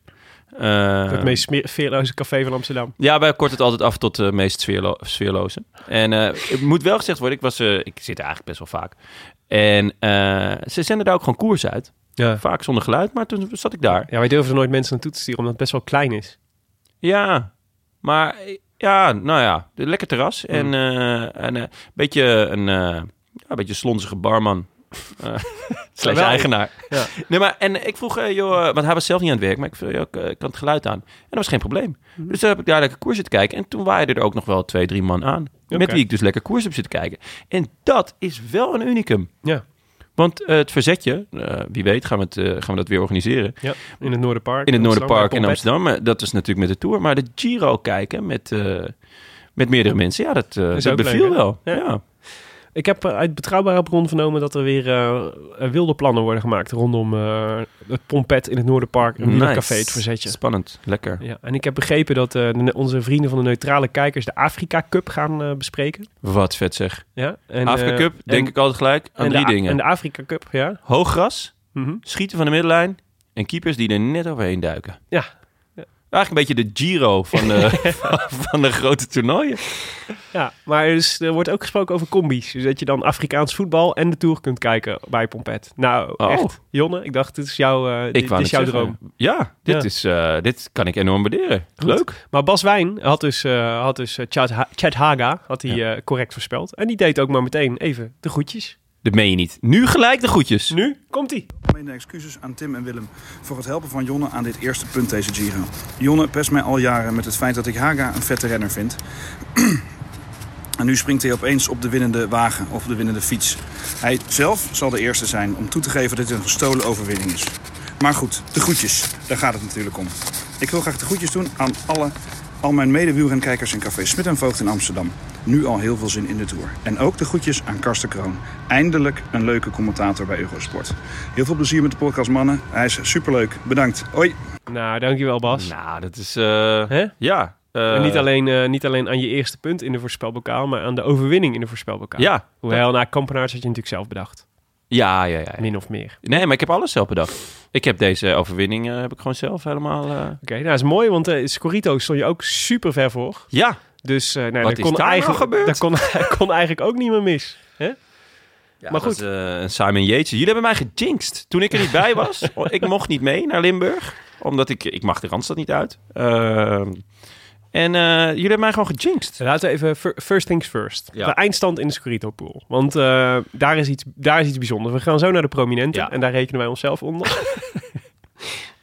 Speaker 1: Eh,
Speaker 2: Het meest smeer- veerloze café van Amsterdam.
Speaker 1: Ja, wij korten het altijd af tot de meest sfeerlo sfeerloze. En eh, het moet wel gezegd worden, ik, was, eh, ik zit er eigenlijk best wel vaak. En eh, ze zenden daar ook gewoon koers uit.
Speaker 2: Ja.
Speaker 1: Vaak zonder geluid, maar toen zat ik daar.
Speaker 2: Ja, wij durven er nooit mensen naartoe te sturen, omdat het best wel klein is.
Speaker 1: Ja, maar eh, ja, nou ja, de- lekker terras
Speaker 2: Mm.
Speaker 1: en eh, een eh, beetje een, eh, ja, een beetje slonzige barman. Eh, Slash
Speaker 2: Wel.
Speaker 1: eigenaar.
Speaker 2: Ja.
Speaker 1: Nee, maar, en ik vroeg, eh, joh, eh, want hij was zelf niet aan het werk, maar ik vroeg, joh, ik, eh, kan het geluid aan? En dat was geen probleem.
Speaker 2: Mm.
Speaker 1: Dus toen heb ik daar lekker koers zitten kijken. En toen waren er ook nog wel twee, drie man aan. Met
Speaker 2: Oké.
Speaker 1: wie ik dus lekker koers heb zitten kijken. En dat is wel een unicum.
Speaker 2: Ja.
Speaker 1: Want eh, het verzetje, eh, wie weet gaan we, het, eh, gaan we dat weer organiseren.
Speaker 2: Ja, in het Noorderpark.
Speaker 1: In het Noorderpark in
Speaker 2: bij
Speaker 1: Amsterdam. Eh, Dat is natuurlijk met de Tour. Maar de Giro kijken met, eh, met meerdere mensen. Ja, dat, eh,
Speaker 2: Is
Speaker 1: dat
Speaker 2: ook
Speaker 1: beviel
Speaker 2: leuk, hè?
Speaker 1: wel. Ja.
Speaker 2: Ja. Ik heb eh, uit betrouwbare bron vernomen dat er weer eh, eh, wilde plannen worden gemaakt rondom eh, het Pompet in het Noorderpark, een
Speaker 1: Nice.
Speaker 2: wielercafé, het verzetje.
Speaker 1: Spannend. Lekker.
Speaker 2: Ja, en ik heb begrepen dat eh, de ne- onze vrienden van de neutrale kijkers de Afrika Cup gaan eh, bespreken.
Speaker 1: Wat vet zeg.
Speaker 2: Ja, en,
Speaker 1: Afrika
Speaker 2: eh,
Speaker 1: Cup,
Speaker 2: en-
Speaker 1: denk ik altijd gelijk aan
Speaker 2: en
Speaker 1: drie
Speaker 2: de, A-
Speaker 1: dingen.
Speaker 2: En de Afrika Cup, ja.
Speaker 1: Hoog gras,
Speaker 2: Mhm.
Speaker 1: schieten van de middenlijn en keepers die er net overheen duiken.
Speaker 2: Ja.
Speaker 1: Eigenlijk een beetje de Giro van de, van de grote toernooien.
Speaker 2: ja, maar dus, er wordt ook gesproken over combi's. Dus dat je dan Afrikaans voetbal en de Tour kunt kijken bij Pompet. Nou,
Speaker 1: Oh.
Speaker 2: echt. Jonne, ik dacht, dit is, jouw eh, dit,
Speaker 1: Ik wou
Speaker 2: dit is jouw
Speaker 1: net
Speaker 2: droom.
Speaker 1: zeggen. Ja, dit,
Speaker 2: Ja.
Speaker 1: Is, eh, dit kan ik enorm waarderen. Leuk.
Speaker 2: Maar Bas Wijn had dus, eh, had dus eh, Chad, Ha- Chad Haga had hij eh, correct voorspeld. En die deed ook maar meteen even de groetjes.
Speaker 1: Dat meen je niet. Nu gelijk de goedjes.
Speaker 2: Nu komt hij.
Speaker 7: Mijn excuses aan Tim en Willem voor het helpen van Jonne aan dit eerste punt deze Giro. Jonne pest mij al jaren met het feit dat ik Haga een vette renner vind. en nu springt hij opeens op de winnende wagen of op de winnende fiets. Hij zelf zal de eerste zijn om toe te geven dat dit een gestolen overwinning is. Maar goed, de groetjes, daar gaat het natuurlijk om. Ik wil graag de groetjes doen aan alle, al mijn medewielrenkijkers in Café Smit en Voogd in Amsterdam. Nu al heel veel zin in de Tour. En ook de groetjes aan Karsten Kroon. Eindelijk een leuke commentator bij Eurosport. Heel veel plezier met de podcast mannen. Hij is superleuk. Bedankt. Hoi.
Speaker 2: Nou, dankjewel Bas.
Speaker 1: Nou, dat is... eh,
Speaker 2: Hè?
Speaker 1: Ja. eh,
Speaker 2: en niet alleen, eh, niet alleen aan je eerste punt in de voorspelbokaal, maar aan de overwinning in de voorspelbokaal.
Speaker 1: Ja.
Speaker 2: Hoewel, na Kampenaars had je natuurlijk zelf bedacht.
Speaker 1: Ja, ja, ja.
Speaker 2: Min of meer.
Speaker 1: Nee, maar ik heb alles zelf bedacht. Ik heb deze overwinning eh, heb ik gewoon zelf helemaal. eh,
Speaker 2: Oké, nou is mooi, want eh Scorito stond je ook super ver voor.
Speaker 1: Ja,
Speaker 2: Dus eh nee,
Speaker 1: Wat
Speaker 2: dat
Speaker 1: is
Speaker 2: kon
Speaker 1: daar nou
Speaker 2: eigenlijk,
Speaker 1: gebeurd?
Speaker 2: Dat kon, kon eigenlijk ook niet meer mis.
Speaker 1: maar goed. eh, Simon Yates. Jullie hebben mij gejinxed toen ik er niet bij was. ik mocht niet mee naar Limburg, omdat ik ik mag de Randstad niet uit. Ehm, en eh, jullie hebben mij gewoon gejinxed.
Speaker 2: Laten we even fir- first things first.
Speaker 1: Ja.
Speaker 2: De eindstand in de Scorito pool. Want eh, daar, is iets, daar is iets bijzonders. We gaan zo naar de prominenten.
Speaker 1: Ja.
Speaker 2: En daar rekenen wij onszelf onder.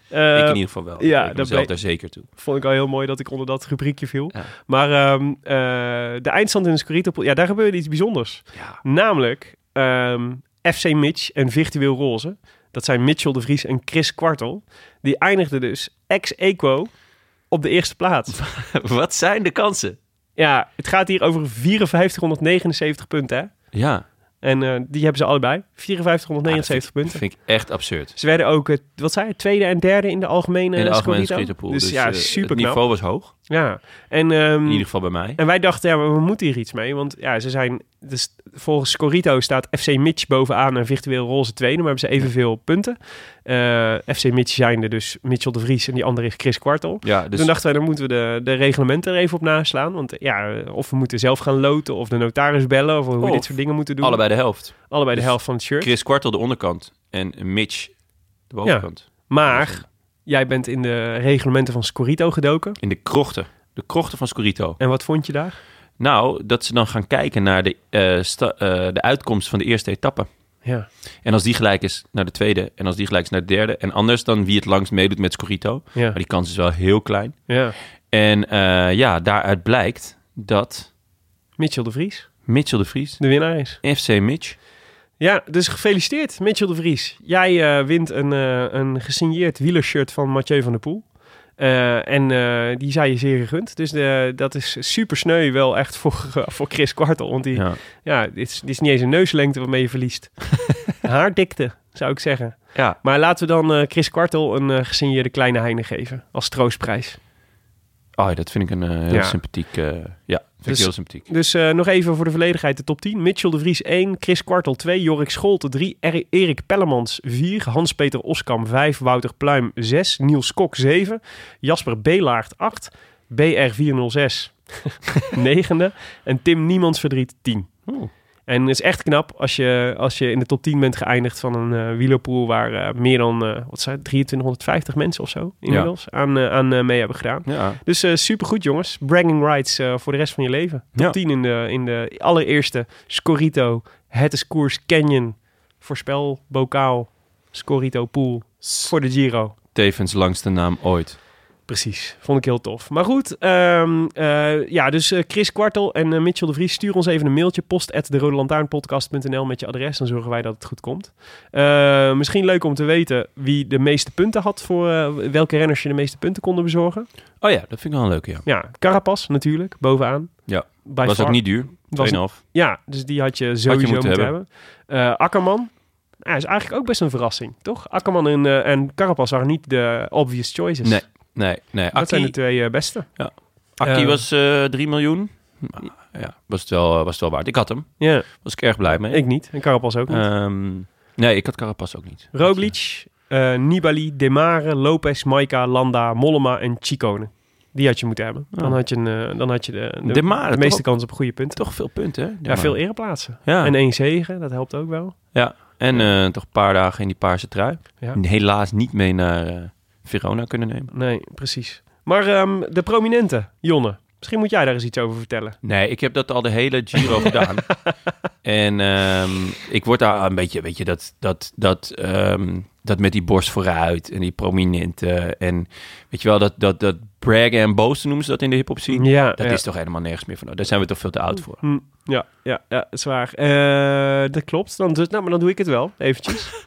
Speaker 2: Eh,
Speaker 1: ik in ieder geval wel.
Speaker 2: ja,
Speaker 1: ik
Speaker 2: dat
Speaker 1: mezelf
Speaker 2: ble-
Speaker 1: daar zeker toe.
Speaker 2: Vond ik al heel mooi dat ik onder dat rubriekje viel.
Speaker 1: Ja.
Speaker 2: Maar ehm, eh, de eindstand in de Scorito, ja, daar gebeurde iets bijzonders.
Speaker 1: Ja.
Speaker 2: Namelijk ehm, FC Mitch en Virtueel Roze. Dat zijn Mitchell de Vries en Chris Kwartel. Die eindigden dus ex-equo op de eerste plaats.
Speaker 1: Wat zijn de kansen?
Speaker 2: Ja, het gaat hier over 5479 punten. Hè?
Speaker 1: Ja,
Speaker 2: En eh, die hebben ze allebei. 5479
Speaker 1: dat
Speaker 2: punten.
Speaker 1: vind ik echt absurd.
Speaker 2: Ze werden ook, eh, wat zei je, tweede en derde in de algemene
Speaker 1: In de algemene
Speaker 2: Scorito.
Speaker 1: schietpool.
Speaker 2: Dus,
Speaker 1: Dus,
Speaker 2: ja,
Speaker 1: eh,
Speaker 2: super
Speaker 1: Het
Speaker 2: knap.
Speaker 1: niveau was hoog,
Speaker 2: Ja, en, ehm,
Speaker 1: in ieder geval bij mij.
Speaker 2: en wij dachten, ja, maar we moeten hier iets mee. Want ja, ze zijn, dus volgens Scorito staat FC Mitch bovenaan en virtueel roze tweede. Maar hebben ze evenveel punten. Eh, FC Mitch zijn er dus Mitchell de Vries en die andere is Chris Kwartel.
Speaker 1: Ja, dus
Speaker 2: Toen dachten wij, dan moeten we de, de reglementen er even op naslaan. Want eh, ja, of we moeten zelf gaan loten of de notaris bellen. Of hoe we
Speaker 1: Of
Speaker 2: dit soort dingen moeten doen.
Speaker 1: Oh, allebei de helft.
Speaker 2: Allebei de
Speaker 1: Dus
Speaker 2: helft van het shirt.
Speaker 1: Chris Kwartel de onderkant en Mitch de bovenkant.
Speaker 2: Maar jij bent in de reglementen van Scorito gedoken.
Speaker 1: In de krochten. De krochten van Scorito.
Speaker 2: En wat vond je daar?
Speaker 1: Nou, dat ze dan gaan kijken naar de, eh, sta- eh, de uitkomst van de eerste etappe.
Speaker 2: Ja.
Speaker 1: En als die gelijk is naar de tweede. En als die gelijk is naar de derde. En anders dan wie het langst meedoet met Scorito.
Speaker 2: Ja.
Speaker 1: Maar die kans is wel heel klein.
Speaker 2: ja.
Speaker 1: En eh, ja, daaruit blijkt dat
Speaker 2: Mitchell de Vries,
Speaker 1: Mitchell de Vries,
Speaker 2: de winnaar is.
Speaker 1: FC Mitch,
Speaker 2: Ja, dus gefeliciteerd Mitchell de Vries. Jij eh, wint een, eh, een gesigneerd wielershirt van Mathieu van der Poel. Eh, en eh, die zijn je zeer gegund. Dus de, dat is super sneu wel echt voor, eh, voor Chris Kwartel. Want die, ja.
Speaker 1: ja.
Speaker 2: dit, is, dit is niet eens een neuslengte waarmee je verliest. Haardikte, zou ik zeggen.
Speaker 1: Ja.
Speaker 2: Maar laten we dan eh, Chris Kwartel een eh, gesigneerde kleine heine geven. Als troostprijs.
Speaker 1: Oh, ja, dat vind ik een eh, heel
Speaker 2: Ja.
Speaker 1: sympathiek. eh, ja, vind
Speaker 2: Dus-
Speaker 1: ik heel sympathiek.
Speaker 2: Dus eh, nog even voor de volledigheid de top 10. Mitchell de Vries 1, Chris Kwartel 2, Jorik Scholte 3, Er- Erik Pellemans 4, Hans-Peter Oskam 5, Wouter Pluim 6, Niels Kok 7, Jasper Belaert 8, BR406 9e en Tim Niemands Verdriet 10.
Speaker 1: Oeh.
Speaker 2: En het is echt knap als je, als je in de top 10 bent geëindigd van een eh wielerpool waar eh, meer dan eh, wat zijn, het, 2350 mensen of zo inmiddels aan, eh, aan eh, mee hebben gedaan.
Speaker 1: Ja,
Speaker 2: Dus eh supergoed, jongens. Bragging rights eh, voor de rest van je leven. Top
Speaker 1: Ja.
Speaker 2: 10 in de, in de allereerste Scorito, Het is Koers, Canyon, Voorspel, Bokaal, Scorito, Pool voor de Giro.
Speaker 1: tevens langste naam ooit.
Speaker 2: Precies, vond ik heel tof. Maar goed, ehm, eh, ja, dus eh, Chris Kwartel en eh, Mitchell de Vries, stuur ons even een mailtje. Post at derodelantaarnpodcast.nl met je adres, dan zorgen wij dat het goed komt. Eh, misschien leuk om te weten wie de meeste punten had voor eh, welke renners je de meeste punten konden bezorgen.
Speaker 1: Oh ja, dat vind ik wel een leuke, ja.
Speaker 2: Ja, Carapas natuurlijk, bovenaan.
Speaker 1: Ja.
Speaker 2: By
Speaker 1: was
Speaker 2: far.
Speaker 1: ook niet duur, 2,5.
Speaker 2: Was- Ja, dus die had je sowieso
Speaker 1: moeten
Speaker 2: moeten, hebben.
Speaker 1: hebben.
Speaker 2: Eh, Akkerman. Ja, is eigenlijk ook best een verrassing, toch? Akkerman en, eh, en Carapas waren niet de obvious choices.
Speaker 1: Nee, nee, nee.
Speaker 2: Dat zijn
Speaker 1: Aki-
Speaker 2: de twee eh, beste.
Speaker 1: Akki
Speaker 2: Eh, Ah,
Speaker 1: was eh 3 miljoen. Nou, ja, was het, wel, eh, was het wel waard. Ik had hem.
Speaker 2: Ja,
Speaker 1: Was ik erg blij mee.
Speaker 2: ik niet. En Carapas ook niet.
Speaker 1: Ehm, nee, ik had Carapaz ook niet.
Speaker 2: Roglic, eh, Nibali, Demare, Lopez, Maika, Landa, Mollema en Chicone. Die had je moeten hebben. Dan
Speaker 1: Oh.
Speaker 2: had je, een, eh, dan had je de, de,
Speaker 1: De Mare,
Speaker 2: de meeste
Speaker 1: toch?
Speaker 2: kans op goede punten.
Speaker 1: Toch Ah. veel punten, hè?
Speaker 2: Ja, veel ereplaatsen.
Speaker 1: Ja.
Speaker 2: En
Speaker 1: En,
Speaker 2: één zegen, dat helpt ook wel.
Speaker 1: ja. en eh, toch een paar dagen in die paarse trui.
Speaker 2: Ja.
Speaker 1: Helaas niet mee naar eh, Verona kunnen nemen.
Speaker 2: Nee, precies. Maar ehm, de prominente, Jonne. Misschien moet jij daar eens iets over vertellen.
Speaker 1: Nee, ik heb dat al de hele Giro gedaan. En ehm, ik word daar een beetje, weet je, dat, dat, dat, ehm, dat met die borst vooruit en die prominente. En weet je wel, dat, dat, dat braggen en boasten noemen ze dat in de hip-hop scene.
Speaker 2: Ja,
Speaker 1: Dat
Speaker 2: ja.
Speaker 1: is toch helemaal nergens meer van. Daar zijn we toch veel te oud voor.
Speaker 2: Hm, ja, ja, ja, zwaar. Eh, dat klopt. Dan, dus, nou, maar dan doe ik het wel, eventjes.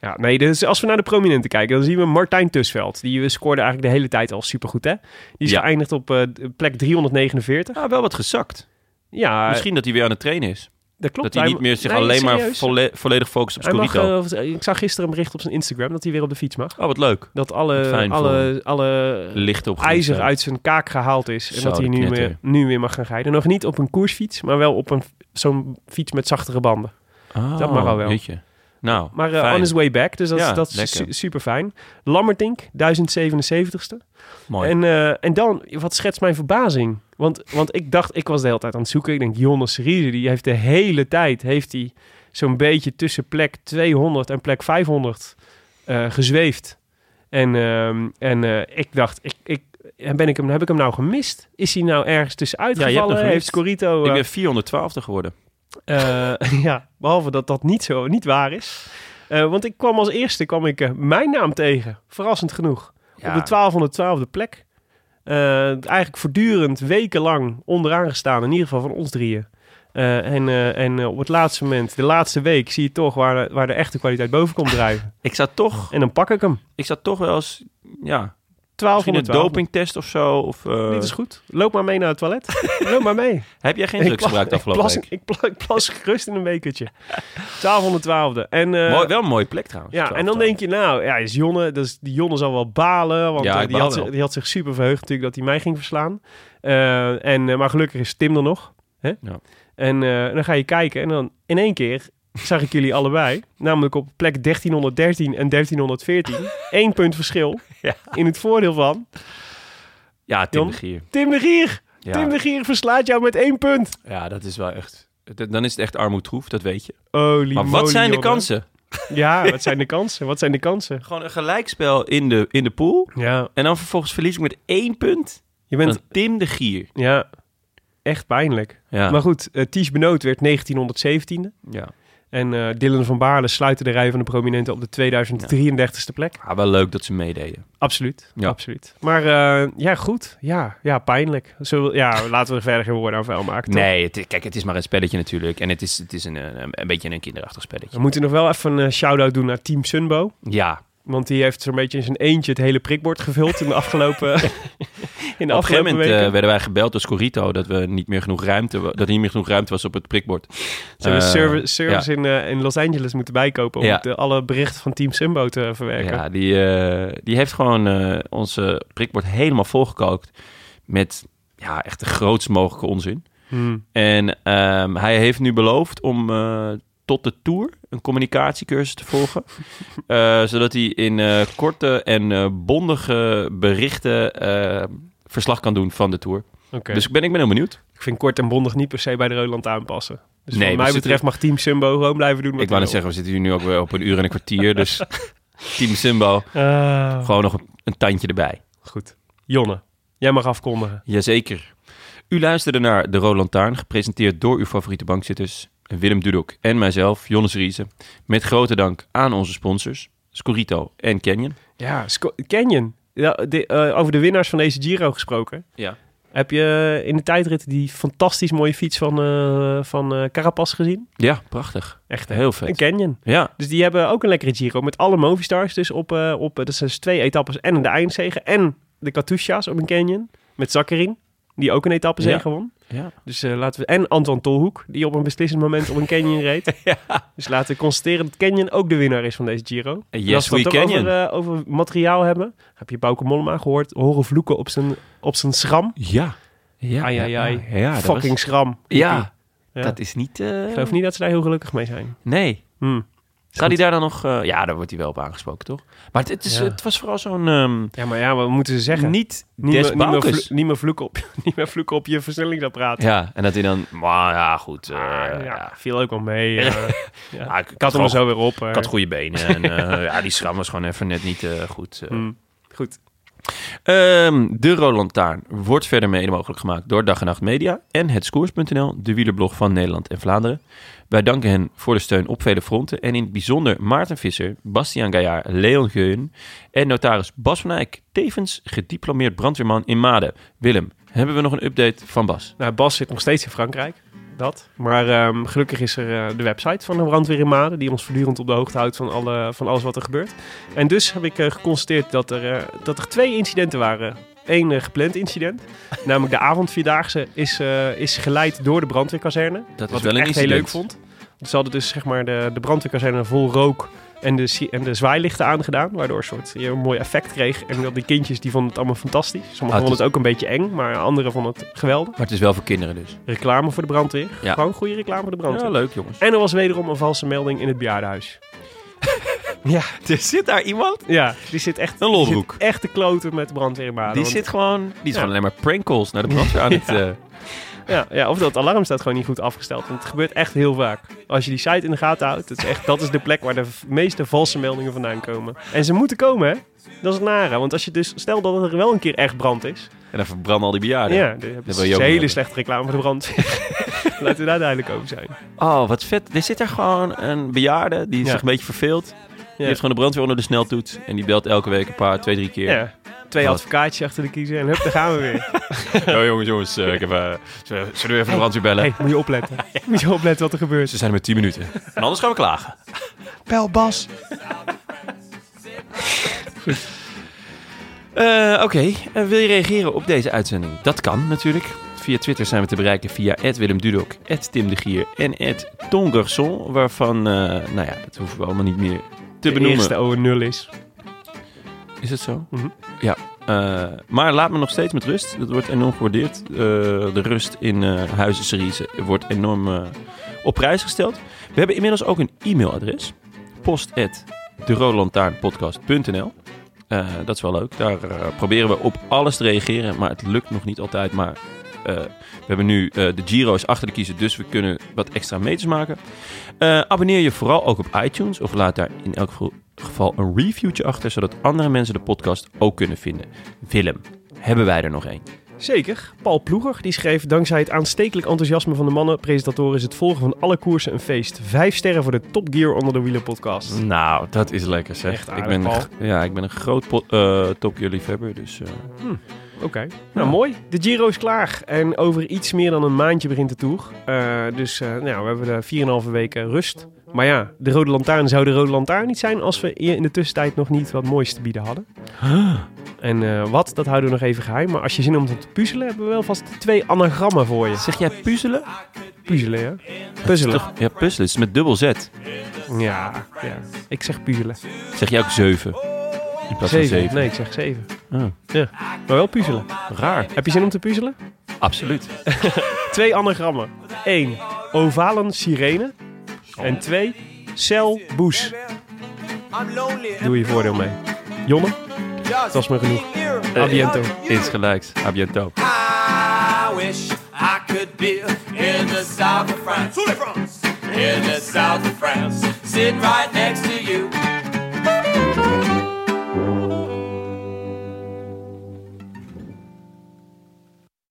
Speaker 2: ja, nee, dus als we naar de prominente kijken, dan zien we Martijn Tusveld. Die eh, scoorde eigenlijk de hele tijd al supergoed, hè? Die is
Speaker 1: Ja.
Speaker 2: geëindigd op eh, plek 349.
Speaker 1: Ja, wel wat gezakt.
Speaker 2: Ja,
Speaker 1: Misschien dat hij weer aan het trainen is.
Speaker 2: dat klopt.
Speaker 1: dat hij niet meer zich alleen maar
Speaker 2: vol.
Speaker 1: volle- volledig focust op
Speaker 2: Hij mag,
Speaker 1: Scorito.
Speaker 2: eh, ik zag gisteren een bericht op zijn Instagram dat hij weer op de fiets mag.
Speaker 1: oh, wat leuk.
Speaker 2: Dat alle,
Speaker 1: Fijn voor
Speaker 2: alle, alle
Speaker 1: Licht op.
Speaker 2: ijzer uit zijn kaak gehaald is. En
Speaker 1: Zo,
Speaker 2: dat hij
Speaker 1: de
Speaker 2: nu
Speaker 1: knetter.
Speaker 2: weer, nu weer mag gaan rijden. Nog niet op een koersfiets, maar wel op een zo'n fiets met zachtere banden.
Speaker 1: Oh,
Speaker 2: dat mag al wel.
Speaker 1: weet je. Nou,
Speaker 2: Maar eh,
Speaker 1: fijn.
Speaker 2: on his way back, dus dat, is-
Speaker 1: Ja,
Speaker 2: dat is
Speaker 1: lekker.
Speaker 2: super fijn. Lammertink, 1077ste.
Speaker 1: mooi.
Speaker 2: En, eh, en dan, wat schetst mijn verbazing? Want, want ik dacht, ik was de hele tijd aan het zoeken. Ik denk, Jonas Riese, die heeft de hele tijd... heeft hij zo'n beetje tussen plek 200 en plek 500 eh, gezweefd. En, ehm, en eh, ik dacht, ik, ik, en ben ik hem, heb ik hem nou gemist? Is hij nou ergens tussenuit
Speaker 1: Ja, je hebt hem
Speaker 2: gevallen?
Speaker 1: gemist.
Speaker 2: heeft Scorito...
Speaker 1: ik
Speaker 2: eh,
Speaker 1: ben 412 geworden.
Speaker 2: eh, ja, behalve dat dat niet, zo, niet waar is. Eh, want ik kwam als eerste kwam ik, eh, mijn naam tegen. Verrassend genoeg.
Speaker 1: Ja.
Speaker 2: Op de 1212e plek. Eh, eigenlijk voortdurend wekenlang onderaan gestaan. In ieder geval van ons drieën. Eh, en eh, en eh, op het laatste moment, de laatste week, zie je toch waar, de- waar de echte kwaliteit boven komt drijven.
Speaker 1: Ik zou toch,
Speaker 2: En dan pak ik hem.
Speaker 1: ik zou toch wel eens, ja,
Speaker 2: 12
Speaker 1: misschien een dopingtest of zo. Of, eh,
Speaker 2: Dit is goed. Loop maar mee naar het toilet. Loop maar mee.
Speaker 1: Heb jij geen drugs
Speaker 2: pla-
Speaker 1: gebruikt
Speaker 2: ik,
Speaker 1: afgelopen
Speaker 2: plas,
Speaker 1: week?
Speaker 2: ik, pla- ik plas gerust in een bekertje. 1212e. En, eh,
Speaker 1: Mooi, wel een mooie plek trouwens.
Speaker 2: Ja, en dan denk je, nou, ja, is Jonne, dus die Jonne zal wel balen. Want
Speaker 1: Ja,
Speaker 2: eh,
Speaker 1: ik
Speaker 2: die,
Speaker 1: baal
Speaker 2: had, zich-
Speaker 1: wel.
Speaker 2: die had zich super verheugd natuurlijk dat hij mij ging verslaan. Eh, en, eh, maar gelukkig is Tim er nog. Hè?
Speaker 1: Ja.
Speaker 2: En eh, dan ga je kijken en dan in één keer zag ik jullie allebei. Namelijk op plek 1313 en 1314. Eén punt verschil.
Speaker 1: Ja.
Speaker 2: In het voordeel van
Speaker 1: Ja, Tim
Speaker 2: Jon?
Speaker 1: de Gier.
Speaker 2: Tim de Gier.
Speaker 1: Ja.
Speaker 2: Tim de Gier verslaat jou met één punt.
Speaker 1: ja, dat is wel echt... d- Dan is het echt armoedtroef, dat weet je.
Speaker 2: Holy
Speaker 1: Maar wat
Speaker 2: moly,
Speaker 1: zijn de
Speaker 2: Jonne.
Speaker 1: kansen?
Speaker 2: Ja, wat zijn de kansen? Wat zijn de kansen?
Speaker 1: Gewoon een gelijkspel in de, in de pool.
Speaker 2: Ja,
Speaker 1: En dan vervolgens verlies ik met één punt.
Speaker 2: je bent
Speaker 1: Dan Tim de Gier.
Speaker 2: ja, echt pijnlijk.
Speaker 1: Ja,
Speaker 2: Maar goed, eh Ties Benoot werd 1917e.
Speaker 1: ja.
Speaker 2: En eh, Dylan van Baarle sluitte de rij van de prominenten op de 2033ste plek.
Speaker 1: Ah, wel leuk dat ze meededen.
Speaker 2: Absoluut,
Speaker 1: Ja.
Speaker 2: absoluut. Maar eh, ja, goed. Ja, ja pijnlijk. Zullen we- ja, laten we er verder geen woorden aan vuil maken. toch?
Speaker 1: Nee, het, kijk, het is maar een spelletje natuurlijk. En het is, het is een, een, een beetje een kinderachtig
Speaker 2: We
Speaker 1: spelletje.
Speaker 2: moeten nog wel even een eh, shout-out doen naar Team Sunbo.
Speaker 1: Ja,
Speaker 2: Want die heeft zo'n beetje in zijn eentje het hele prikbord gevuld in de afgelopen, in de
Speaker 1: Op een gegeven
Speaker 2: afgelopen
Speaker 1: moment
Speaker 2: weken.
Speaker 1: eh, werden wij gebeld door Scorito dat we niet meer genoeg ruimte, wa- dat er niet meer genoeg ruimte was op het prikbord.
Speaker 2: Ze hebben
Speaker 1: Eh,
Speaker 2: service, service in, eh, in Los Angeles moeten bijkopen om
Speaker 1: Ja.
Speaker 2: de, alle berichten van Team Sunbo te
Speaker 1: ja,
Speaker 2: verwerken.
Speaker 1: ja, die, eh, die heeft gewoon eh, onze prikbord helemaal volgekookt met ja, echt de grootst mogelijke onzin.
Speaker 2: Hmm.
Speaker 1: En ehm, hij heeft nu beloofd om eh, tot de tour een communicatiecursus te volgen. Eh, zodat hij in eh, korte en eh, bondige berichten eh, verslag kan doen van de tour.
Speaker 2: Oké.
Speaker 1: Dus ik ben, ik ben heel benieuwd.
Speaker 2: Ik vind kort en bondig niet per se bij de Roland aanpassen. Dus
Speaker 1: Nee,
Speaker 2: wat
Speaker 1: we
Speaker 2: mij
Speaker 1: zitten-
Speaker 2: betreft mag Team Sumbo gewoon blijven doen wat
Speaker 1: Ik wou net
Speaker 2: hij
Speaker 1: zeggen, we zitten hier nu ook weer op een uur en een kwartier. Dus Team Simbo,
Speaker 2: wil. Ah.
Speaker 1: gewoon nog een, een tandje erbij.
Speaker 2: Goed. Jonne, jij mag afkondigen.
Speaker 1: Jazeker. U luisterde naar De Roland Taarn, gepresenteerd door uw favoriete bankzitters Willem Dudok en mijzelf, Jonas Riese. Met grote dank aan onze sponsors, Scorito en Canyon.
Speaker 2: Ja, Sco- Canyon. Ja, de- eh, over de winnaars van deze Giro gesproken.
Speaker 1: Ja.
Speaker 2: Heb je eh, in de tijdrit die fantastisch mooie fiets van, eh, van eh, Carapaz gezien?
Speaker 1: Ja, prachtig.
Speaker 2: Echt
Speaker 1: Heel
Speaker 2: Een
Speaker 1: vet.
Speaker 2: Canyon.
Speaker 1: Ja,
Speaker 2: Dus die hebben ook een lekkere Giro met alle Movistars. Dus op, eh, op eh, dat zijn dus twee etappes en de eindzegen. En de Katusha's op een Canyon. Met Zakkerin, die ook een etappezegen
Speaker 1: Ja.
Speaker 2: won.
Speaker 1: ja.
Speaker 2: Dus eh, laten we... En Anton Tolhoek, die op een beslissend moment op een canyon reed. Dus laten we constateren dat Canyon ook de winnaar is van deze Giro.
Speaker 1: En
Speaker 2: En
Speaker 1: yes,
Speaker 2: als we het
Speaker 1: we
Speaker 2: dan toch
Speaker 1: Canyon.
Speaker 2: Over, eh, over materiaal hebben. Heb je Bauke Mollema gehoord? Horen vloeken op zijn, op zijn schram?
Speaker 1: Ja. Ja,
Speaker 2: Ai, ai, ai.
Speaker 1: ja, ja, dat
Speaker 2: Fucking
Speaker 1: was-
Speaker 2: schram.
Speaker 1: ja,
Speaker 2: Ja.
Speaker 1: dat is niet... eh,
Speaker 2: Ik geloof niet dat ze daar heel gelukkig mee zijn.
Speaker 1: Nee.
Speaker 2: Hm.
Speaker 1: Zou die daar dan nog... eh, ja, daar wordt hij wel op aangesproken, toch? Maar het, het is,
Speaker 2: Ja.
Speaker 1: het was vooral zo'n... ehm,
Speaker 2: Ja, maar ja, wat moeten ze zeggen?
Speaker 1: Niet
Speaker 2: niet,
Speaker 1: Des
Speaker 2: meer, niet, meer
Speaker 1: Baukes.
Speaker 2: vlo- niet meer vloeken op, niet meer vloeken op je versnellingsapparaat.
Speaker 1: Ja, en dat hij dan... Maar ja, goed. eh,
Speaker 2: Ah, ja,
Speaker 1: ja.
Speaker 2: viel ook wel mee. eh.
Speaker 1: Ja, ik, ik
Speaker 2: ik had hem
Speaker 1: gewoon-
Speaker 2: er zo weer op. eh.
Speaker 1: ik had goede benen. En, eh, ja, die schram was gewoon even net niet eh, goed. eh.
Speaker 2: Hm. Goed.
Speaker 1: Ehm, de Roland Taarn wordt verder mede mogelijk gemaakt door Dag en Nacht Media en het Scoers.nl, de wielerblog van Nederland en Vlaanderen. Wij danken hen voor de steun op vele fronten en in het bijzonder Maarten Visser, Bastiaan Gaillard, Leon Geun en notaris Bas van Eyck, tevens gediplomeerd brandweerman in Maden. Willem, hebben we nog een update van Bas?
Speaker 2: Nou, Bas zit nog steeds in Frankrijk. Dat. Maar ehm, gelukkig is er eh, de website van de brandweer in Maden... die ons voortdurend op de hoogte houdt van, alle, van alles wat er gebeurt. En dus heb ik eh, geconstateerd dat er, eh, dat er twee incidenten waren. Eén eh, gepland incident. Namelijk de avondvierdaagse is, eh, is geleid door de brandweerkazerne.
Speaker 1: Dat
Speaker 2: Wat ik echt heel leuk vond. Ze hadden dus zeg maar de, de brandweerkazerne vol rook en de, si- en de zwaailichten aangedaan. Waardoor een soort, je een mooi effect kreeg. En dat die kindjes die vonden het allemaal fantastisch. Sommigen
Speaker 1: Ah, het
Speaker 2: vonden het ook een beetje eng, maar anderen vonden het geweldig.
Speaker 1: Maar het is wel voor kinderen dus.
Speaker 2: Reclame voor de brandweer.
Speaker 1: Ja.
Speaker 2: Gewoon goede reclame voor de brandweer.
Speaker 1: leuk jongens.
Speaker 2: en er was wederom een valse melding in het bejaardenhuis. ja,
Speaker 1: Er zit daar iemand,
Speaker 2: ja, die zit echt...
Speaker 1: Een
Speaker 2: die
Speaker 1: lolbroek.
Speaker 2: zit echt te kloten met de brandweer in Maden,
Speaker 1: die
Speaker 2: want-
Speaker 1: zit gewoon... Die is
Speaker 2: Ja.
Speaker 1: gewoon alleen maar prank calls naar de brandweer aan het... eh,
Speaker 2: Ja, ja, of dat alarm staat gewoon niet goed afgesteld. Want het gebeurt echt heel vaak. Als je die site in de gaten houdt, dat is, echt, dat is de plek waar de v- meeste valse meldingen vandaan komen. En ze moeten komen, hè? Dat is het nare. Want als je dus, stel dat er wel een keer echt brand is.
Speaker 1: en dan verbranden al die bejaarden.
Speaker 2: Ja, dan heb je
Speaker 1: Ah, wil je ook
Speaker 2: een
Speaker 1: niet
Speaker 2: hele
Speaker 1: hebben.
Speaker 2: slechte reclame voor de brand. Laten we daar duidelijk over zijn.
Speaker 1: Oh, wat vet. Er zit er gewoon een bejaarde die
Speaker 2: Ja.
Speaker 1: zich een beetje verveelt. Die heeft gewoon de brandweer onder de sneltoets. En die belt elke week een paar, twee, drie keer.
Speaker 2: Ja. Twee
Speaker 1: Wat?
Speaker 2: advocaatjes achter de kiezer en hup, daar gaan we weer.
Speaker 1: Oh jongens, jongens. eh, ik heb, eh, zullen we even de brandweer bellen?
Speaker 2: hey, moet je opletten. Moet je opletten wat er gebeurt.
Speaker 1: Ze zijn er met 10 minuten. En anders gaan we klagen.
Speaker 2: Bel Bas.
Speaker 1: Eh, Oké, Eh, wil je reageren op deze uitzending? Dat kan natuurlijk. Via Twitter zijn we te bereiken via Willem Dudok, Tim de Gier en Tongerson. Waarvan, eh, nou ja, dat hoeven we allemaal niet meer te
Speaker 2: De
Speaker 1: benoemen.
Speaker 2: eerste over nul is.
Speaker 1: Is het zo?
Speaker 2: Mhm.
Speaker 1: Ja. Eh, maar laat me nog steeds met rust. Dat wordt enorm gewaardeerd. Eh, de rust in eh huizen series wordt enorm eh, op prijs gesteld. We hebben inmiddels ook een e-mailadres. Post Eh, dat is wel leuk. Daar eh, proberen we op alles te reageren. Maar het lukt nog niet altijd. Maar eh, we hebben nu eh, de Giro's achter de kiezer. Dus we kunnen wat extra meters maken. Eh, abonneer je vooral ook op iTunes. Of laat daar in elk geval geval een reviewtje achter, zodat andere mensen de podcast ook kunnen vinden. Willem, hebben wij er nog één?
Speaker 2: Zeker. Paul Ploeger die schreef: Dankzij het aanstekelijk enthousiasme van de mannen, presentatoren, is het volgen van alle koersen een feest. Vijf sterren voor de Top Gear onder de wielen podcast.
Speaker 1: Nou, dat is lekker zeg. ik
Speaker 2: Echt aardig,
Speaker 1: ben,
Speaker 2: Paul.
Speaker 1: ja, ik ben een groot po- eh, Top Gear liefhebber, dus eh,
Speaker 2: Oké. Nou, mooi. De Giro is klaar. En over iets meer dan een maandje begint de Tour. Eh, dus eh, nou, we hebben de 4,5 weken rust. Maar ja, de Rode Lantaarn zou de Rode Lantaarn niet zijn als we eer- in de tussentijd nog niet wat moois te bieden hadden. En eh, wat, dat houden we nog even geheim. Maar als je zin hebt om te puzzelen, hebben we wel vast twee anagrammen voor je.
Speaker 1: zeg jij puzzelen?
Speaker 2: Puzzelen, ja? Puzzelen.
Speaker 1: Toch? Ja, puzzelen. Het is met dubbel Z.
Speaker 2: Ja, ja. Ik zeg puzzelen.
Speaker 1: Zeg jij ook zeven? In plaats van zeven.
Speaker 2: Nee, ik zeg zeven.
Speaker 1: Oh.
Speaker 2: Ja. Maar wel puzzelen.
Speaker 1: Raar.
Speaker 2: Heb je zin om te puzzelen?
Speaker 1: Absoluut.
Speaker 2: Twee anagrammen. Eén, ovalen sirene. En twee, cel boes. Doe je voordeel mee. Jonne, dat was me genoeg.
Speaker 4: Eh,
Speaker 2: Abiento.
Speaker 1: Eens gelijks. Abiento.
Speaker 4: I wish I could be in the south of France. In the south of France. Sitting right